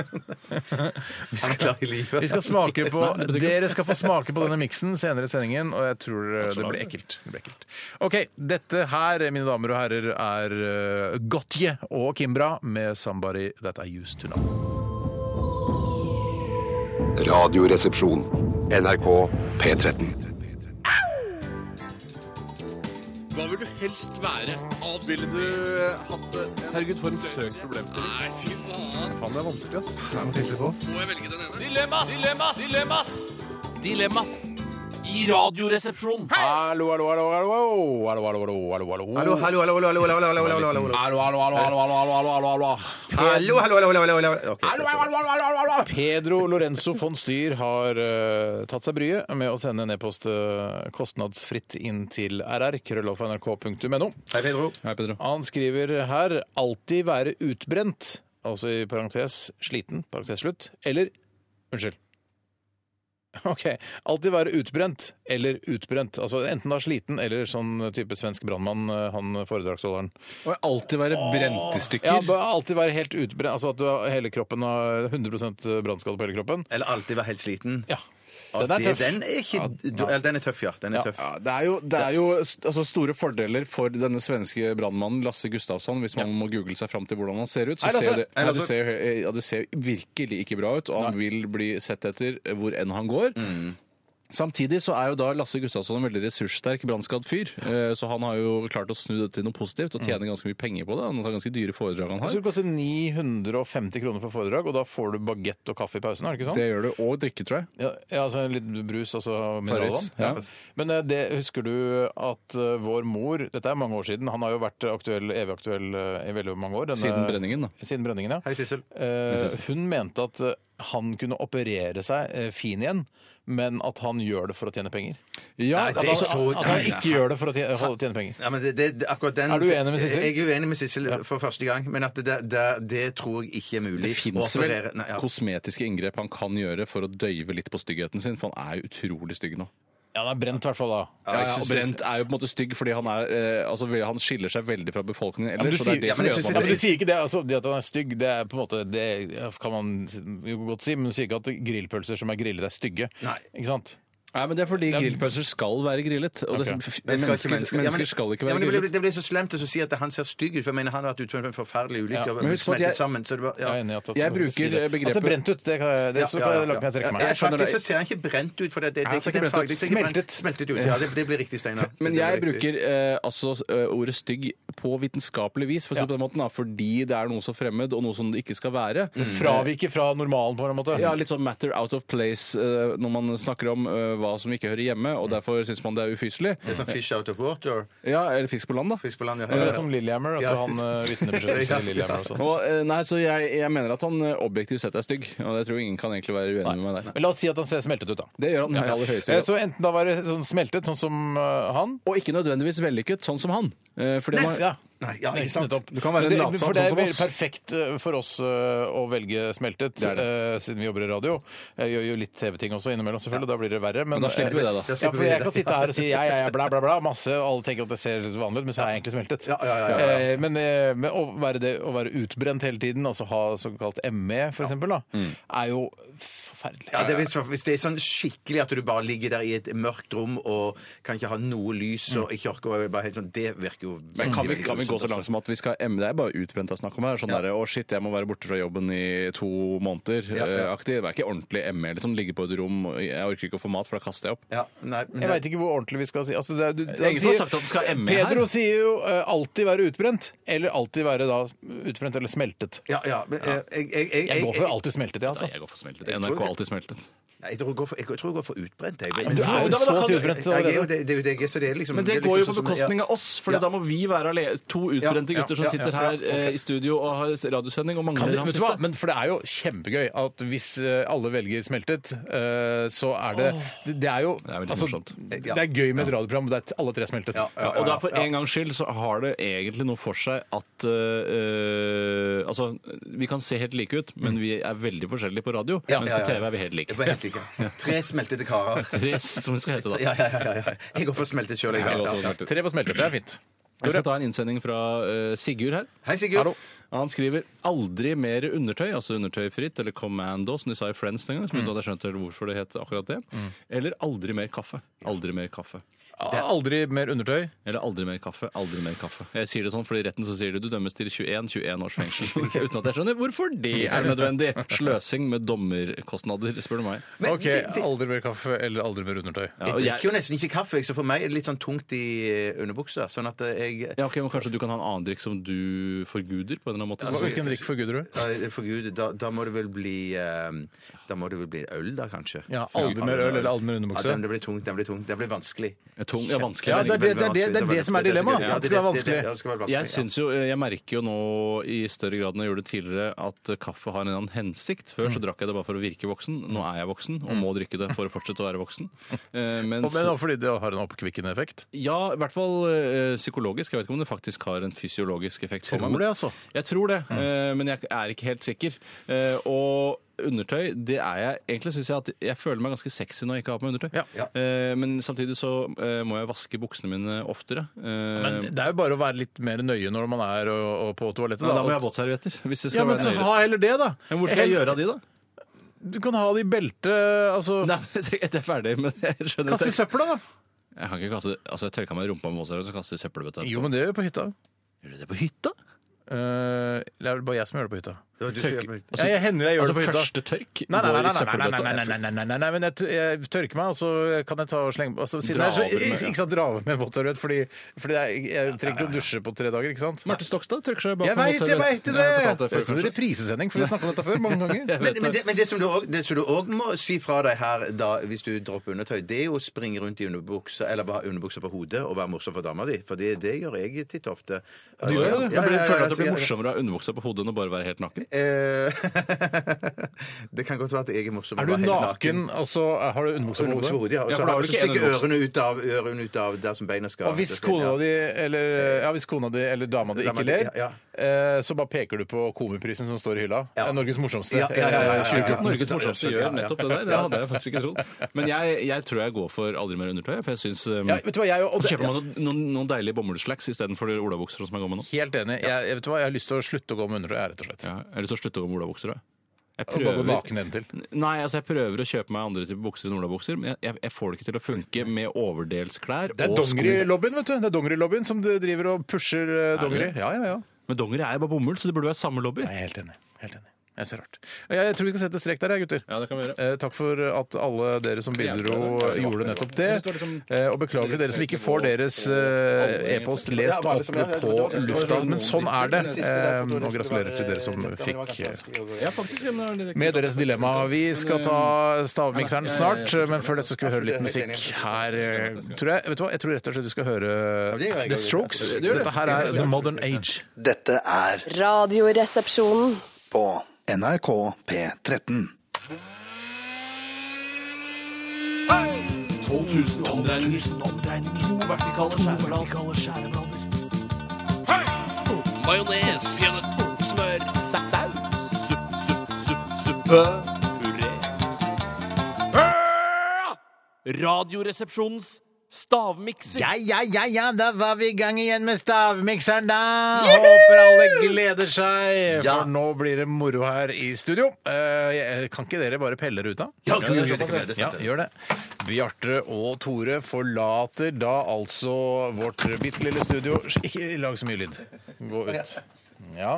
[SPEAKER 6] Vi skal klare livet.
[SPEAKER 5] Vi skal smake på,
[SPEAKER 7] Nei, det betyr ikke-
[SPEAKER 5] Dere skal få smake på denne miksen senere i sendingen, og jeg tror eh, det
[SPEAKER 7] Absolutt.
[SPEAKER 5] blir ekkelt. Det blir ekkelt. OK. Dette her, mine damer og herrer, er eh, Gotye og Kimbra med 'Somebody That I Used To Know'.
[SPEAKER 1] Radioresepsjon. NRK P13.
[SPEAKER 7] Hva vil du helst være? Ville du eh, hatt det? Herregud, for en søk problemstilling. Nei, fy faen. Faen, det er vanskelig, ass. Må jeg velge den ene? Dilemmas! Dilemmas! Dilemmas! Dilemmas! I radioresepsjonen.
[SPEAKER 5] Hallo, hallo, hallo, hallo, hallo, hallo, hallo, hallo,
[SPEAKER 6] Hallo, hallo, hallo, hallo, hallo, hallo, hallo, hallo, hallo, hallo, hallo.
[SPEAKER 5] Hallo, hallo, hallo, hallo, hallo, hallo, hallo, hallo.
[SPEAKER 6] Hallo, hallo, hallo, hallo, hallo, hallo. Ok, det er sånn. så bra.
[SPEAKER 5] Pedro Lorenzo von Styr har eh, tatt seg bryet med å sende en e-post eh, kostnadsfritt inn til rr. krøllalfa.nrk.no.
[SPEAKER 6] Hei, Pedro.
[SPEAKER 7] Hei, Pedro.
[SPEAKER 5] Han skriver her 'alltid være utbrent', altså i parentes sliten, parentes slutt, eller Unnskyld. OK. Alltid være utbrent eller utbrent. Altså enten da sliten eller sånn type svensk brannmann, eh, han foredragsholderen.
[SPEAKER 7] Og alltid være brent i stykker.
[SPEAKER 5] Ja, bare alltid være helt utbrent, altså at du har hele kroppen har 100 brannskade på hele kroppen.
[SPEAKER 6] Eller alltid være helt sliten.
[SPEAKER 5] Ja.
[SPEAKER 6] Den
[SPEAKER 7] Den er
[SPEAKER 6] er,
[SPEAKER 7] tøff.
[SPEAKER 6] den er, ikke,
[SPEAKER 7] Ja,
[SPEAKER 6] du- eller den er tøff, ja. Den er
[SPEAKER 7] Ja,
[SPEAKER 6] tøff.
[SPEAKER 7] ja, det er jo, det er jo st- altså, store fordeler for denne svenske brannmannen Lasse Gustafsson, hvis man må google seg fram til hvordan han ser ut. Så
[SPEAKER 5] Hei, Lasse.
[SPEAKER 7] ser det,
[SPEAKER 5] Hei,
[SPEAKER 7] ja,
[SPEAKER 5] Lasse.
[SPEAKER 7] det, ser, jo- ja, det ser jo virkelig ikke bra ut, og han vil bli sett etter hvor enn han går. Samtidig så er jo da Lasse Gustafsson en veldig ressurssterk, brannskadd fyr. eh, Så han har jo klart å snu det til noe positivt og tjener ganske mye penger på det. Han tar ganske dyre foredrag han
[SPEAKER 5] Det
[SPEAKER 7] har.
[SPEAKER 5] skulle koste 950 kroner for foredrag, og da får du bagett og kaffe i pausen, er det ikke sånn?
[SPEAKER 7] Det gjør det. Og drikke, tror jeg.
[SPEAKER 5] Ja, ja, altså litt brus, altså mineralvann.
[SPEAKER 7] Farris,
[SPEAKER 5] Ja.
[SPEAKER 7] ja.
[SPEAKER 5] Men eh, det, husker du at eh, vår mor Dette er mange år siden. Han har jo vært aktuell, evig aktuell eh, i veldig mange år. denne-
[SPEAKER 7] Siden brenningen, da.
[SPEAKER 5] Siden brenningen, ja.
[SPEAKER 6] Hei, Sissel.
[SPEAKER 5] Eh, hun mente at eh, han kunne operere seg eh, fin igjen, men at han gjør det for å tjene penger.
[SPEAKER 7] Ja, altså,
[SPEAKER 5] At,
[SPEAKER 6] Nei, det er
[SPEAKER 5] han-
[SPEAKER 6] ikke så-
[SPEAKER 5] at
[SPEAKER 6] Nei,
[SPEAKER 5] han ikke gjør det for å tjene, holde- tjene penger.
[SPEAKER 6] Ja, men det, det, det- akkurat den,
[SPEAKER 5] Er du uenig med Sissel?
[SPEAKER 6] Jeg er uenig med Sissel for første gang, men at det, det, det tror jeg ikke er mulig.
[SPEAKER 7] Det fins vel
[SPEAKER 6] operere- Nei, ja.
[SPEAKER 7] kosmetiske inngrep han kan gjøre for å døyve litt på styggheten sin, for han er jo utrolig stygg nå.
[SPEAKER 5] Ja, han er brent i hvert fall da.
[SPEAKER 7] Ja,
[SPEAKER 6] jeg
[SPEAKER 7] og
[SPEAKER 6] synes det-
[SPEAKER 7] Brent er jo på en måte stygg fordi han, er, eh, altså, han skiller seg veldig fra befolkningen
[SPEAKER 5] Men
[SPEAKER 7] ellers.
[SPEAKER 5] du,
[SPEAKER 7] så det
[SPEAKER 5] sier,
[SPEAKER 7] er det
[SPEAKER 5] ja,
[SPEAKER 7] som
[SPEAKER 5] men,
[SPEAKER 6] jeg
[SPEAKER 7] gjør
[SPEAKER 6] synes
[SPEAKER 7] at man-
[SPEAKER 5] ja,
[SPEAKER 6] det-
[SPEAKER 5] men du sier ikke det, altså, det at han er stygg, det er på en måte Det kan man jo godt si, men du sier ikke at grillpølser som er grillet, er stygge.
[SPEAKER 6] Nei.
[SPEAKER 5] Ikke sant?
[SPEAKER 7] Nei, men Det er fordi
[SPEAKER 5] er-
[SPEAKER 7] grillpølser skal være grillet. Og det,
[SPEAKER 5] Ok.
[SPEAKER 7] f-
[SPEAKER 6] Men skal ikke mennesker- Ja,
[SPEAKER 7] mennesker,
[SPEAKER 6] men-
[SPEAKER 7] mennesker skal ikke
[SPEAKER 6] ja,
[SPEAKER 7] være
[SPEAKER 6] men det, blir,
[SPEAKER 7] grillet.
[SPEAKER 6] det blir så slemt å si at han ser stygg ut, for jeg mener han har vært ute for en forferdelig ulykke.
[SPEAKER 5] Ja,
[SPEAKER 6] og
[SPEAKER 7] men husk på
[SPEAKER 6] smeltet
[SPEAKER 7] at jeg-
[SPEAKER 6] sammen, så det var, ja.
[SPEAKER 5] Jeg er enig i at altså,
[SPEAKER 7] Jeg
[SPEAKER 5] man kan
[SPEAKER 7] bruker
[SPEAKER 5] det.
[SPEAKER 7] begrepet-
[SPEAKER 5] Altså brent ut, det, kan, jeg- det
[SPEAKER 6] Ja,
[SPEAKER 5] så
[SPEAKER 6] ja,
[SPEAKER 5] kan
[SPEAKER 6] ja,
[SPEAKER 5] jeg lage meg
[SPEAKER 6] ja.
[SPEAKER 5] strekke meg.
[SPEAKER 6] Ja,
[SPEAKER 5] Jeg skjønner det.
[SPEAKER 6] Faktisk så ser han ikke brent ut, for det, det, det,
[SPEAKER 7] Nei,
[SPEAKER 6] er
[SPEAKER 7] han ser
[SPEAKER 6] ikke den
[SPEAKER 7] ikke brent ut.
[SPEAKER 6] fargen. Det er ikke brent-
[SPEAKER 5] Smeltet.
[SPEAKER 6] Smeltet ut. Ja, det, det blir riktig, Steinar. Det
[SPEAKER 7] Men
[SPEAKER 6] blir
[SPEAKER 7] jeg
[SPEAKER 6] riktig.
[SPEAKER 7] bruker eh, altså eh, ordet stygg på vitenskapelig vis, for å si det på den måten, da, fordi det er noe så fremmed, og noe som det ikke skal være.
[SPEAKER 6] Mm.
[SPEAKER 5] Fravike fra normalen, på en måte.
[SPEAKER 7] Ja, litt sånn matter out of place eh, når man snakker om eh, hva som ikke hører hjemme, og derfor syns man det er ufyselig.
[SPEAKER 6] Mm. Det er sånn fish out of water.
[SPEAKER 7] Ja, eller fisk på land, da.
[SPEAKER 6] Fisk på land, ja.
[SPEAKER 5] Det
[SPEAKER 7] sånn
[SPEAKER 5] er som Lillehammer, at
[SPEAKER 6] Ja.
[SPEAKER 5] han eh, vitnebeskyttelse i Lillehammer og sånn.
[SPEAKER 7] Og, eh, nei, så jeg, jeg mener at han eh, objektivt sett er stygg, og jeg tror ingen kan egentlig være uenig med meg der.
[SPEAKER 5] Men la oss si at han ser smeltet ut, da.
[SPEAKER 7] Det gjør han i aller høyeste
[SPEAKER 5] Eh,
[SPEAKER 7] grad.
[SPEAKER 5] Så enten da være sånn smeltet, sånn som eh, han.
[SPEAKER 7] Og ikke nødvendigvis vellykket, sånn som han. Eh, Fordi han har-
[SPEAKER 5] Ja.
[SPEAKER 6] Nei, ja, ikke sant.
[SPEAKER 5] Nettopp.
[SPEAKER 7] Du kan være en
[SPEAKER 5] Det-
[SPEAKER 7] latsabb
[SPEAKER 5] For det
[SPEAKER 7] sånn
[SPEAKER 5] er
[SPEAKER 7] som
[SPEAKER 5] veldig
[SPEAKER 7] oss.
[SPEAKER 5] perfekt eh, for oss eh, å velge smeltet,
[SPEAKER 7] er det.
[SPEAKER 5] eh, siden vi jobber i radio. Jeg gjør jo litt TV-ting også innimellom, selvfølgelig, da blir det verre. Men, eh,
[SPEAKER 7] Men da slipper vi det, da.
[SPEAKER 5] Ja, for jeg kan sitte her og si ja, ja, ja, bla, bla, bla, masse, og alle tenker at det ser litt vanlig ut, men så er jeg egentlig smeltet.
[SPEAKER 6] Ja, ja, ja, ja, ja.
[SPEAKER 5] Eh, Men, eh, men å, være det, å være utbrent hele tiden, altså ha såkalt ME, for eksempel, da,
[SPEAKER 7] Mm.
[SPEAKER 5] er jo forferdelig.
[SPEAKER 6] Ja, det er hvis, hvis det er sånn skikkelig at du bare ligger der i et mørkt rom og kan ikke ha noe lys og ikke orker å bare helt sånn, Det virker jo veldig,
[SPEAKER 7] Mm. Men kan vi,
[SPEAKER 6] veldig sånn
[SPEAKER 7] kan vi gå så
[SPEAKER 6] grusomt,
[SPEAKER 7] langt som at vi skal emme? Det er bare utbrent det er snakk om her. Sånn der, 'Å, shit, jeg må være borte fra jobben i to
[SPEAKER 6] Ja, ja.
[SPEAKER 7] måneder'-aktig. Det er ikke ordentlig emme. Liksom ligge på et rom, og jeg orker ikke å få mat, for da kaster jeg opp.
[SPEAKER 6] altså. Ja, nei,
[SPEAKER 5] Jeg
[SPEAKER 6] men det-
[SPEAKER 5] veit ikke hvor ordentlig vi skal si altså, det er, du,
[SPEAKER 7] er ingen som har sagt at du skal ha ME her.
[SPEAKER 5] Pedro sier jo eh, alltid være utbrent, eller alltid være da utbrent eller smeltet.
[SPEAKER 6] Ja, ja, men, eh, jeg, jeg, jeg,
[SPEAKER 5] Jeg går for
[SPEAKER 6] jeg-
[SPEAKER 5] alltid smeltet, jeg,
[SPEAKER 7] Nei,
[SPEAKER 5] altså.
[SPEAKER 7] jeg går for smeltet.
[SPEAKER 6] Jeg
[SPEAKER 7] NRK
[SPEAKER 6] tror-
[SPEAKER 7] er alltid smeltet.
[SPEAKER 6] Nei, Jeg tror jeg går for, jeg tror jeg går for utbrent. Jeg.
[SPEAKER 5] men du er jo
[SPEAKER 6] Ja, men da
[SPEAKER 5] så
[SPEAKER 6] kan du-
[SPEAKER 5] utbrent
[SPEAKER 6] Ja, jeg er jo
[SPEAKER 5] allerede.
[SPEAKER 6] det, det er jo det jeg er, så det er liksom
[SPEAKER 7] Men det
[SPEAKER 6] er
[SPEAKER 7] går jo
[SPEAKER 6] liksom sånn
[SPEAKER 7] på
[SPEAKER 6] som-
[SPEAKER 7] bekostning
[SPEAKER 6] ja.
[SPEAKER 7] av oss, for da må vi være ale- to utbrente
[SPEAKER 6] Ja, ja,
[SPEAKER 7] gutter som
[SPEAKER 6] ja,
[SPEAKER 7] sitter
[SPEAKER 6] ja,
[SPEAKER 7] her
[SPEAKER 6] ja,
[SPEAKER 7] eh, i studio og har radiosending
[SPEAKER 5] Kan
[SPEAKER 7] og mangler
[SPEAKER 5] det,
[SPEAKER 7] han
[SPEAKER 5] vet du hva?
[SPEAKER 7] siste.
[SPEAKER 5] Men for det er jo kjempegøy at hvis eh, alle velger smeltet, eh, så er det Det det er jo altså,
[SPEAKER 7] er veldig morsomt.
[SPEAKER 5] Det er gøy med et radioprogram der t- alle tre er smeltet.
[SPEAKER 6] Ja, ja, Altså, eh, ja,
[SPEAKER 7] Og da
[SPEAKER 6] ja.
[SPEAKER 7] for en gangs skyld så har det egentlig noe for seg at eh, Altså, vi kan se helt like ut, men vi er veldig forskjellige på radio.
[SPEAKER 6] Mm. Ja,
[SPEAKER 7] mens
[SPEAKER 6] ja, ja.
[SPEAKER 7] på TV er vi helt
[SPEAKER 6] Jeg
[SPEAKER 7] like.
[SPEAKER 6] bare helt ikke. Tre smeltede karer.
[SPEAKER 7] Tre, som det skal hete, da.
[SPEAKER 6] Ja, ja, ja, ja. Jeg går for smeltet sjøl, jeg.
[SPEAKER 7] Jeg
[SPEAKER 6] da.
[SPEAKER 7] går også
[SPEAKER 6] Ja, ja.
[SPEAKER 7] smeltet.
[SPEAKER 5] Tre på smeltet, det er fint.
[SPEAKER 7] Jeg skal ta en innsending fra eh, Sigurd her.
[SPEAKER 6] Hei, Sigurd.
[SPEAKER 7] Hallo. Han skriver 'aldri mer undertøy', altså undertøyfritt, eller 'commando', som de sa i Friends den gangen. Som mm. hadde skjønt hvorfor det het akkurat det. Eller 'aldri mer kaffe'. Aldri mer kaffe.
[SPEAKER 5] Aldri mer undertøy.
[SPEAKER 7] Eller 'aldri mer kaffe', 'aldri mer kaffe'. Jeg sier det sånn, for i retten så sier de 'du dømmes til 21 21 års fengsel'. Uten at jeg skjønner hvorfor det er nødvendig. Sløsing med dommerkostnader, spør du meg.
[SPEAKER 6] Men
[SPEAKER 5] OK,
[SPEAKER 6] det- det-
[SPEAKER 5] aldri mer kaffe eller aldri mer undertøy.
[SPEAKER 7] Ja,
[SPEAKER 6] Jeg
[SPEAKER 7] og
[SPEAKER 6] drikker jo
[SPEAKER 7] jeg,
[SPEAKER 6] nesten ikke kaffe, jeg, så for meg er det litt sånn tungt i eh, underbuksa. Sånn at eh, jeg
[SPEAKER 7] ja, ok, men Kanskje du kan ha en annen drikk som du forguder? på en eller annen måte?
[SPEAKER 5] Hvilken drikk forguder du?
[SPEAKER 6] Nei, For Gud, da, da må det vel bli eh, Da må det vel bli øl, da, kanskje.
[SPEAKER 5] Ja, aldri mer øl eller aldri mer underbukse.
[SPEAKER 6] Ja, den, det blir tungt, den blir tungt. Det blir vanskelig.
[SPEAKER 7] Tung, ja, vanskelig.
[SPEAKER 5] Ja, det er det- det er det- det er det som er dilemmaet.
[SPEAKER 6] Ja,
[SPEAKER 5] Det skal være
[SPEAKER 6] det- det-
[SPEAKER 5] vanskelig.
[SPEAKER 6] det- ja, det skal være vanskelig,
[SPEAKER 7] Jeg synes jo, jeg merker jo nå i større grad enn jeg gjorde tidligere, at kaffe har en annen hensikt. Før
[SPEAKER 5] Mm.
[SPEAKER 7] så drakk jeg det bare for å virke voksen. Nå er jeg voksen og må drikke det for å fortsette å være voksen. Eh,
[SPEAKER 5] Og-
[SPEAKER 7] Mens,
[SPEAKER 5] Men også fordi det har en oppkvikkende effekt.
[SPEAKER 7] ja, i hvert fall eh, psykologisk. Jeg vet ikke om det faktisk har en fysiologisk effekt på
[SPEAKER 5] Tror
[SPEAKER 7] meg. men-
[SPEAKER 5] det, altså.
[SPEAKER 7] Jeg tror det, eh, men jeg er ikke helt sikker. Eh, Og undertøy, det er jeg Egentlig syns jeg at jeg føler meg ganske sexy når jeg ikke har på meg undertøy.
[SPEAKER 5] Ja.
[SPEAKER 6] Ja.
[SPEAKER 7] Eh, Men samtidig så eh, må jeg vaske buksene mine oftere. Eh,
[SPEAKER 5] Men det er jo bare å være litt mer nøye når man er og, og på toalettet.
[SPEAKER 7] Nei, da må
[SPEAKER 5] Og-
[SPEAKER 7] jeg ha våtservietter. Hvis det
[SPEAKER 5] ja,
[SPEAKER 7] skal
[SPEAKER 5] men
[SPEAKER 7] være
[SPEAKER 5] så
[SPEAKER 7] nøyere.
[SPEAKER 5] ha heller det, da.
[SPEAKER 7] Men hvor skal jeg gjøre av de, da?
[SPEAKER 5] Du kan ha det i beltet, altså
[SPEAKER 7] Nei, men jeg er ferdig, men jeg skjønner
[SPEAKER 5] Kast i
[SPEAKER 7] ikke.
[SPEAKER 5] søpla, da!
[SPEAKER 7] Jeg kan ikke kaste Altså, jeg tørka meg i rumpa med våtserviett, så kaster jeg i søppelbøtta.
[SPEAKER 5] Jo, men det gjør vi på hytta.
[SPEAKER 7] Gjør du det på hytta?
[SPEAKER 5] Eh, det er vel bare jeg som gjør det på hytta.
[SPEAKER 6] Det var du som gjorde det.
[SPEAKER 5] ja, jeg hender jeg gjør
[SPEAKER 7] Altså,
[SPEAKER 5] det på hytta.
[SPEAKER 7] første tørk
[SPEAKER 5] Nei, nei,
[SPEAKER 7] går
[SPEAKER 5] nei,
[SPEAKER 7] i
[SPEAKER 5] nei, nei, nei,
[SPEAKER 7] søppelbøtta.
[SPEAKER 5] nei, nei, nei, nei, nei, nei, nei, men jeg, t- jeg tørker meg, og så kan jeg ta og slenge altså, siden
[SPEAKER 7] Dra
[SPEAKER 5] jeg, er så,
[SPEAKER 7] over med,
[SPEAKER 5] ikke-
[SPEAKER 7] ja.
[SPEAKER 5] Ikke sant, dra over med våtserviett, fordi, fordi jeg, jeg trenger ikke å dusje på tre dager, ikke sant?
[SPEAKER 7] Marte Stokstad tørker seg bak
[SPEAKER 5] Jeg veit, jeg veit det!
[SPEAKER 7] Nei, jeg
[SPEAKER 5] Det
[SPEAKER 7] fortalte det før,
[SPEAKER 5] er som en
[SPEAKER 7] kanskje.
[SPEAKER 5] reprisesending, for vi har snakka om dette før mange ganger.
[SPEAKER 7] Jeg
[SPEAKER 6] Men,
[SPEAKER 7] vet
[SPEAKER 6] men,
[SPEAKER 7] det.
[SPEAKER 6] det, men det som du også- det som du òg må si fra deg her da, hvis du dropper undertøy, det er jo å springe rundt i underbuksa eller bare ha underbuksa på hodet og være morsom for dama di. For det, det gjør jeg titt og ofte.
[SPEAKER 5] Du gjør det?
[SPEAKER 7] Jeg blir- føler at det blir morsommere å ha underbuksa på hodet enn å bare være helt naken.
[SPEAKER 6] altså, Eh, det kan godt være at jeg er morsom. og
[SPEAKER 5] Er du
[SPEAKER 6] bare helt
[SPEAKER 5] naken, og så har du underbukse på
[SPEAKER 6] Underbuksa
[SPEAKER 5] hodet?
[SPEAKER 6] på hodet, ja. Og
[SPEAKER 7] Ja,
[SPEAKER 6] så
[SPEAKER 7] for da har
[SPEAKER 6] har
[SPEAKER 7] du
[SPEAKER 6] du
[SPEAKER 7] ikke
[SPEAKER 6] stikker
[SPEAKER 7] en underbukse.
[SPEAKER 6] ørene ut, av, ørene ut av der som beina skal.
[SPEAKER 5] Og hvis
[SPEAKER 6] det skal-
[SPEAKER 5] kona
[SPEAKER 6] ja. Eh.
[SPEAKER 5] di eller, ja, hvis kona di eller dama di
[SPEAKER 6] Dama
[SPEAKER 5] ikke
[SPEAKER 6] di,
[SPEAKER 5] ler,
[SPEAKER 6] ja,
[SPEAKER 5] eh, så bare peker du på Komiprisen som står i hylla. Det er Norges morsomste.
[SPEAKER 6] Ja, ja, ja, ja, ja, ja.
[SPEAKER 5] Eh, 2014.
[SPEAKER 7] Norges morsomste
[SPEAKER 6] Ja, ja,
[SPEAKER 7] gjør
[SPEAKER 6] ja.
[SPEAKER 7] nettopp det der. Det hadde jeg faktisk ikke trodd. Men jeg, jeg tror jeg går for aldri mer undertøy, for jeg syns um,
[SPEAKER 5] Ja, vet du hva, jeg og
[SPEAKER 7] Så kjøper man noen, noen, noen deilige bomullsslacks istedenfor de olabukser som jeg går med nå.
[SPEAKER 5] Helt enig. Jeg, jeg vet du hva, jeg har lyst til å slutte å gå med undertøy, jeg, rett og slett.
[SPEAKER 7] Ja, jeg har lyst til å slutte å gå med olabukser. jeg. Jeg
[SPEAKER 5] Og bare gå naken nedentil.
[SPEAKER 7] Nei, altså jeg prøver å kjøpe meg andre typer bukser enn olabukser, men jeg, jeg, jeg får det ikke til å funke med overdelsklær
[SPEAKER 5] Det er
[SPEAKER 7] og sko.
[SPEAKER 5] dongerilobbyen, vet du. Det er dongerilobbyen som driver og pusher eh, dongeri. Ja, ja, ja.
[SPEAKER 7] Men dongeri er jo bare bomull, så det burde være samme lobby.
[SPEAKER 5] Jeg er helt enig. Helt enig. Jeg ser rart. Jeg, jeg tror vi skal sette strek der, jeg, gutter.
[SPEAKER 7] Ja, det kan vi gjøre.
[SPEAKER 5] Eh, takk for at alle dere som bidro,
[SPEAKER 7] Ja, det var-
[SPEAKER 5] gjorde nettopp det.
[SPEAKER 7] Jeg synes det var liksom-
[SPEAKER 5] Eh, og beklager til dere som ikke får deres eh, e-post lest
[SPEAKER 6] Ja,
[SPEAKER 5] opp
[SPEAKER 6] bare som- ja, jeg-
[SPEAKER 5] på
[SPEAKER 6] jeg- jeg- jeg-
[SPEAKER 5] lufta.
[SPEAKER 6] jeg-
[SPEAKER 5] Men sånn er det.
[SPEAKER 6] Den siste der,
[SPEAKER 5] Eh,
[SPEAKER 6] jeg tror det
[SPEAKER 5] og gratulerer til dere som
[SPEAKER 6] skulle være-
[SPEAKER 5] fikk
[SPEAKER 6] det var
[SPEAKER 5] eh,
[SPEAKER 6] ganske vanskelig å gå
[SPEAKER 7] Ja, faktisk, ja, men det er-
[SPEAKER 5] med deres dilemma. Vi skal ta stavmikseren
[SPEAKER 7] Ja, ja, ja, ja, ja.
[SPEAKER 5] snart, men før det så skal vi høre litt musikk her. eh, Tror jeg, vet du hva? jeg tror rett og slett vi skal høre The Strokes. Dette her er The Modern Age.
[SPEAKER 3] Dette er
[SPEAKER 9] Radioresepsjonen.
[SPEAKER 3] på NRK P13.
[SPEAKER 7] 12 000 omdreininger. To vertikale skjæreblader. Majones. Smør. Saus. Supp, supp, supp, suppe. Puré. Radioresepsjonens stavmikser.
[SPEAKER 5] Ja, ja, ja, ja, da var vi i gang igjen med stavmikseren, da! Håper alle gleder seg, for nå blir det moro her i studio. Eh, jeg- kan ikke dere bare pelle ruta? Ja, ja, gjør det. Bjarte og Tore forlater da altså vårt bitte lille studio. Ikke lag så mye lyd. Gå ut. Ja.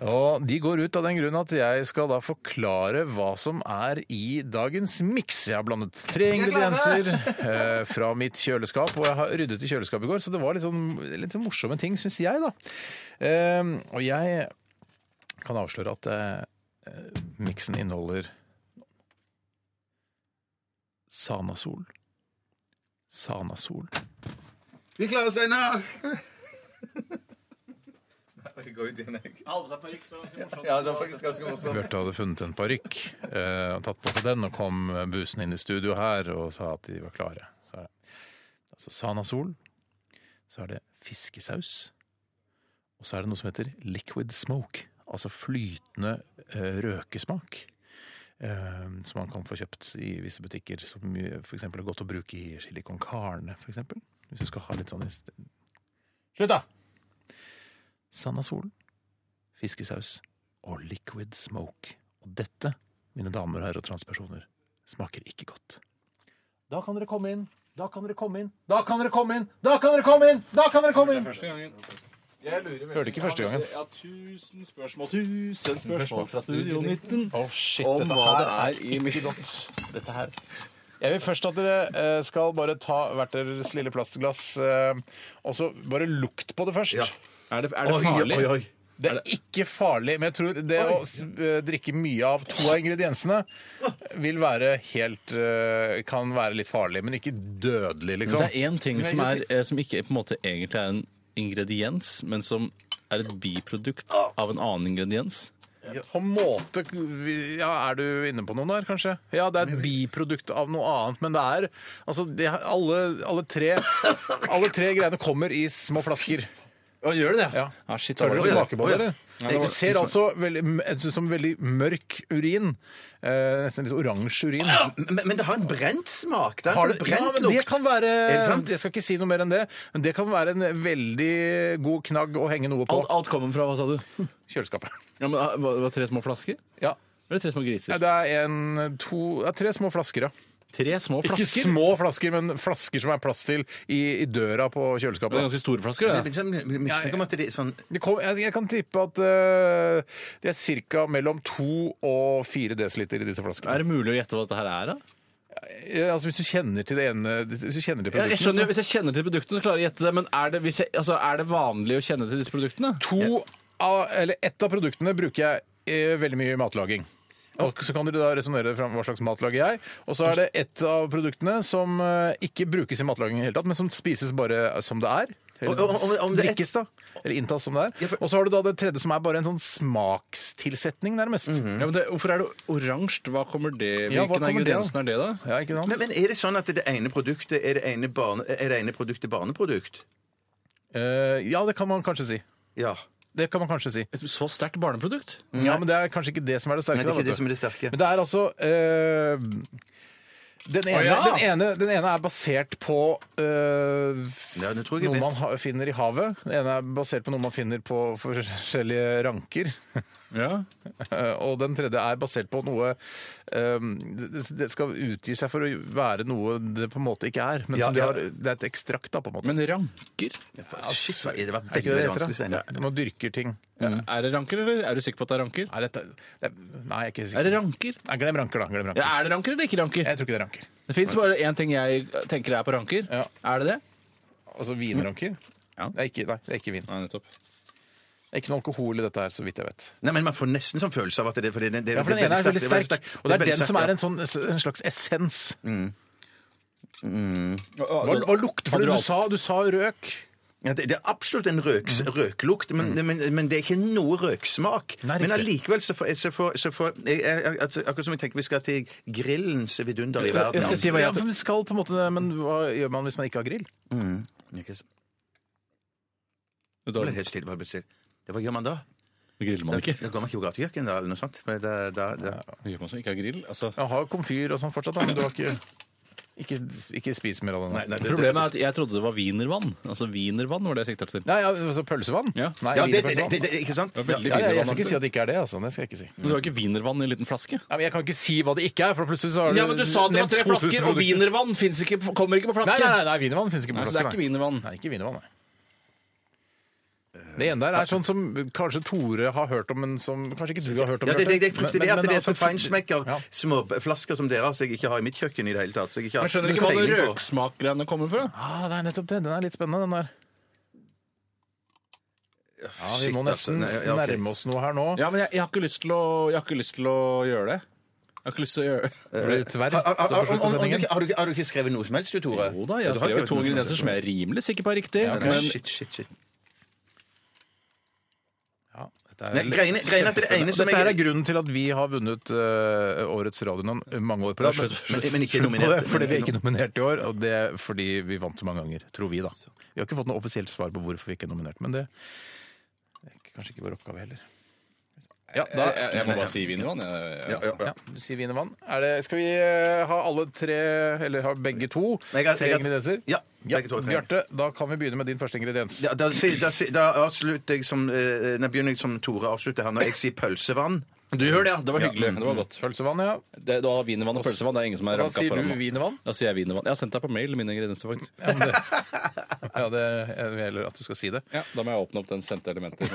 [SPEAKER 5] Og de går ut av den grunn at jeg skal da forklare hva som er i dagens miks. Jeg har blandet tre ingredienser eh, fra mitt kjøleskap, og jeg har ryddet i kjøleskapet i går, så det var litt, sånn, litt sånn morsomme ting, syns jeg, da. Eh, og jeg kan avsløre at eh, eh, miksen inneholder Sanasol. Sanasol.
[SPEAKER 6] Vi klarer Steinar! Jeg går ut igjen, jeg. Ja, det var faktisk ganske morsomt.
[SPEAKER 5] Bjarte hadde funnet en parykk eh, og tatt på seg den, og kom busen inn i studio her og sa at de var klare. Så er det altså Sanasol, så er det fiskesaus, og så er det noe som heter liquid smoke, altså flytende eh, røkesmak. eh, som man kan få kjøpt i visse butikker, som eh, for eksempel er godt å bruke i chili con carne. For eksempel, hvis du skal ha litt sånn i st- Slutt, da! Sanasol, fiskesaus og liquid smoke. Og dette, mine damer og herrer og transpersoner, smaker ikke godt. Da kan dere komme inn. Da kan dere komme inn. Da kan dere komme inn! Da kan dere komme inn! Da kan dere komme inn! Hørte ikke første gangen.
[SPEAKER 7] Ja, tusen spørsmål, tusen spørsmål fra Studio 19
[SPEAKER 5] Å, shit,
[SPEAKER 7] om
[SPEAKER 5] dette
[SPEAKER 7] hva
[SPEAKER 5] her
[SPEAKER 7] det er i mitt
[SPEAKER 5] Dette her. Jeg vil først at dere eh, skal bare ta hvert deres lille plastglass, eh, og så bare lukt på det først.
[SPEAKER 7] Er det, er det
[SPEAKER 6] Oi,
[SPEAKER 7] farlig?
[SPEAKER 6] oi, oi.
[SPEAKER 5] Det er ikke farlig, men jeg tror det å s- eh, drikke mye av to av ingrediensene vil være helt eh, Kan være litt farlig, men ikke dødelig,
[SPEAKER 7] Men
[SPEAKER 5] liksom.
[SPEAKER 7] det er én ting som, er, eh, som ikke på en måte egentlig er en ingrediens, men som er et biprodukt av en annen ingrediens.
[SPEAKER 5] På en måte ja, Er du inne på noe der, kanskje? Ja, det er et biprodukt av noe annet, men det er Altså, det, er- alle, alle tre Alle tre greiene kommer i små flasker.
[SPEAKER 7] Å, gjør det det? Ja.
[SPEAKER 5] Ja.
[SPEAKER 7] Ah, shit,
[SPEAKER 5] Tør dere å
[SPEAKER 7] det var- liksom-
[SPEAKER 5] smake på det? eller? Det ser altså veldig, jeg synes som veldig mørk urin. Eh, nesten litt oransje urin.
[SPEAKER 6] Men, men det har en brent smak. Det er
[SPEAKER 5] Har
[SPEAKER 6] en
[SPEAKER 5] det, Altså,
[SPEAKER 6] sånn
[SPEAKER 5] ja,
[SPEAKER 6] brent
[SPEAKER 5] men det
[SPEAKER 6] lukt.
[SPEAKER 5] kan være
[SPEAKER 6] det sant?
[SPEAKER 5] Jeg skal ikke si noe mer enn det, men det kan være en veldig god knagg å henge noe på
[SPEAKER 7] Alt, alt kommer fra hva, sa du?
[SPEAKER 5] kjøleskapet.
[SPEAKER 7] Ja, men, ah, hva, hva, tre små flasker?
[SPEAKER 5] Ja.
[SPEAKER 7] Eller tre små
[SPEAKER 5] Nei,
[SPEAKER 7] griser?
[SPEAKER 5] det er en, to, det er tre små flasker, ja.
[SPEAKER 7] Tre små
[SPEAKER 5] Ikke
[SPEAKER 7] flasker?
[SPEAKER 5] små flasker, men flasker som er plass til i, i døra på
[SPEAKER 7] Det er
[SPEAKER 5] kjøleskapet.
[SPEAKER 7] ganske store flasker,
[SPEAKER 6] Jeg
[SPEAKER 7] det.
[SPEAKER 6] liksom mistenker om at det er sånn
[SPEAKER 5] Det kom, jeg, jeg kan tippe at eh, det er ca. mellom to og fire desiliter i disse flaskene.
[SPEAKER 7] Er det mulig å gjette hva dette her er, da?
[SPEAKER 5] Eh, Altså, hvis du kjenner til det ene Hvis du kjenner til
[SPEAKER 7] Jeg,
[SPEAKER 5] produktene
[SPEAKER 7] jeg
[SPEAKER 5] så-
[SPEAKER 7] skjønner, jo, Hvis jeg kjenner til produktene, så klarer jeg å gjette det. Men er det, hvis jeg, altså, er det vanlig å kjenne til disse produktene?
[SPEAKER 5] To av, eller ett av produktene bruker jeg eh, veldig mye i matlaging. Og så kan dere da resonnere fram hva slags mat lager jeg. Og så er det ett av produktene som eh, ikke brukes i matlaging i hele tatt, men som spises bare som det er. Eller
[SPEAKER 6] Og- og- om- om det er ett-
[SPEAKER 5] drikkes, da. Eller inntas som det er. Og så har du da det tredje som er bare en sånn smakstilsetning, nærmest.
[SPEAKER 6] Mhm.
[SPEAKER 7] Ja, men det, hvorfor er det oransje? Mm. Hva kommer det?
[SPEAKER 5] Ja, hva
[SPEAKER 7] Hvilken av
[SPEAKER 5] kommer det av?
[SPEAKER 7] ingrediensene er det, da?
[SPEAKER 5] Ja, ikke sant?
[SPEAKER 6] men, men er det sånn at det ene produktet er det ene, barne, er det ene produktet barneprodukt?
[SPEAKER 5] Eh, ja, det kan man kanskje si.
[SPEAKER 6] Ja.
[SPEAKER 5] Det kan man kanskje si.
[SPEAKER 7] Et så sterkt barneprodukt?
[SPEAKER 5] Ja, men det er kanskje ikke det som er det sterke.
[SPEAKER 6] Nei, det
[SPEAKER 5] da,
[SPEAKER 6] er ikke
[SPEAKER 5] vet
[SPEAKER 6] det
[SPEAKER 5] du.
[SPEAKER 6] som er det sterke.
[SPEAKER 5] Men det er altså eh, den, ene,
[SPEAKER 7] ja!
[SPEAKER 5] den, ene, den ene er basert på eh,
[SPEAKER 6] Ja, det tror jeg
[SPEAKER 5] noe
[SPEAKER 6] jeg vet.
[SPEAKER 5] man ha, finner i havet. Den ene er basert på noe man finner på forskjellige ranker.
[SPEAKER 7] Ja.
[SPEAKER 5] Eh, Og den tredje er basert på noe eh, det, det skal utgi seg for å være noe det på en måte ikke er. Men
[SPEAKER 6] Ja,
[SPEAKER 5] som det,
[SPEAKER 6] ja.
[SPEAKER 5] har, det er et ekstrakt, da, på en måte.
[SPEAKER 7] Men ranker?
[SPEAKER 6] Shit, hva er det var
[SPEAKER 5] er ikke det
[SPEAKER 6] veldig, veldig
[SPEAKER 5] det heter?
[SPEAKER 6] vanskelig,
[SPEAKER 5] da?
[SPEAKER 6] Steinar.
[SPEAKER 5] Når man dyrker ting.
[SPEAKER 7] Mm. Er det ranker, eller er du sikker på at det er ranker?
[SPEAKER 5] Nei, dette, det, nei, jeg er ikke
[SPEAKER 7] Er det
[SPEAKER 5] sikker.
[SPEAKER 7] ranker?
[SPEAKER 5] Nei, glem ranker, da. Glem ranker.
[SPEAKER 7] Ja, er det ranker eller ikke ranker?
[SPEAKER 5] Jeg tror ikke det er ranker.
[SPEAKER 7] Det fins bare én ting jeg tenker er på ranker.
[SPEAKER 5] Ja.
[SPEAKER 7] Er det det?
[SPEAKER 5] Altså vinranker?
[SPEAKER 7] Ja.
[SPEAKER 5] Det er ikke, nei, det er ikke vin.
[SPEAKER 7] Nei, nettopp.
[SPEAKER 5] Det er ikke noe alkohol i dette her, så vidt jeg vet.
[SPEAKER 6] Nei, men Man får nesten sånn følelse av at det er fordi det, det,
[SPEAKER 5] Ja, for
[SPEAKER 6] det
[SPEAKER 5] den ene er veldig Mm. sterk, og det er den som er
[SPEAKER 6] ja.
[SPEAKER 5] en, sånn, en slags essens. Mm. Hva,
[SPEAKER 7] Hva-
[SPEAKER 5] hva lukter for
[SPEAKER 7] Hadde
[SPEAKER 5] det?
[SPEAKER 7] alt-
[SPEAKER 5] Du sa, du sa røk.
[SPEAKER 6] Ja, det, det er absolutt en røks,
[SPEAKER 7] Mm.
[SPEAKER 6] røklukt, men, det- men, men det er ikke noe røksmak.
[SPEAKER 5] Nei, riktig.
[SPEAKER 6] men allikevel så får, så får, så får jeg, jeg, jeg, altså, Akkurat som jeg tenker vi skal til grillens vidunder i verden.
[SPEAKER 7] Jeg skal si hva
[SPEAKER 5] Ja,
[SPEAKER 7] jeg
[SPEAKER 5] men, vi skal på en måte, men hva gjør man hvis man ikke har grill?
[SPEAKER 6] Ikke så- Det ble
[SPEAKER 7] Dårlig.
[SPEAKER 6] helt stille, bare plutselig. Ja, Hva gjør man da?
[SPEAKER 7] Griller
[SPEAKER 6] Da,
[SPEAKER 7] man ikke?
[SPEAKER 6] da går man ikke på gatekjøkken, da, eller noe sånt. Men Da, da, da.
[SPEAKER 7] Gjør man som ikke har grill? Altså,
[SPEAKER 5] Jeg har komfyr og sånn fortsatt, da, men du har ikke Ikke, ikke spis mer av det nå. Nei,
[SPEAKER 6] det-
[SPEAKER 7] problemet er at jeg trodde det var wienervann. Altså wienervann var det jeg sikta til.
[SPEAKER 5] ja, altså pølsevann?
[SPEAKER 7] Ja.
[SPEAKER 5] Nei,
[SPEAKER 6] Ja, det, det,
[SPEAKER 5] wienerpølsevann.
[SPEAKER 6] det, det, ikke sant?
[SPEAKER 7] Det var
[SPEAKER 5] ja,
[SPEAKER 7] veldig
[SPEAKER 5] ja, jeg
[SPEAKER 7] wienervann,
[SPEAKER 5] skal ikke
[SPEAKER 7] altså.
[SPEAKER 5] si at det ikke er det, altså. Det skal jeg ikke si.
[SPEAKER 7] Men du har ikke wienervann i en liten flaske?
[SPEAKER 5] Nei, men jeg kan ikke si hva det ikke er, for plutselig så har
[SPEAKER 7] Ja, men du sa det var
[SPEAKER 5] nevnt
[SPEAKER 7] tre
[SPEAKER 5] 2000
[SPEAKER 7] flasker, og
[SPEAKER 5] produkter.
[SPEAKER 7] wienervann finnes ikke, kommer ikke på
[SPEAKER 5] Nei,
[SPEAKER 7] flaske.
[SPEAKER 5] nei, nei, nei wienervann finnes ikke på
[SPEAKER 7] Nei, så
[SPEAKER 5] flaske.
[SPEAKER 7] det er ikke wienervann.
[SPEAKER 5] Nei, ikke wienervann, nei. Det ene der er sånn som kanskje Tore har hørt om, men som kanskje ikke du har hørt om.
[SPEAKER 6] Ja, det, det, det, jeg
[SPEAKER 5] Bjarte.
[SPEAKER 6] frykter det
[SPEAKER 5] Men-
[SPEAKER 6] at
[SPEAKER 5] men
[SPEAKER 6] det er
[SPEAKER 5] altså,
[SPEAKER 6] sånn feinschmecker
[SPEAKER 5] Ja.
[SPEAKER 6] små flasker som dere har, som jeg ikke har i mitt kjøkken i det hele tatt. Så jeg ikke har
[SPEAKER 7] Jeg skjønner ikke hva den
[SPEAKER 6] peiling på.
[SPEAKER 7] røksmakgreiene kommer fra.
[SPEAKER 5] Ah, det er nettopp det. Den er litt spennende, den der. Ja, vi
[SPEAKER 6] Shit,
[SPEAKER 5] må
[SPEAKER 6] altså.
[SPEAKER 5] nesten
[SPEAKER 6] Nei, ja, ok.
[SPEAKER 5] nærme oss noe her nå.
[SPEAKER 7] Ja, men jeg, jeg, har ikke lyst til å, jeg har ikke lyst til å gjøre det. Jeg har ikke lyst til å gjøre det.
[SPEAKER 5] Blir det tverr?
[SPEAKER 6] Har, har,
[SPEAKER 5] Så på
[SPEAKER 6] har,
[SPEAKER 5] slutten av
[SPEAKER 6] har, du
[SPEAKER 5] sendingen.
[SPEAKER 6] ikke- har, du ikke- har du ikke skrevet noe som helst, du, Tore?
[SPEAKER 7] Jo da, jeg
[SPEAKER 6] Ja,
[SPEAKER 7] har
[SPEAKER 6] du
[SPEAKER 7] skrevet to
[SPEAKER 6] noe som helst.
[SPEAKER 7] ingredienser som jeg er rimelig sikker på er riktig.
[SPEAKER 6] Ja,
[SPEAKER 7] men
[SPEAKER 6] Shit, shit, shit.
[SPEAKER 5] Ja, dette er
[SPEAKER 6] Nei,
[SPEAKER 5] litt
[SPEAKER 6] greiene- greiene er at det
[SPEAKER 5] kjempespennende.
[SPEAKER 6] ene som
[SPEAKER 5] Dette her
[SPEAKER 6] jeg-
[SPEAKER 5] er grunnen til at vi har vunnet eh, årets radionon mange år på rad.
[SPEAKER 7] Slutt,
[SPEAKER 6] Men, men ikke
[SPEAKER 5] Slutt på det,
[SPEAKER 6] nominert.
[SPEAKER 5] fordi vi er ikke nominert i år, og det er fordi vi vant så mange ganger, tror vi da. Vi har ikke fått noe offisielt svar på hvorfor vi ikke er nominert, men det det er kanskje ikke vår oppgave heller. Ja, da
[SPEAKER 7] jeg, jeg må bare si wienervann. jeg- jeg-
[SPEAKER 6] Ja, ja, ja.
[SPEAKER 5] ja, si wienervann. Er det- Skal vi eh, ha alle tre, eller ha begge to?
[SPEAKER 6] Nei, jeg har-
[SPEAKER 5] tre
[SPEAKER 6] jeg har-
[SPEAKER 5] ingredienser?
[SPEAKER 6] Ja,
[SPEAKER 5] ja.
[SPEAKER 6] begge to, tre.
[SPEAKER 5] Bjarte, da kan vi begynne med din første ingrediens.
[SPEAKER 6] Ja, da, si- da, si- da avslutter jeg som, eh, nei, begynner jeg som Tore avslutter her, når jeg sier pølsevann.
[SPEAKER 7] Du gjør det, ja. Det var hyggelig. Det var godt.
[SPEAKER 5] Pølsevann, ja.
[SPEAKER 7] Det, da har wienervann og pølsevann. Det er ingen som er
[SPEAKER 5] Da
[SPEAKER 7] ranka
[SPEAKER 5] sier
[SPEAKER 7] foran
[SPEAKER 5] du
[SPEAKER 7] nå.
[SPEAKER 5] wienervann.
[SPEAKER 7] Da sier jeg wienervann. Jeg har sendt deg på mail mine ingredienser, faktisk.
[SPEAKER 5] Ja, men det, ja, det jeg vil heller at du skal si det.
[SPEAKER 7] Ja, da må jeg åpne opp den sendte elementer.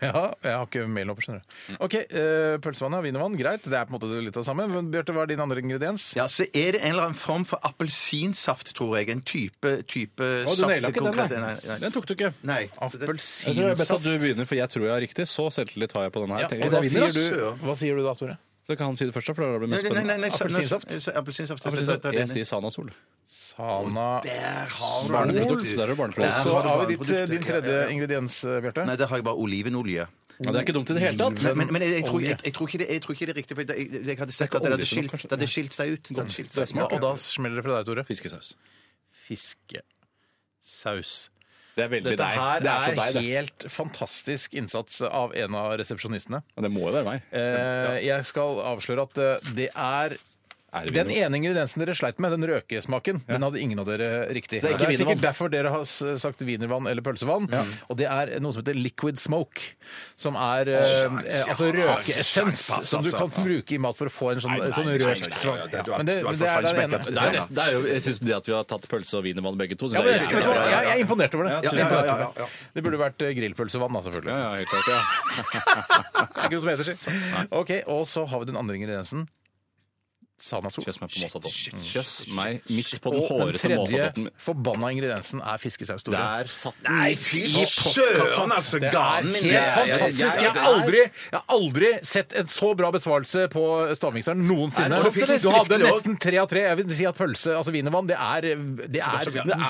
[SPEAKER 5] Ja, jeg har ikke mailen oppe, skjønner du. OK, eh, pølsevann og wienervann, greit. Det er på en måte litt av det samme. Men Bjarte, hva er din andre ingrediens?
[SPEAKER 6] Ja, så er det en eller annen form for appelsinsaft, tror jeg. En type, type
[SPEAKER 5] Å, du naila ikke den,
[SPEAKER 6] konkret-
[SPEAKER 5] nei.
[SPEAKER 6] nei, nei.
[SPEAKER 7] Den tok du ikke.
[SPEAKER 6] Nei. så det-
[SPEAKER 7] Jeg tror det er best at
[SPEAKER 5] Appelsinsaft.
[SPEAKER 7] du begynner, for jeg tror jeg har riktig. Så selvtillit har jeg på den her.
[SPEAKER 5] Ja,
[SPEAKER 7] Tenk at
[SPEAKER 5] og da
[SPEAKER 7] jeg
[SPEAKER 5] sier
[SPEAKER 7] vinner,
[SPEAKER 5] du,
[SPEAKER 7] da.
[SPEAKER 6] da.
[SPEAKER 5] hva sier du da, Tore?
[SPEAKER 7] Så kan han si det først, da, for da blir det mest
[SPEAKER 6] Nei, nei, nei,
[SPEAKER 7] spennende.
[SPEAKER 6] nei, sa-
[SPEAKER 5] Appelsinsaft?
[SPEAKER 6] nei, sa- Appelsinsaft.
[SPEAKER 7] Ja, for
[SPEAKER 6] så- da- da-
[SPEAKER 7] Jeg sier Sanasol.
[SPEAKER 5] Sana
[SPEAKER 6] Der har du barneprodukt.
[SPEAKER 7] Barneprodukt. Så der er
[SPEAKER 6] Der
[SPEAKER 7] det barneprodukt.
[SPEAKER 5] Så
[SPEAKER 6] har du
[SPEAKER 5] har vi ditt, eh,
[SPEAKER 6] barneproduktet.
[SPEAKER 5] din tredje
[SPEAKER 6] Ja, ja, ja.
[SPEAKER 5] ingrediens, eh, Bjarte.
[SPEAKER 6] Nei, der har jeg bare olivenolje.
[SPEAKER 7] Ja, det er ikke dumt i det hele tatt.
[SPEAKER 6] Men, men, men jeg, jeg, tror,
[SPEAKER 5] Olje.
[SPEAKER 6] jeg, jeg, tror ikke det, jeg tror ikke det er riktig, for jeg, jeg, jeg hadde sett at det
[SPEAKER 7] olje
[SPEAKER 6] hadde
[SPEAKER 7] til noe,
[SPEAKER 6] skilt,
[SPEAKER 7] kanskje?
[SPEAKER 6] det hadde skilt seg ut. Det hadde skilt seg
[SPEAKER 5] Ja,
[SPEAKER 6] ut.
[SPEAKER 5] og da smeller det fra deg, Tore.
[SPEAKER 7] Fiskesaus.
[SPEAKER 5] Fiskesaus.
[SPEAKER 7] Det er veldig
[SPEAKER 5] Dette
[SPEAKER 7] deg.
[SPEAKER 5] her
[SPEAKER 7] Det er
[SPEAKER 5] er
[SPEAKER 7] så deg, det.
[SPEAKER 5] helt fantastisk innsats av en av resepsjonistene.
[SPEAKER 7] Eh, Ja, Det må jo være meg.
[SPEAKER 5] Eh, jeg skal avsløre at eh, det er
[SPEAKER 7] Er det
[SPEAKER 5] Den
[SPEAKER 7] vin?
[SPEAKER 5] ene ingrediensen dere sleit med, den røkesmaken, den hadde ingen av dere riktig.
[SPEAKER 2] er ikke
[SPEAKER 5] det er
[SPEAKER 2] wienervann.
[SPEAKER 5] sikkert derfor dere har s- sagt wienervann eller pølsevann. Og det er noe som heter liquid smoke, som er eh, eh, altså røkeessens
[SPEAKER 6] pass,
[SPEAKER 5] som du
[SPEAKER 6] altså.
[SPEAKER 5] kan bruke i mat for å få en sånn,
[SPEAKER 7] Nei, nei,
[SPEAKER 5] sånn
[SPEAKER 7] nei, nei,
[SPEAKER 5] røkt
[SPEAKER 7] nei,
[SPEAKER 5] smak.
[SPEAKER 6] nei, du har-
[SPEAKER 5] Men det,
[SPEAKER 6] du har
[SPEAKER 5] det er den
[SPEAKER 6] forfalsket
[SPEAKER 5] ene.
[SPEAKER 6] det.
[SPEAKER 7] Det er, nesten- det er jo, jeg syns det at vi har tatt pølse og wienervann begge to,
[SPEAKER 5] Ja,
[SPEAKER 7] synes
[SPEAKER 5] men,
[SPEAKER 7] jeg
[SPEAKER 5] vet du
[SPEAKER 7] er
[SPEAKER 5] hva,
[SPEAKER 7] riktig.
[SPEAKER 5] jeg jeg er imponert over det.
[SPEAKER 6] Ja, ja, ja, ja, ja.
[SPEAKER 5] Det burde vært eh, grillpølsevann, da, selvfølgelig.
[SPEAKER 7] Ja, ja, helt klart, ja.
[SPEAKER 5] Det er ikke noe som heter, si. Ok, Og så har vi den andre ingrediensen. Sanasol.
[SPEAKER 7] Kjøss meg på sånn Måsatoppen. Kjøss meg midt på den
[SPEAKER 5] Og den
[SPEAKER 7] hårete Måsatoppen.
[SPEAKER 5] tredje forbanna ingrediensen er fiskesaus. Tore.
[SPEAKER 7] Der satt den
[SPEAKER 6] Nei,
[SPEAKER 7] midt
[SPEAKER 6] fy
[SPEAKER 7] i postkassa.
[SPEAKER 6] søren, altså!
[SPEAKER 5] Det er
[SPEAKER 6] Ganen min!
[SPEAKER 5] helt fantastisk. Jeg har aldri, jeg har aldri sett en så bra besvarelse på stavmikseren
[SPEAKER 7] Er
[SPEAKER 5] noensinne.
[SPEAKER 7] det sant, eller?
[SPEAKER 5] Du hadde
[SPEAKER 7] Skriftlig
[SPEAKER 5] nesten tre av tre. Jeg vil si at pølse, altså wienervann, det er Det er,
[SPEAKER 7] Det er jo altså, jeg
[SPEAKER 6] Ja, men da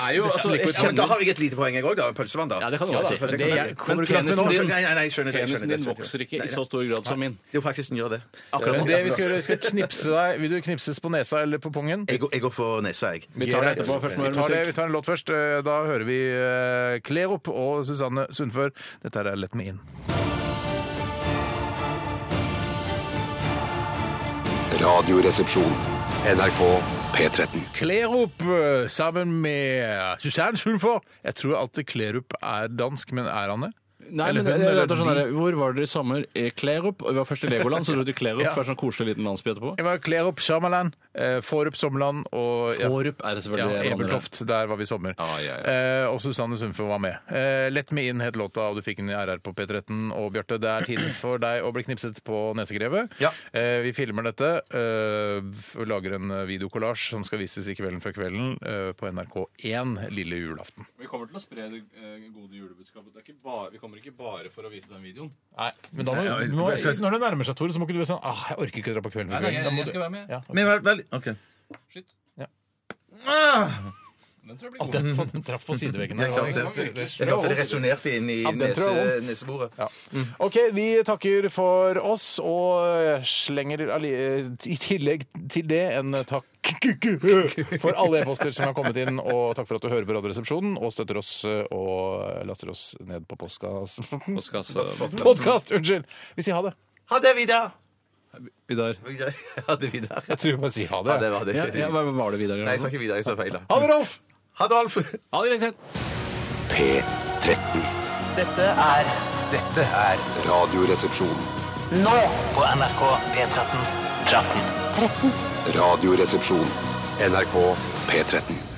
[SPEAKER 7] kjenner,
[SPEAKER 6] har jeg et lite poeng, jeg òg. Pølsevann, da.
[SPEAKER 7] Ja, det kan du godt si.
[SPEAKER 6] for
[SPEAKER 7] Men
[SPEAKER 6] kan
[SPEAKER 5] det-
[SPEAKER 6] jeg-
[SPEAKER 5] jeg kommer
[SPEAKER 7] men
[SPEAKER 5] ikke langt med
[SPEAKER 7] penisen
[SPEAKER 5] nå.
[SPEAKER 7] din,
[SPEAKER 6] Nei, nei, nei, jeg skjønner det, jeg skjønner det, jeg
[SPEAKER 7] penisen din
[SPEAKER 6] skjønner
[SPEAKER 7] vokser
[SPEAKER 6] det.
[SPEAKER 7] ikke
[SPEAKER 6] Nei,
[SPEAKER 7] i
[SPEAKER 6] nei.
[SPEAKER 7] så stor grad som min.
[SPEAKER 6] Jo, faktisk den gjør det.
[SPEAKER 7] Akkurat
[SPEAKER 5] Men det vi skal gjøre, vi skal knipse deg Vil du knipses på nesa eller på pungen?
[SPEAKER 6] Jeg, går- jeg går for nesa, jeg.
[SPEAKER 7] Vi tar det etterpå. Først må
[SPEAKER 5] Vi tar,
[SPEAKER 7] vi
[SPEAKER 5] det,
[SPEAKER 7] høre
[SPEAKER 5] vi
[SPEAKER 7] musikk.
[SPEAKER 5] tar en låt først. Eh, Da hører vi eh, Klerup og Susanne Sundfør. Dette her er Let me in.
[SPEAKER 1] Radioresepsjon. NRK P13.
[SPEAKER 5] Klerup eh, sammen med Susanne Sundfør. Jeg tror alltid Klerup er dansk, men er han det?
[SPEAKER 7] Nei,
[SPEAKER 5] Eller
[SPEAKER 7] men
[SPEAKER 5] hun,
[SPEAKER 7] det, det,
[SPEAKER 5] eller
[SPEAKER 7] er sånn
[SPEAKER 5] de.
[SPEAKER 7] der, Hvor var dere i sommer? I Klerup? Vi var først i Legoland, så dro vi til Klerup.
[SPEAKER 5] Ja.
[SPEAKER 7] Først en koselig liten landsby etterpå.
[SPEAKER 5] Jeg var Klerup Sjarmaland, Forup Sommerland og ja.
[SPEAKER 7] Hårup er det
[SPEAKER 5] Ja,
[SPEAKER 7] selvfølgelig. en annen.
[SPEAKER 5] Ebeltoft. Der var vi i sommer.
[SPEAKER 6] Ah,
[SPEAKER 7] Ja, ja,
[SPEAKER 5] Eh, og Susanne Sundfø var med. Eh, Let me in het låta, og du fikk den i RR på P13. Og Bjarte, det er tid for deg å bli knipset på nesegrevet.
[SPEAKER 6] Ja.
[SPEAKER 5] Eh, vi filmer dette eh, og lager en videokollasj som skal vises i Kvelden før kvelden eh, på NRK1 lille julaften.
[SPEAKER 7] Vi kommer til å spre det eh, gode julebudskapet. Det er ikke bare, vi kommer ikke bare for å vise den videoen.
[SPEAKER 5] Nei, men da må,
[SPEAKER 6] Nei,
[SPEAKER 5] du må,
[SPEAKER 6] jeg synes-
[SPEAKER 5] når det nærmer seg, Tore, så må ikke du være sånn ah, 'Jeg orker ikke å dra på Kvelden før kvelden'. Da må du-
[SPEAKER 7] være med.
[SPEAKER 5] Ja,
[SPEAKER 6] Men vel, vel OK.
[SPEAKER 7] Skyt.
[SPEAKER 5] Ja.
[SPEAKER 6] Ah,
[SPEAKER 7] Den tror jeg
[SPEAKER 5] At den, den traff på sideveggen der.
[SPEAKER 6] jeg klarte det, jeg klarte det resonnerte inn i
[SPEAKER 5] Ja, den tror jeg
[SPEAKER 6] nese, neseboret.
[SPEAKER 5] Ja. Mm. OK, vi takker for oss og eh, slenger alli- eh, i tillegg til det en takk for alle e-poster som har kommet inn, og takk for at du hører på Radioresepsjonen og støtter oss eh, og laster oss ned på postkassen. Podkast! Unnskyld! Vi sier ha det.
[SPEAKER 6] Ha det, Vidar!
[SPEAKER 7] Vidar.
[SPEAKER 6] Ha det, Vidar.
[SPEAKER 5] Jeg tror vi bare sier ha
[SPEAKER 6] Ja,
[SPEAKER 5] det.
[SPEAKER 6] det var det.
[SPEAKER 7] Ja, ja, hva hva var det, Vidar?
[SPEAKER 6] Nei, jeg sa ikke Vidar, jeg sa feil. da.
[SPEAKER 5] Ha det, Rolf!
[SPEAKER 6] Ha det, Alf!
[SPEAKER 7] Ha det greit.
[SPEAKER 1] P13.
[SPEAKER 2] Dette er
[SPEAKER 1] Dette er Radioresepsjon.
[SPEAKER 2] nå på NRK P13. 13.
[SPEAKER 1] Radioresepsjon. NRK P13.